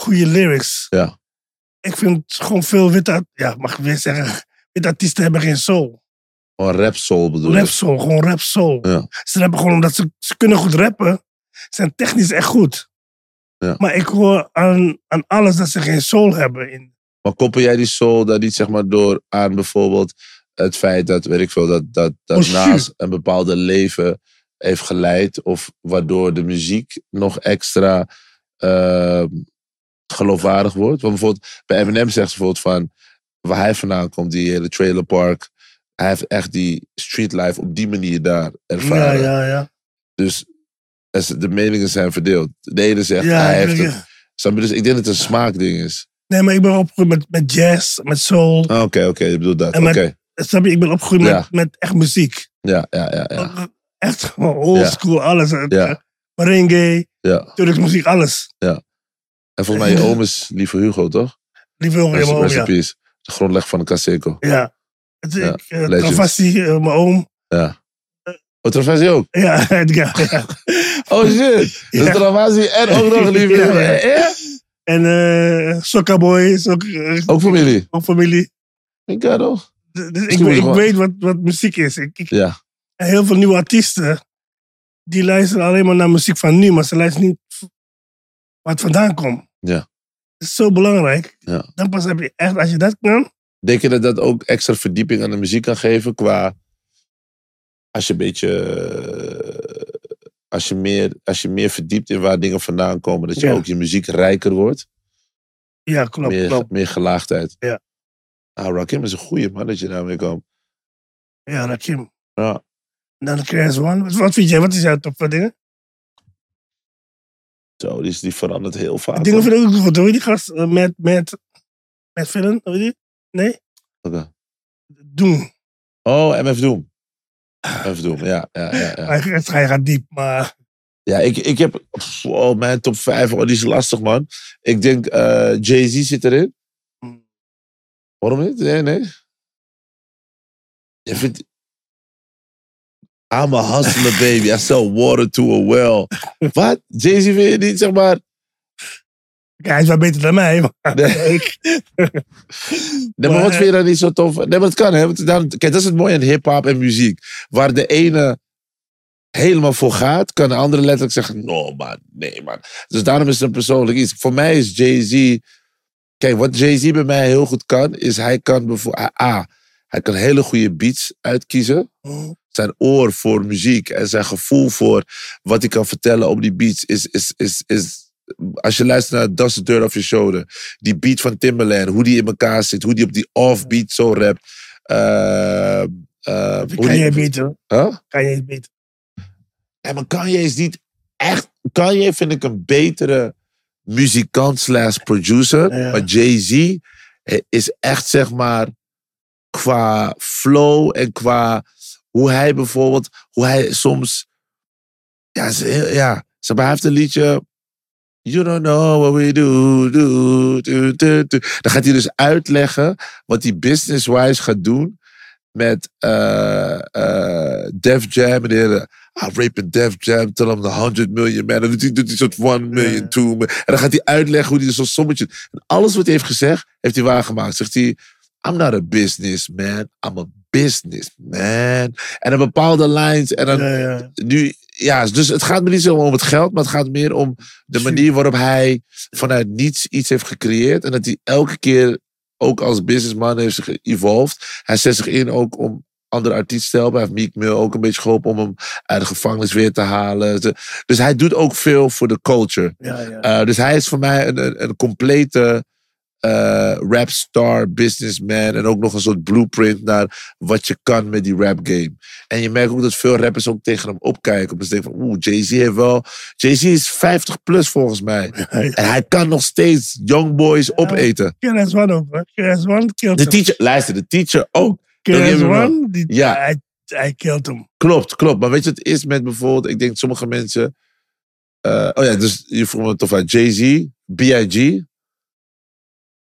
S1: goede lyrics.
S2: Ja.
S1: Ik vind gewoon veel witte... art- Ja, mag ik weer zeggen. Witte artiesten hebben geen soul.
S2: Gewoon rap soul bedoel
S1: Oh. Rap
S2: ik.
S1: soul, gewoon rap soul.
S2: Ja.
S1: Ze rappen gewoon omdat ze, ze kunnen goed rappen. Ze zijn technisch echt goed.
S2: Ja.
S1: Maar ik hoor aan, aan alles dat ze geen soul hebben. In.
S2: Maar koppel jij die soul daar niet zeg maar door aan bijvoorbeeld het feit dat, weet ik veel, dat, dat, dat
S1: Oh,
S2: Nas een bepaalde leven heeft geleid of waardoor de muziek nog extra eh, geloofwaardig wordt? Want bijvoorbeeld bij Eminem zegt ze bijvoorbeeld van waar hij vandaan komt, die hele trailerpark, hij heeft echt die streetlife op die manier daar
S1: Ja,
S2: ervaren.
S1: ja, ja.
S2: Dus er z- de meningen zijn verdeeld. De ene zegt,
S1: ja,
S2: hij
S1: ik
S2: heeft
S1: denk-
S2: het. Snap je? Dus ik denk dat het een smaakding is.
S1: Nee, maar ik ben opgegroeid met, met jazz, met soul.
S2: Ah, Oké, oké, je bedoelt dat.
S1: En
S2: Oké.
S1: met- Snap je? Ik ben opgegroeid
S2: Ja.
S1: met, met echt muziek.
S2: Ja, ja, ja,
S1: Oh,
S2: ja.
S1: Echt gewoon old
S2: Ja.
S1: school, alles.
S2: Ja.
S1: Merengue,
S2: ja.
S1: Turks muziek, alles.
S2: En volgens mij je oom is lieve Hugo, toch?
S1: Die wil
S2: Rest,
S1: helemaal
S2: rest in
S1: Oh, ja.
S2: peace. De grondleg van de Caseco.
S1: Ja. Het,
S2: Ja,
S1: ik, eh,
S2: legend.
S1: Travassi, eh, mijn oom.
S2: Oh, Travasi ook?
S1: Ja, ja, ja.
S2: Oh shit!
S1: Ja.
S2: Dus Travasi en ook nog lieve
S1: Ja,
S2: Hugo.
S1: ja.
S2: Eh, eh?
S1: En eh Sokka Boy is ook, eh,
S2: Ook familie.
S1: ook familie.
S2: Ik ga toch?
S1: D- Dus ik,
S2: Misschien moet je
S1: ik
S2: gewoon-
S1: weet wat, wat muziek is. Ik, ik-
S2: Ja.
S1: en heel veel nieuwe artiesten, die luisteren alleen maar naar muziek van nu, maar ze luisteren niet v- waar het vandaan komt.
S2: Ja.
S1: Dat is zo belangrijk.
S2: Ja.
S1: Dan pas heb je echt, als je dat kan,
S2: Denk je dat dat ook extra verdieping aan de muziek kan geven qua... Als je een beetje... eh, Als je meer, als je meer verdiept in waar dingen vandaan komen, dat je
S1: Ja.
S2: ook je muziek rijker wordt.
S1: ja, klopt,
S2: meer,
S1: klopt.
S2: meer gelaagdheid.
S1: Ja.
S2: Ah, Rakim is een goeie man dat je daarmee komt.
S1: Ja, Rakim.
S2: Ja.
S1: En dan Crash One. Wat- Wat vind jij? Wat is jouw top van dingen?
S2: Zo, die, is- die verandert heel vaak.
S1: Dingen
S2: hoor.
S1: vind ik ook goed. Hoe heet die gast? Eh, Met, met, met Villen? Hoe heet die? Nee?
S2: Oké.
S1: Doen.
S2: Oh, MF Doom. Even doen, ja. ja, ja, ja.
S1: Hij gaat- Hij gaat diep, maar
S2: Ja, ik, ik heb... pff, Oh, mijn top 5, oh, die is lastig, man. Ik denk eh, Jay-Z zit erin. Waarom niet? Nee, nee. Je vindt... I'm a hustler, baby. I sell water to a well. Wat? Jay-Z vind je niet, zeg maar...
S1: kijk, hij is wel beter dan mij. Maar,
S2: Nee. Nee, maar wat vind je dan niet zo tof? Nee, maar het kan, hè? Want dan, kijk, dat is het mooie aan hip-hop en muziek. Waar de ene helemaal voor gaat, kan de andere letterlijk zeggen: No, man, nee, man. Dus daarom is het een persoonlijk iets. Voor mij is Jay-Z. Kijk, wat Jay-Z bij mij heel goed kan, is hij kan bijvoorbeeld. A, hij kan hele goede beats uitkiezen. Zijn oor voor muziek en zijn gevoel voor wat hij kan vertellen op die beats is. is, is, is als je luistert naar Dust the Dirt Off Your Shoulder, die beat van Timberland, hoe die in elkaar zit, hoe die op die offbeat zo rapt. Eh, eh, hoe
S1: kan
S2: die-
S1: je beter?
S2: Huh?
S1: Kan je beter?
S2: Ja, maar Kanye is niet echt... Kanye vind ik een betere muzikant slash producer.
S1: Ja.
S2: Maar Jay-Z eh, is echt, zeg maar, qua flow en qua hoe hij bijvoorbeeld... Hoe hij soms... Ja, is heel- ja. Zeg maar, hij heeft een liedje... You don't know what we do, do, do, do, do. Dan gaat hij dus uitleggen wat hij business-wise gaat doen met eh, eh, Def Jam en de hele... I rape a Def Jam, tell him the 100 million man. En dan doet hij, doet hij soort 1 million, 2 million. En dan gaat hij uitleggen hoe hij dus zo'n sommetje... En alles wat hij heeft gezegd, heeft hij waargemaakt. Zegt hij, I'm not a businessman, I'm a businessman. En dan bepaalde lines en dan
S1: Ja, ja.
S2: nu, ja, dus het gaat me niet zo om het geld, maar het gaat meer om de manier waarop hij vanuit niets iets heeft gecreëerd. En dat hij elke keer ook als businessman heeft zich evolved. Hij zet zich in ook om andere artiesten te helpen. Hij heeft Meek Mill ook een beetje geholpen om hem uit de gevangenis weer te halen. Ze- Dus hij doet ook veel voor de culture.
S1: ja, ja.
S2: Uh, dus hij is voor mij een, een, een complete eh rapstar, businessman. En ook nog een soort blueprint naar wat je kan met die rap game. En je merkt ook dat veel rappers ook tegen hem opkijken. Dus ze denken van, oeh, Jay-Z heeft wel... Jay-Z is 50 plus volgens mij. En hij kan nog steeds young boys opeten.
S1: Kill as one ook, hoor. Kill as one killed
S2: De
S1: him.
S2: teacher, luister, de teacher ook.
S1: Kill
S2: Don't
S1: as
S2: give me wrong.
S1: one, die,
S2: Ja.
S1: hij, hij killed hem.
S2: Klopt, klopt. Maar weet je wat het is met bijvoorbeeld... Ik denk sommige mensen... eh, oh ja, dus je vroeg me tof uit. Jay-Z, B.I.G.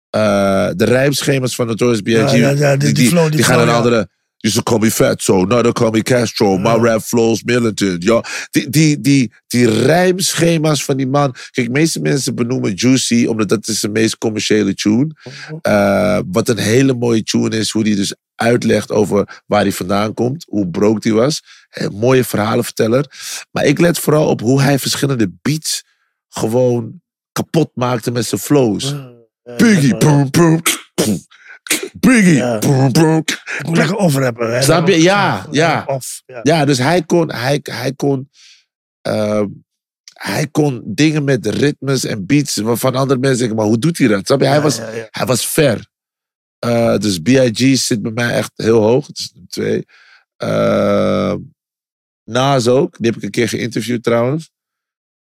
S2: eh, de rijmschema's van Notorious B.I.G.
S1: Ja, ja, ja, die- die flow, die
S2: gaan
S1: flow,
S2: een
S1: ja.
S2: andere... You should call me Fatso, now they call me Castro. My rap flows militant. Ja. Die, die, die, die rijmschema's van die man... Kijk, de meeste mensen benoemen Juicy... omdat dat is de meest commerciële tune. Eh, wat een hele mooie tune is. Hoe die dus uitlegt over waar hij vandaan komt. Hoe broke die was. Een mooie verhalenverteller. Maar ik let vooral op hoe hij verschillende beats... gewoon kapot maakte met zijn flows. Biggie, boom, boom. Biggie,
S1: Ja.
S2: boom, boom.
S1: Ik moet lekker off-rappen. hè.
S2: Snap je? Ja, ja.
S1: Off, ja.
S2: Ja, dus hij kon, hij, hij kon, ehm, hij kon dingen met ritmes en beats waarvan andere mensen denken, maar hoe doet hij dat? Snap je? Hij
S1: Ja,
S2: was,
S1: ja, ja.
S2: hij was ver. Eh, dus B.I.G. zit bij mij echt heel hoog. Het is nummer twee. Ehm Nas ook. Die heb ik een keer geïnterviewd trouwens.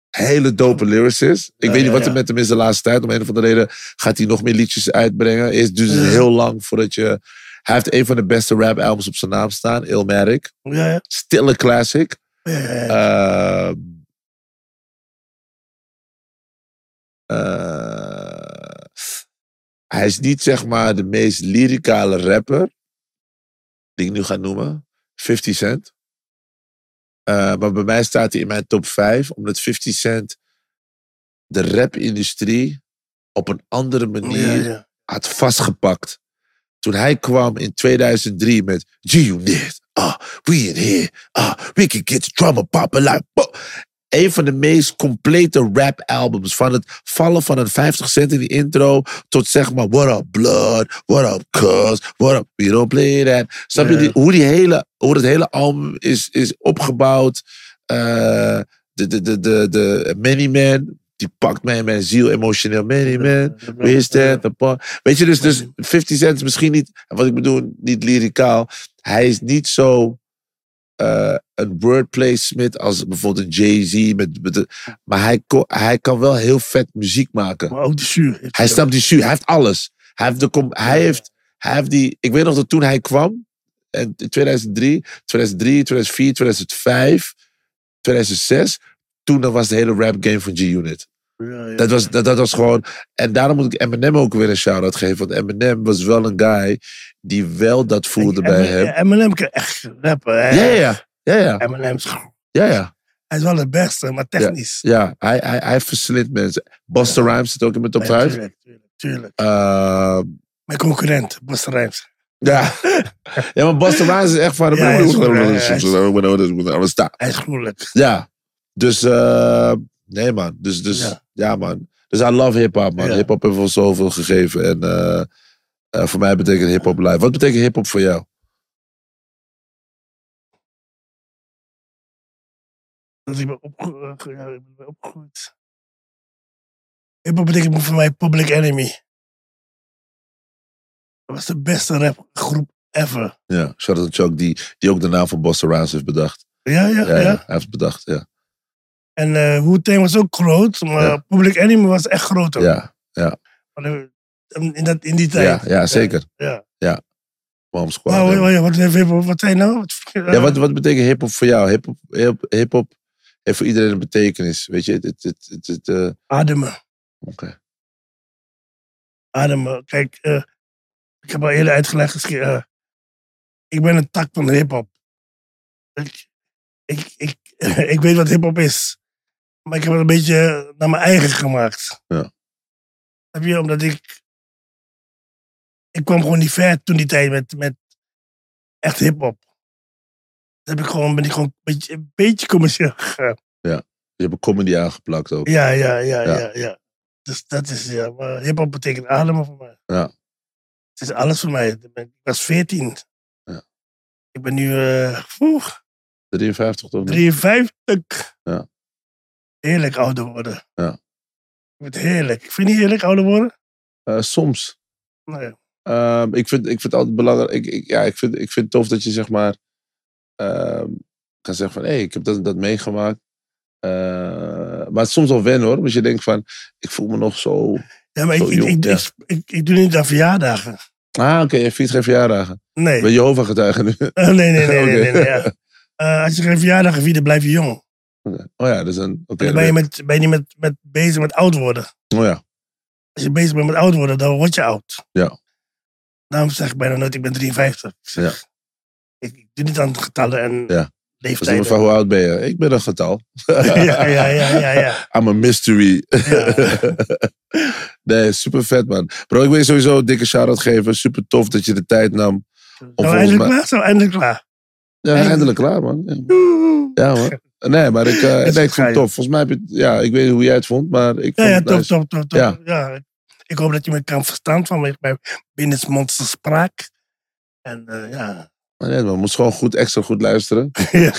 S2: Hele dope lyricist. Ik
S1: Ja,
S2: weet niet
S1: ja,
S2: wat er
S1: ja.
S2: met hem is de laatste tijd. Om een of andere reden gaat hij nog meer liedjes uitbrengen. Eerst duurt het
S1: Ja.
S2: heel lang voordat je... Hij heeft een van de beste rap albums op zijn naam staan. Illmatic.
S1: Ja, ja.
S2: Still a classic.
S1: Ja, ja, ja.
S2: Ehm. Eh, hij is niet zeg maar de meest lyricale rapper die ik nu ga noemen. 50 Cent. Eh, maar bij mij staat hij in mijn top 5, omdat 50 Cent de rap-industrie op een andere manier
S1: Ja, ja.
S2: had vastgepakt. Toen hij kwam in 2003 met G-Unit, ah, we in here, ah, we can get the drama poppin' like... bo- Een van de meest complete rap albums. Van het vallen van een 50 cent in die intro tot zeg maar What up blood, what up cuz, what up we don't play that. Snap je
S1: Ja.
S2: die- hoe, die hele, hoe dat hele album is, is opgebouwd? eh, de, de, de, de, de Many Man, die pakt mij in mijn ziel emotioneel. Many Man, Wie is dat? Een paar- Weet je, dus, dus 50 Cent is misschien niet, wat ik bedoel, niet lyricaal. Hij is niet zo eh, een wordplay-smith als bijvoorbeeld een Jay-Z. Met, met de- maar hij, ko- hij kan wel heel vet muziek maken.
S1: Maar ook de zuur. heeft
S2: Hij
S1: hij.
S2: snapt die su, hij heeft alles. Hij heeft, de, com- hij heeft, hij heeft die, ik weet nog dat toen hij kwam, En in 2003, 2003, 2004, 2005, 2006. Toen dan was de hele rap game van G-Unit. Dat was, dat, dat was gewoon... En daarom moet ik Eminem ook weer een shout-out geven. Want Eminem was wel een guy die wel dat voelde bij hem.
S1: Eminem- Eminem kan echt rappen.
S2: Ja,
S1: hè.
S2: ja, ja. Ja,
S1: Eminem is,
S2: ja, ja.
S1: hij is wel de beste, maar technisch.
S2: ja. Hij, hij, hij verslindt mensen. Busta Rhymes zit ook in mijn top
S1: Ja,
S2: 5.
S1: tuurlijk, tuurlijk, tuurlijk.
S2: Ehm
S1: Mijn concurrent, Busta Rhymes.
S2: Ja. ja, maar Buster Rhymes is echt van de
S1: Ja, hij is
S2: ja,
S1: Hij is gruwelijk.
S2: ja, dus eh, nee man, dus, dus ja.
S1: Ja.
S2: man. Dus I love hip-hop man.
S1: Ja.
S2: Hip-hop heeft ons zoveel gegeven en eh, eh, voor mij betekent hip-hop live. Wat betekent hip-hop voor jou?
S1: Dat ik ben opge- eh, ja, ik ben opgegroeid. Hip-hop betekent voor mij Public Enemy. Dat was de beste rapgroep ever.
S2: Ja, shout out Chuck die, die ook de naam van Buster Rhymes heeft bedacht.
S1: Ja, ja,
S2: Ja,
S1: ja.
S2: ja. hij heeft het bedacht, ja.
S1: En eh Wu-Tang was ook groot, maar
S2: Ja.
S1: Public Enemy was echt groter.
S2: Ja,
S1: Want, eh, In, dat, in die tijd.
S2: ja, ja zeker.
S1: Ja. Nou,
S2: Ja. Mom Squad.
S1: Maar,
S2: ja.
S1: wa- wa- wat, even- wat, zei je nou? Wat-
S2: Ja, wat, wat betekent hip-hop voor jou? Hip-hop hip, hip heeft voor iedereen een betekenis. Weet je, het. het, het, het, het, eh,
S1: Ademen,
S2: oké.
S1: ademen. Kijk, eh, ik heb al eerder uitgelegd. dus, eh, ik ben een tak van de hip-hop. Ik, ik, ik, ik weet wat hip-hop is. Maar ik heb het een beetje naar mijn eigen gemaakt.
S2: Ja.
S1: Heb je, omdat ik. Ik kwam gewoon niet ver toen die tijd met, met echt hip-hop. Dan heb ik gewoon, ben ik gewoon een beetje, een beetje commercieel gegaan.
S2: Je hebt een comedy aangeplakt ook.
S1: Ja, ja, ja,
S2: Ja.
S1: ja, ja. Dus dat is, ja. Maar hip-hop betekent ademen voor mij.
S2: Ja.
S1: Het is alles voor mij. Ik ben- ik was 14.
S2: Ja.
S1: Ik ben nu eh oeh,
S2: 53 toch? niet?
S1: 53.
S2: Ja.
S1: Heerlijk ouder worden.
S2: Ja.
S1: Ik vind het heerlijk. Vind je niet heerlijk ouder worden?
S2: Eh, soms.
S1: Nee.
S2: Ehm, ik, vind, ik vind het altijd belangrijk. Ik, ik, ja, ik, vind, ik vind het tof dat je zeg maar ehm, kan zeggen van hé, hey, ik heb dat, dat meegemaakt. Eh, maar het is soms al wennen hoor. Want je denkt van ik voel me nog zo.
S1: Ja, maar ik,
S2: Zo
S1: ik,
S2: jong,
S1: ik,
S2: ja.
S1: ik, ik- ik doe niet aan verjaardagen.
S2: Ah, oké, je viert geen verjaardagen.
S1: Nee.
S2: Ben Jehovah getuigen nu.
S1: Eh, nee, nee, nee, nee,
S2: Oké.
S1: nee. nee, ja. Eh, als je geen verjaardag viert, dan blijf je jong. En
S2: Oké. Oh ja, dus dan. Oké.
S1: dan ben je, met, ben je niet met, met, bezig met oud worden.
S2: oh ja.
S1: als je bezig bent met oud worden, dan word je oud.
S2: Ja.
S1: Daarom zeg ik bijna nooit, ik ben 53. Ik, zeg, ik, ik doe niet aan getallen en
S2: Ja. Dus
S1: leeftijden.
S2: iemand van hoe oud ben je? Ik ben een getal.
S1: ja, ja, ja, ja, ja.
S2: I'm a mystery.
S1: Ja.
S2: nee, super vet man. Bro, ik wil je sowieso een dikke shout-out geven. Super tof dat je de tijd nam.
S1: Zijn we
S2: volgens
S1: Nou, eindelijk
S2: mij-
S1: klaar? Zijn we eindelijk klaar?
S2: Ja, eindelijk klaar man. Ja. Ja hoor. Nee, maar ik, eh, nee, ik vond
S1: ga je.
S2: het tof. Volgens mij heb je het- ja, ik weet niet hoe jij het vond, maar ik
S1: Ja,
S2: vond
S1: ja,
S2: het
S1: top,
S2: nice.
S1: top, top, top.
S2: Ja.
S1: Ja. Ik hoop dat je me kan verstaan vanwege mijn binnensmondse spraak. En eh, ja.
S2: Maar nee, man, moest gewoon goed, extra goed luisteren.
S1: Ja.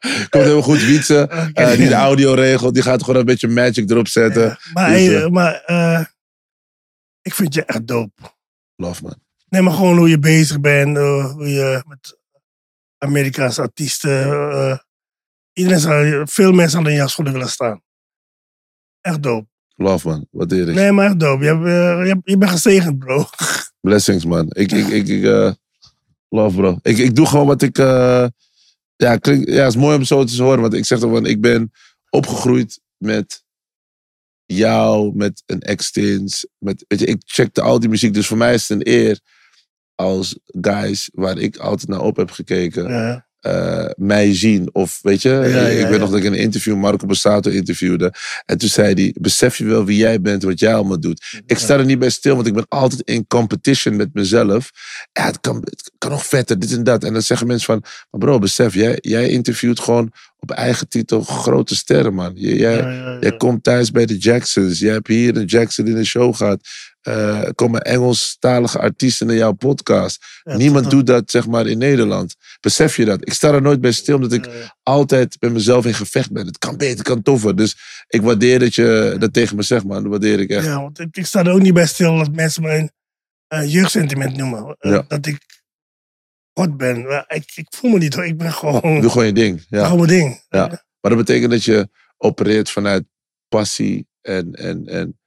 S2: Komt helemaal goed wietsen.
S1: Oké.
S2: die de audio regelt, die gaat gewoon een beetje magic erop zetten.
S1: Ja. Maar,
S2: Dus,
S1: hey,
S2: eh,
S1: maar eh, ik vind je echt dope.
S2: Love man.
S1: Nee, maar gewoon hoe je bezig bent, eh, hoe je met Amerikaanse artiesten. eh, iedereen zou, veel mensen zouden in jouw schoenen willen staan. Echt dope.
S2: Love man. Waardeer ik.
S1: Nee, maar echt dope. Je, hebt, eh, je, hebt- je bent gezegend, bro.
S2: Blessings man. Ik, ik, ik, ik, eh, love bro. Ik, ik doe gewoon wat ik, eh, ja, klink, ja, het is mooi om zo te horen, want ik zeg dan van, ik ben opgegroeid met jou, met een extins. Met, weet je, ik checkte al die muziek. Dus voor mij is het een eer als guys waar ik altijd naar op heb gekeken,
S1: Ja,
S2: eh, mij zien. Of weet je,
S1: ja,
S2: ik weet
S1: ja.
S2: nog dat ik in een interview Marco Bassato interviewde. En toen zei hij, besef je wel wie jij bent, wat jij allemaal doet. Ik sta er niet bij stil, want ik ben altijd in competition met mezelf. Ja, het kan, het kan nog vetter, dit en dat. En dan zeggen mensen van, maar bro, besef, jij, jij interviewt gewoon op eigen titel grote sterren, man. Jij, jij,
S1: ja, ja,
S2: Jij komt thuis bij de Jacksons. Jij hebt hier een Jackson in de show gehad. Eh, er komen Engelstalige artiesten naar jouw podcast.
S1: Ja,
S2: Niemand
S1: dat-
S2: doet dat, zeg maar, in Nederland. Besef je dat? Ik sta er nooit bij stil, omdat ik
S1: ja.
S2: altijd bij mezelf in gevecht ben. Het kan beter, het kan toffer. Dus ik waardeer dat je dat tegen me zegt, man. Dat waardeer ik echt.
S1: Ja, want ik, ik sta er ook niet bij stil dat mensen mijn eh, jeugdsentiment noemen. Eh,
S2: Ja.
S1: Dat ik God ben. Maar Ik, ik voel me niet hoor. Ik ben gewoon,
S2: Doe gewoon je ding. Ja.
S1: gewoon mijn ding.
S2: Ja. Maar dat betekent dat je opereert vanuit passie en, en, en,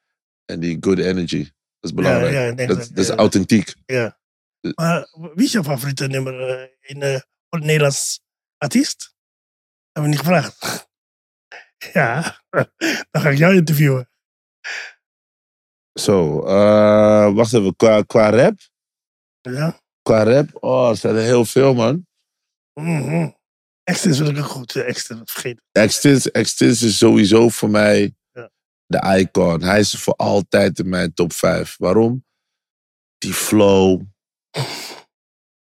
S2: en die good energy. Dat is belangrijk.
S1: ja, ik denk
S2: dat,
S1: dat-
S2: dat is
S1: ja.
S2: authentiek.
S1: Ja. Maar wie is jouw favoriete nummer eh, in, eh, voor een Nederlands artiest? Dat hebben we niet gevraagd. Ja, dan ga ik jou interviewen.
S2: Zo, eh, wacht even. Qua, qua rap?
S1: Ja?
S2: Qua rap? Oh, er zijn er heel veel, man.
S1: Mhm. Extra is natuurlijk een goed. eh, Extra, dat vergeet ik.
S2: Extins, Extins is sowieso voor mij
S1: Ja.
S2: de icon. Hij is voor altijd in mijn top 5. Waarom? Die flow.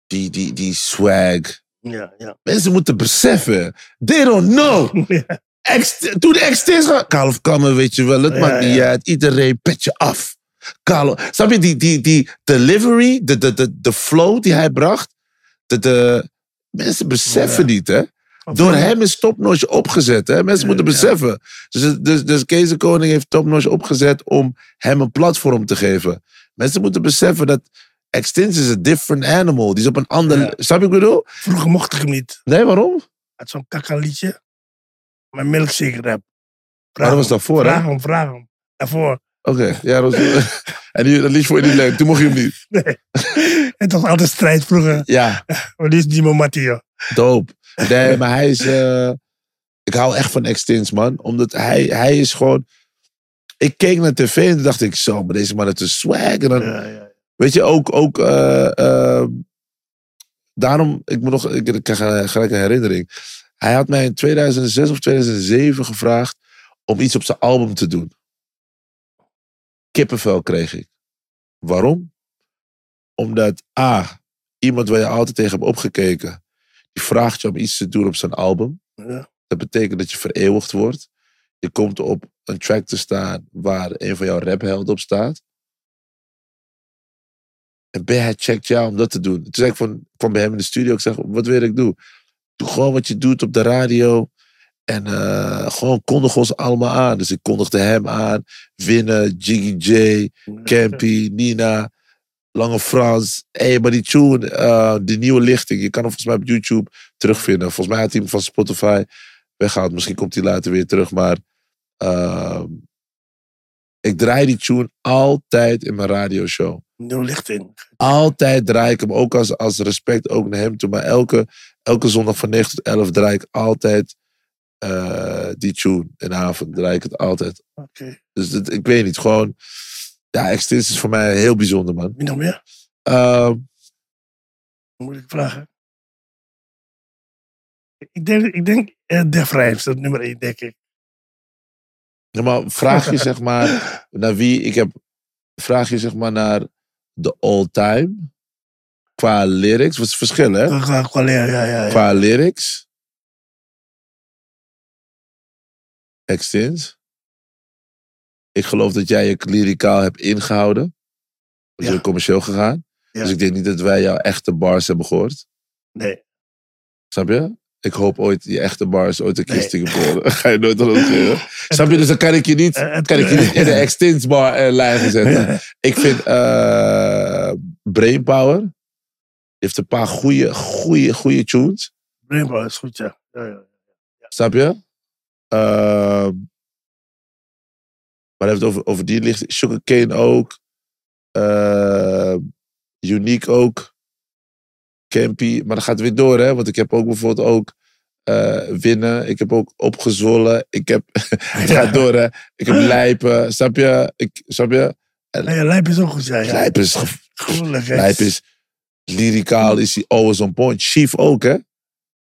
S2: Die, die, die swag.
S1: Ja, ja.
S2: Mensen moeten beseffen. They don't know.
S1: ja.
S2: Ex, toen de ex-teens gaan. Karel of Kammer, weet je wel, het
S1: Ja,
S2: maakt niet
S1: ja.
S2: uit. Iedereen pet je af. Karel, snap je, die, die, die delivery, de, de, de, de flow die hij bracht, de, de, mensen beseffen
S1: Ja.
S2: niet, hè? Door hem is Topnotch opgezet, hè? Mensen
S1: Ja,
S2: moeten
S1: ja.
S2: beseffen. Dus, dus, dus Kees de Koning heeft Topnotch opgezet om hem een platform te geven. Mensen moeten beseffen dat Extinct is een different animal. Die is op een ander...
S1: Ja.
S2: Snap je wat ik bedoel?
S1: Vroeger mocht ik hem niet.
S2: Nee, waarom?
S1: Uit zo'n kakaliedje. Maar milkshake rap.
S2: Maar Oh, dat was daarvoor, hè?
S1: Vraag hem, vraag hem. Daarvoor.
S2: Oké, ja, dat was... en die, dat liedje vond je niet leuk, toen mocht je hem niet.
S1: Nee. Het was altijd strijd vroeger.
S2: Ja,
S1: Maar die is niet meer Matteo.
S2: dope. Nee, maar hij is... eh, ik hou echt van Extins, man. Omdat hij, hij is gewoon... Ik keek naar tv en toen dacht ik, zo, maar deze man heeft een swag. En dan,
S1: Ja, ja.
S2: Weet je, ook... ook eh, eh, daarom, ik moet nog... Ik, ik krijg eh, gelijk een herinnering. Hij had mij in 2006 of 2007 gevraagd om iets op zijn album te doen. Kippenvel kreeg ik. Waarom? Omdat A, iemand waar je altijd tegen hebt opgekeken, die vraagt je om iets te doen op zijn album.
S1: Ja.
S2: Dat betekent dat je vereeuwigd wordt. Je komt op een track te staan waar een van jouw raphelden op staat. En B, hij checkt jou om dat te doen. Toen zei ik van, ik kwam bij hem in de studio, ik zeg, wat wil ik doen? Doe gewoon wat je doet op de radio. En eh, gewoon kondig ons allemaal aan. Dus ik kondigde hem aan. Winnen, Jiggy J, Campy, Nina, Lange Frans. Hey, maar die tune, eh, die nieuwe lichting. Je kan hem volgens mij op YouTube terugvinden. Volgens mij had hij hem van Spotify weggehaald. Misschien komt hij later weer terug. Maar ehm, ik draai die tune altijd in mijn radioshow.
S1: Nieuw licht in.
S2: Altijd draai ik hem, ook als, als respect ook naar hem toe. Maar elke, elke zondag van 9 tot 11 draai ik altijd eh, die tune. In de avond draai ik het altijd.
S1: Oké.
S2: Dus dat- ik weet niet, gewoon... Ja, Extins is voor mij heel bijzonder, man.
S1: Wie nog meer?
S2: Ehm,
S1: Moet ik vragen. Ik denk, ik denk eh, Def Rijms, dat is nummer één, denk ik.
S2: ja, maar vraag je zeg maar naar wie... Ik heb... Vraag je zeg maar naar de all-time. Qua lyrics. Wat is het verschil, hè?
S1: Qua- qua leer, ja, ja, ja.
S2: Qua lyrics. Extins. Ik geloof dat jij je lyricaal hebt ingehouden. Dus
S1: Ja.
S2: je bent commercieel gegaan.
S1: Ja.
S2: Dus ik denk niet dat wij jouw echte bars hebben gehoord.
S1: Nee.
S2: Snap je? Ik hoop ooit je echte bars ooit een keer
S1: Nee.
S2: stiekem te horen. Ga je nooit aan het horen. Snap je? Dus dan kan ik je niet,
S1: Eh, het-
S2: kan ik je niet in de Extins bar eh, lijn zetten.
S1: Ja.
S2: Ik vind eh Brainpower heeft een paar goede, goede, goede tunes.
S1: Rainbow is goed, ja. ja, ja.
S2: Snap je? Ehm, maar hij heeft het over, over die licht. Sugarcane ook. Ehm, Unique ook. Campy. Maar dat gaat weer door, hè? Want ik heb ook bijvoorbeeld ook eh, winnen. Ik heb ook opgezwollen. Ik heb. het gaat door, hè? Ik heb lijpen. Snap je? Ik, snap je?
S1: Nee, Lijp is ook goed, ja. ja.
S2: Lijpen is. ge-
S1: Gruwelijk, hè.
S2: Lijpen is. Lyricaal is hij always on point. Chief ook, hè?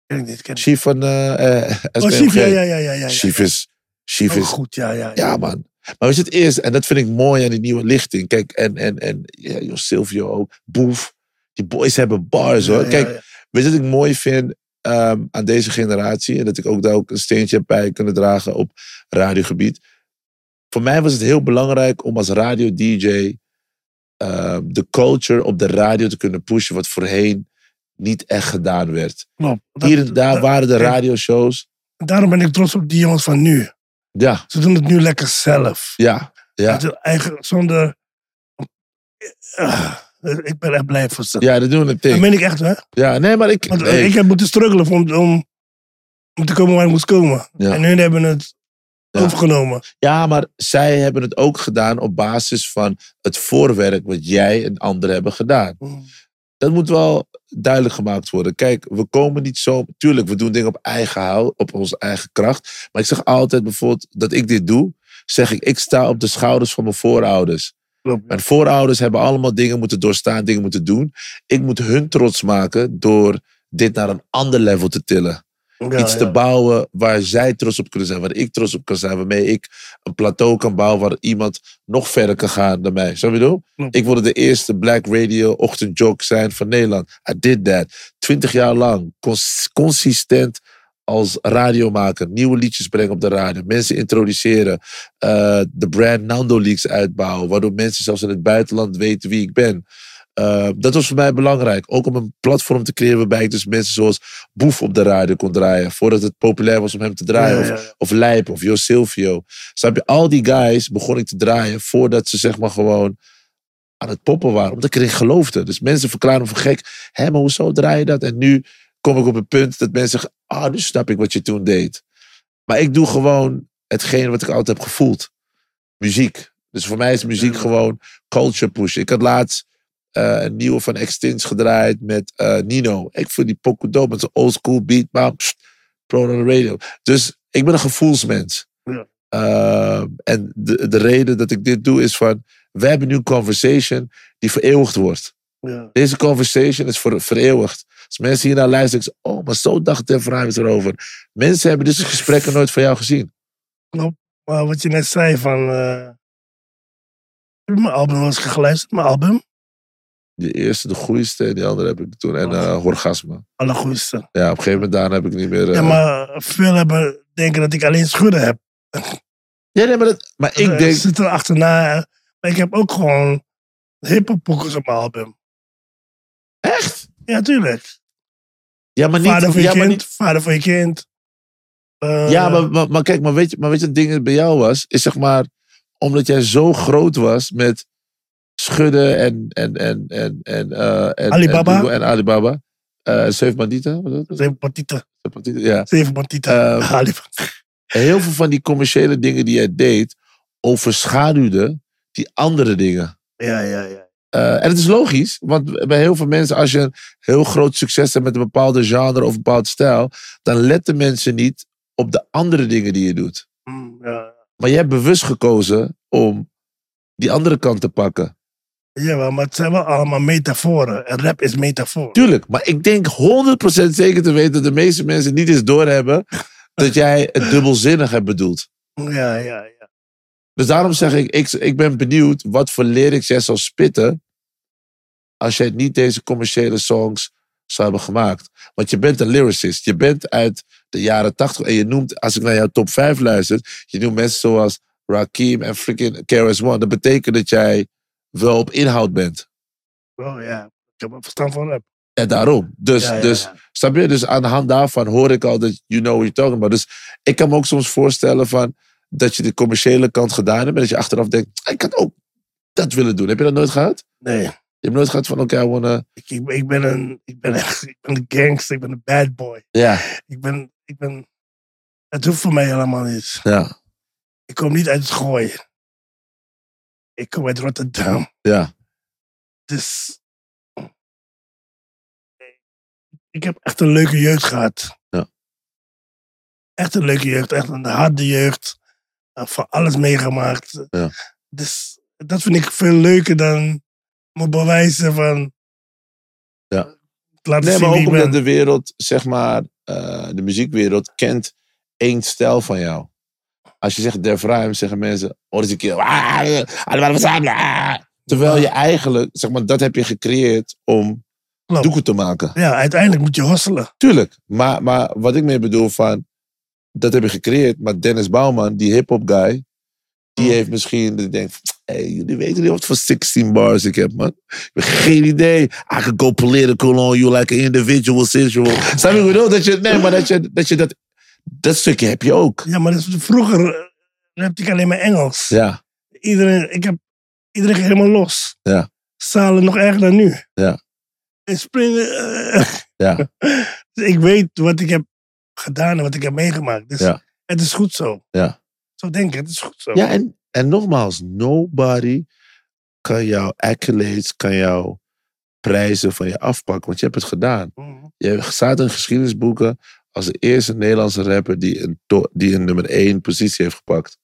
S1: Ken ik niet, ken ik niet.
S2: Chief van. eh eh,
S1: Oh,
S2: SPMG.
S1: Chief, ja, ja, ja, ja. ja, Oh, ja.
S2: Chief is. Chief
S1: Ook
S2: is
S1: goed, ja, ja.
S2: ja, man. Maar weet je, het is, en dat vind ik mooi aan die nieuwe lichting. Kijk, en, en, en ja, joh, Silvio ook, Boef. Die boys hebben bars, hoor.
S1: Ja,
S2: Kijk,
S1: ja, ja.
S2: weet je wat ik mooi vind ehm, aan deze generatie? En dat ik ook daar ook een steentje heb bij kunnen dragen op radiogebied. Voor mij was het heel belangrijk om als radio-dj ehm, de culture op de radio te kunnen pushen... wat voorheen niet echt gedaan werd.
S1: Klopt. Dat-
S2: Hier en daar
S1: dat-
S2: waren de
S1: kijk,
S2: radioshows...
S1: Daarom ben ik trots op die jongens van nu.
S2: Ja,
S1: Ze doen het nu lekker zelf.
S2: ja, ja.
S1: Met hun eigen, zonder... Ah, ik ben echt blij voor ze.
S2: Ja, dat doen we
S1: Dat
S2: ding.
S1: meen ik echt, hè.
S2: Ja, nee, maar ik...
S1: Want eh,
S2: nee.
S1: ik heb moeten struggelen om, om, om te komen waar ik moest komen.
S2: Ja.
S1: En hun hebben het
S2: Ja.
S1: overgenomen.
S2: Ja, maar zij hebben het ook gedaan op basis van het voorwerk wat jij en anderen hebben gedaan. Dat moet wel duidelijk gemaakt worden. Kijk, we komen niet zo. Tuurlijk, we doen dingen op eigen hout, op onze eigen kracht. Maar ik zeg altijd bijvoorbeeld dat ik dit doe. Zeg ik, ik sta op de schouders van mijn voorouders.
S1: Klopt.
S2: Mijn voorouders hebben allemaal dingen moeten doorstaan, dingen moeten doen. Ik moet hun trots maken door dit naar een ander level te tillen
S1: Ja,
S2: iets te
S1: ja.
S2: bouwen waar zij trots op kunnen zijn, waar ik trots op kan zijn, waarmee ik een plateau kan bouwen waar iemand nog verder kan gaan dan mij. Snap je wat ik bedoel?
S1: Klopt.
S2: Ik wilde de eerste Black Radio ochtendjog zijn van Nederland. I did that. Twintig jaar lang, cons- consistent als radiomaker, nieuwe liedjes brengen op de radio, mensen introduceren, eh, de brand Nando Leaks uitbouwen, waardoor mensen zelfs in het buitenland weten wie ik ben. Eh, dat was voor mij belangrijk. Ook om een platform te creëren waarbij ik dus mensen zoals Boef op de radio kon draaien. Voordat het populair was om hem te draaien.
S1: Ja, ja,
S2: Of, of Lijp of Jo Silvio. Snap je? Al die guys begon ik te draaien voordat ze zeg maar gewoon aan het poppen waren. Omdat ik erin geloofde. Dus mensen verklaren me voor gek. Hé, maar hoezo draai je dat? En nu kom ik op het punt dat mensen zeggen... Ah, nu snap ik wat je toen deed. Maar ik doe gewoon hetgeen wat ik altijd heb gevoeld. Muziek. Dus voor mij is muziek gewoon culture pushen. Ik had laatst eh, een nieuwe van Extins gedraaid met eh, Nino. Ik vond die pokoe dope met zo'n oldschool beat. Maar pst, pro on the radio. Dus ik ben een gevoelsmens.
S1: Ja.
S2: Eh, en de, de reden dat ik dit doe is van... We hebben nu een conversation die vereeuwigd wordt.
S1: Ja.
S2: Deze conversation is ver, vereeuwigd. Als mensen hiernaar luisteren, ik zeg, oh, maar zo dacht Def Rhymes erover. Mensen hebben dus gesprekken nooit van jou gezien.
S1: Maar wat je net zei van... eh, heb je mijn album wel eens geluisterd? Mijn album?
S2: De eerste, de goeiste, en die andere heb ik toen. En eh orgasme.
S1: Allergoedste.
S2: Ja, op een gegeven moment daarna heb ik niet meer... eh,
S1: Ja, maar veel hebben denken dat ik alleen schudden heb.
S2: Ja, nee, maar, dat, maar
S1: Eh,
S2: ik denk...
S1: Zit er achterna. eh, Maar ik heb ook gewoon hip-hop pokkers op mijn album.
S2: Echt?
S1: Ja, tuurlijk.
S2: Ja, maar niet.
S1: vader voor je
S2: ja, maar
S1: kind.
S2: niet-
S1: Vader voor je kind. Eh,
S2: ja, maar, maar, maar kijk, maar weet, je, maar weet je wat het ding bij jou was? Is zeg maar, omdat jij zo groot was met schudden en. en, en, en, en, eh, en
S1: Alibaba.
S2: En, Google en Alibaba. Eh Seven Bandita, wat was het?
S1: Zeven partieten.
S2: Seven Bandita, Ja.
S1: Zeven partieten.
S2: Eh,
S1: Ali-
S2: Heel veel van die commerciële dingen die jij deed, overschaduwden die andere dingen.
S1: ja, ja, ja.
S2: Eh, en het is logisch, want bij heel veel mensen, als je een heel groot succes hebt met een bepaalde genre of een bepaald stijl, dan letten mensen niet op de andere dingen die je doet.
S1: Mm, ja.
S2: Maar jij hebt bewust gekozen om die andere kant te pakken.
S1: Jawel, maar het zijn wel allemaal metaforen. En rap is metafoor.
S2: Tuurlijk, maar ik denk 100% zeker te weten dat de meeste mensen niet eens doorhebben dat jij het dubbelzinnig hebt bedoeld.
S1: Mm, Ja, ja, ja.
S2: Dus daarom zeg ik, ik, ik ben benieuwd wat voor lyrics jij zou spitten als jij niet deze commerciële songs zou hebben gemaakt. Want je bent een lyricist. Je bent uit de jaren 80 en je noemt, als ik naar jouw top 5 luister, je noemt mensen zoals Rakim en freaking KRS One. Dat betekent dat jij wel op inhoud bent.
S1: Wel, Oh, ja. Ik heb wel verstand van rap.
S2: En daarom. Dus,
S1: Ja, ja,
S2: dus
S1: ja.
S2: Snap je? Dus aan de hand daarvan hoor ik al dat you know what you're talking about. Dus ik kan me ook soms voorstellen van dat je de commerciële kant gedaan hebt. En dat je achteraf denkt, ik had ook dat willen doen. Heb je dat nooit gehad?
S1: Nee.
S2: Je hebt nooit gehad van, oké, I wanna...
S1: Ik, ik, ik ben een... Ik ben, echt- ik ben een gangster. Ik ben een bad boy.
S2: Ja,
S1: Ik ben... Ik ben het hoeft voor mij helemaal niet.
S2: ja,
S1: Ik kom niet uit het gooien. Ik kom uit Rotterdam.
S2: ja.
S1: Dus. Ik heb echt een leuke jeugd gehad.
S2: Ja.
S1: Echt een leuke jeugd, echt een harde jeugd. Eh, Van alles meegemaakt.
S2: Ja.
S1: Dus dat vind ik veel leuker dan me bewijzen van.
S2: Ja.
S1: Laten
S2: Nee,
S1: zien wie
S2: maar
S1: ik
S2: ook
S1: ben.
S2: omdat de wereld, zeg maar, eh, de muziekwereld kent één stijl van jou. Als je zegt Def Rhymes, zeggen mensen, oh, dat is een keer... ah, allemaal verzamelen, ah. Terwijl je eigenlijk, zeg maar, dat heb je gecreëerd om
S1: Klopt.
S2: doekoe te maken.
S1: Ja, uiteindelijk moet je hosselen.
S2: Tuurlijk, maar, maar wat ik mee bedoel van... Dat heb je gecreëerd, maar Dennis Bouwman, die hip-hop guy... Die
S1: Mm.
S2: heeft misschien, die denkt... Hé, hey, jullie weten niet wat voor 16 bars ik heb, man. Ik heb geen idee. I can go political on you like an individual sensual. Snap je wat ik bedoel? Dat je, nee, maar dat je dat... Je dat dat stukje heb je ook.
S1: Ja, maar dat is- vroeger eh, rapte ik alleen maar Engels.
S2: Ja,
S1: iedereen, ik heb, iedereen ging helemaal los.
S2: Ja.
S1: Zalen nog erger dan nu.
S2: Ja.
S1: En springen. eh,
S2: ja,
S1: dus ik weet wat ik heb gedaan en wat ik heb meegemaakt. Dus
S2: Ja.
S1: het is goed zo.
S2: Ja.
S1: Zo denk ik, het is goed zo.
S2: ja. En, en nogmaals, nobody kan jouw accolades, kan jouw prijzen van je afpakken, want je hebt het gedaan.
S1: Mhm.
S2: Je staat in geschiedenisboeken als de eerste Nederlandse rapper die een, to- die een nummer 1 positie heeft gepakt.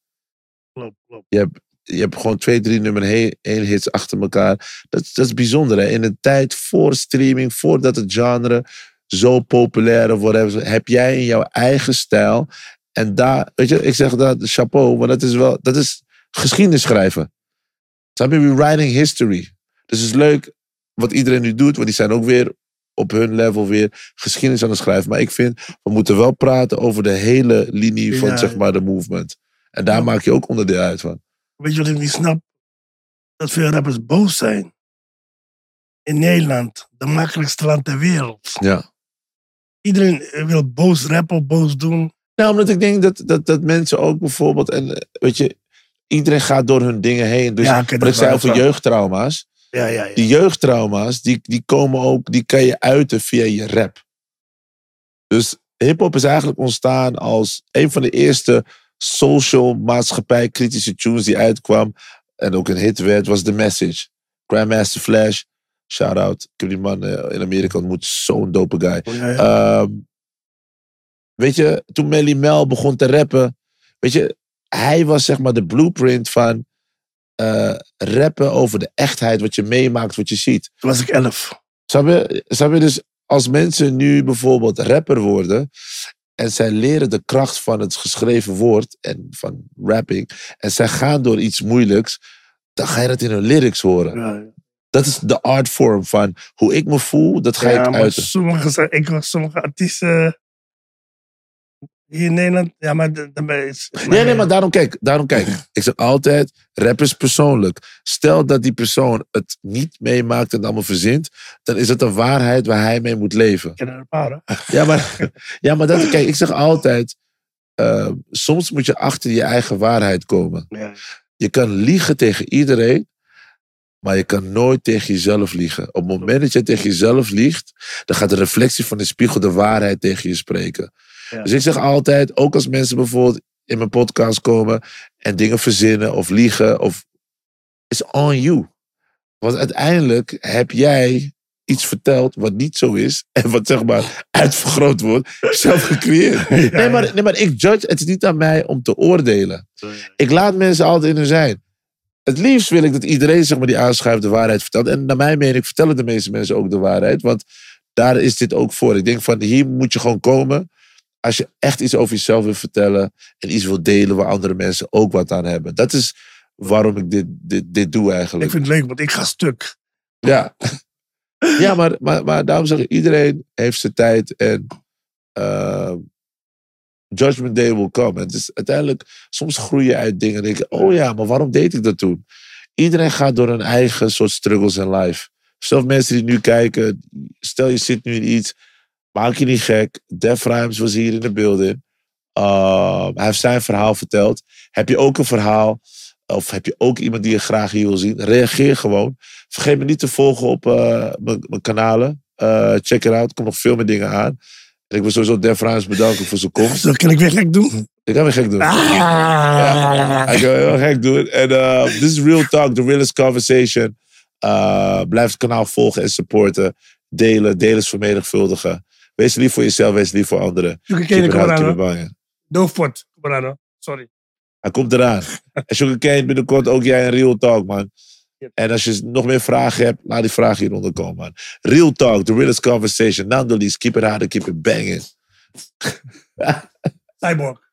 S1: Klopt, klopt.
S2: Je hebt, je hebt gewoon twee, drie nummer 1 hits achter elkaar. Dat, is- dat is bijzonder. Hè? In de tijd voor streaming, voordat het genre zo populair of whatever, heb jij in jouw eigen stijl. En daar, weet je, ik zeg dat chapeau, maar dat is wel, dat is geschiedenis schrijven. Snap je? Rewriting history. Dus het is leuk wat iedereen nu doet, want die zijn ook weer op hun level weer geschiedenis aan het schrijven. Maar ik vind, we moeten wel praten over de hele linie van
S1: Ja.
S2: zeg maar de movement. En daar maak je ook onderdeel uit van.
S1: Weet je wat ik niet snap? Dat veel rappers boos zijn. In Nederland, de makkelijkste land ter wereld.
S2: Ja.
S1: Iedereen eh, wil boos rappen, boos doen.
S2: Nou, omdat ik denk dat, dat, dat mensen ook bijvoorbeeld, en eh, weet je, iedereen gaat door hun dingen heen. Dus
S1: Ja, ik
S2: ja,
S1: ken
S2: wat
S1: het
S2: ik
S1: wel,
S2: zei over
S1: ja.
S2: jeugdtrauma's.
S1: Ja, ja, ja.
S2: Die jeugdtrauma's, die, die komen ook, die kan je uiten via je rap. Dus hip-hop is eigenlijk ontstaan als een van de eerste social maatschappij kritische tunes die uitkwam. En ook een hit werd, was The Message. Grandmaster Flash, shout out. Ik heb die man eh, in Amerika ontmoet, zo'n dope guy.
S1: Ja, ja.
S2: Ehm, weet je, toen Melly Mel begon te rappen, weet je, hij was zeg maar de blueprint van eh, rappen over de echtheid, wat je meemaakt, wat je ziet.
S1: Toen was ik elf.
S2: Snap je? Snap je dus, als mensen nu bijvoorbeeld rapper worden en zij leren de kracht van het geschreven woord en van rapping en zij gaan door iets moeilijks, dan ga je dat in hun lyrics horen.
S1: Ja, ja.
S2: Dat is de artvorm van hoe ik me voel, dat ga
S1: Ja,
S2: ik
S1: maar
S2: uiten.
S1: sommige, zijn- ik was sommige artiesten hier in Nederland. Ja, maar de- daarbij is.
S2: Nee, nee, maar daarom kijk, daarom kijk. Ik zeg altijd, rap is persoonlijk. Stel dat die persoon het niet meemaakt en het allemaal verzint, dan is het een waarheid waar hij mee moet leven.
S1: Ik ken er een paar. hè.
S2: Ja, maar, ja, maar dat, kijk, ik zeg altijd, eh, soms moet je achter je eigen waarheid komen.
S1: Ja.
S2: Je kan liegen tegen iedereen, maar je kan nooit tegen jezelf liegen. Op het moment dat je tegen jezelf liegt, dan gaat de reflectie van de spiegel de waarheid tegen je spreken.
S1: Ja.
S2: Dus ik zeg altijd, ook als mensen bijvoorbeeld in mijn podcast komen en dingen verzinnen of liegen, of it's on you. Want uiteindelijk heb jij iets verteld wat niet zo is en wat zeg maar uitvergroot wordt, zelf gecreëerd. Nee, maar, nee, maar ik judge, het is niet aan mij om te oordelen. Ik laat mensen altijd in hun zijn. Het liefst wil ik dat iedereen zeg maar, die aanschuift de waarheid vertelt. En naar mijn mening vertellen de meeste mensen ook de waarheid. Want daar is dit ook voor. Ik denk van hier moet je gewoon komen. Als je echt iets over jezelf wil vertellen. En iets wil delen waar andere mensen ook wat aan hebben. Dat is waarom ik dit, dit, dit doe eigenlijk.
S1: Ik vind het leuk, want ik ga stuk.
S2: Ja, ja maar, maar, maar daarom zeg ik, iedereen heeft zijn tijd en eh, Judgment Day will come. En het is uiteindelijk, soms groei je uit dingen en denk je, oh ja, maar waarom deed ik dat toen? Iedereen gaat door hun eigen soort struggles in life. Zelfs mensen die nu kijken, stel je zit nu in iets, maak je niet gek. Def Rhymes was hier in de building. Eh, hij heeft zijn verhaal verteld. Heb je ook een verhaal? Of heb je ook iemand die je graag hier wil zien? Reageer gewoon. Vergeet me niet te volgen op eh, mijn mijn kanalen. Eh, check it out. Er komen nog veel meer dingen aan. En ik wil sowieso Def Rhymes bedanken voor zijn komst.
S1: Zo kan ik weer gek doen.
S2: Ik ga weer gek doen.
S1: Ah.
S2: Ja, ik ga weer heel gek doen. En eh, dit is Real Talk, The Realest Conversation. Eh, blijf het kanaal volgen en supporten. Delen, delers vermenigvuldigen. Wees lief voor jezelf, wees lief voor anderen.
S1: Zoek een keer
S2: Keep it
S1: kom
S2: out,
S1: eraan,
S2: keep it
S1: hoor.
S2: banging.
S1: Doofpot, kom eraan, hoor. Sorry.
S2: Hij komt eraan. En Sugarcane, binnenkort ook jij een Real Talk, man.
S1: Yep.
S2: En als je nog meer vragen hebt, laat die vragen hieronder komen, man. Real Talk, The Realest Conversation. Nando Lees, keep it hard and keep it banging.
S1: Cyborg.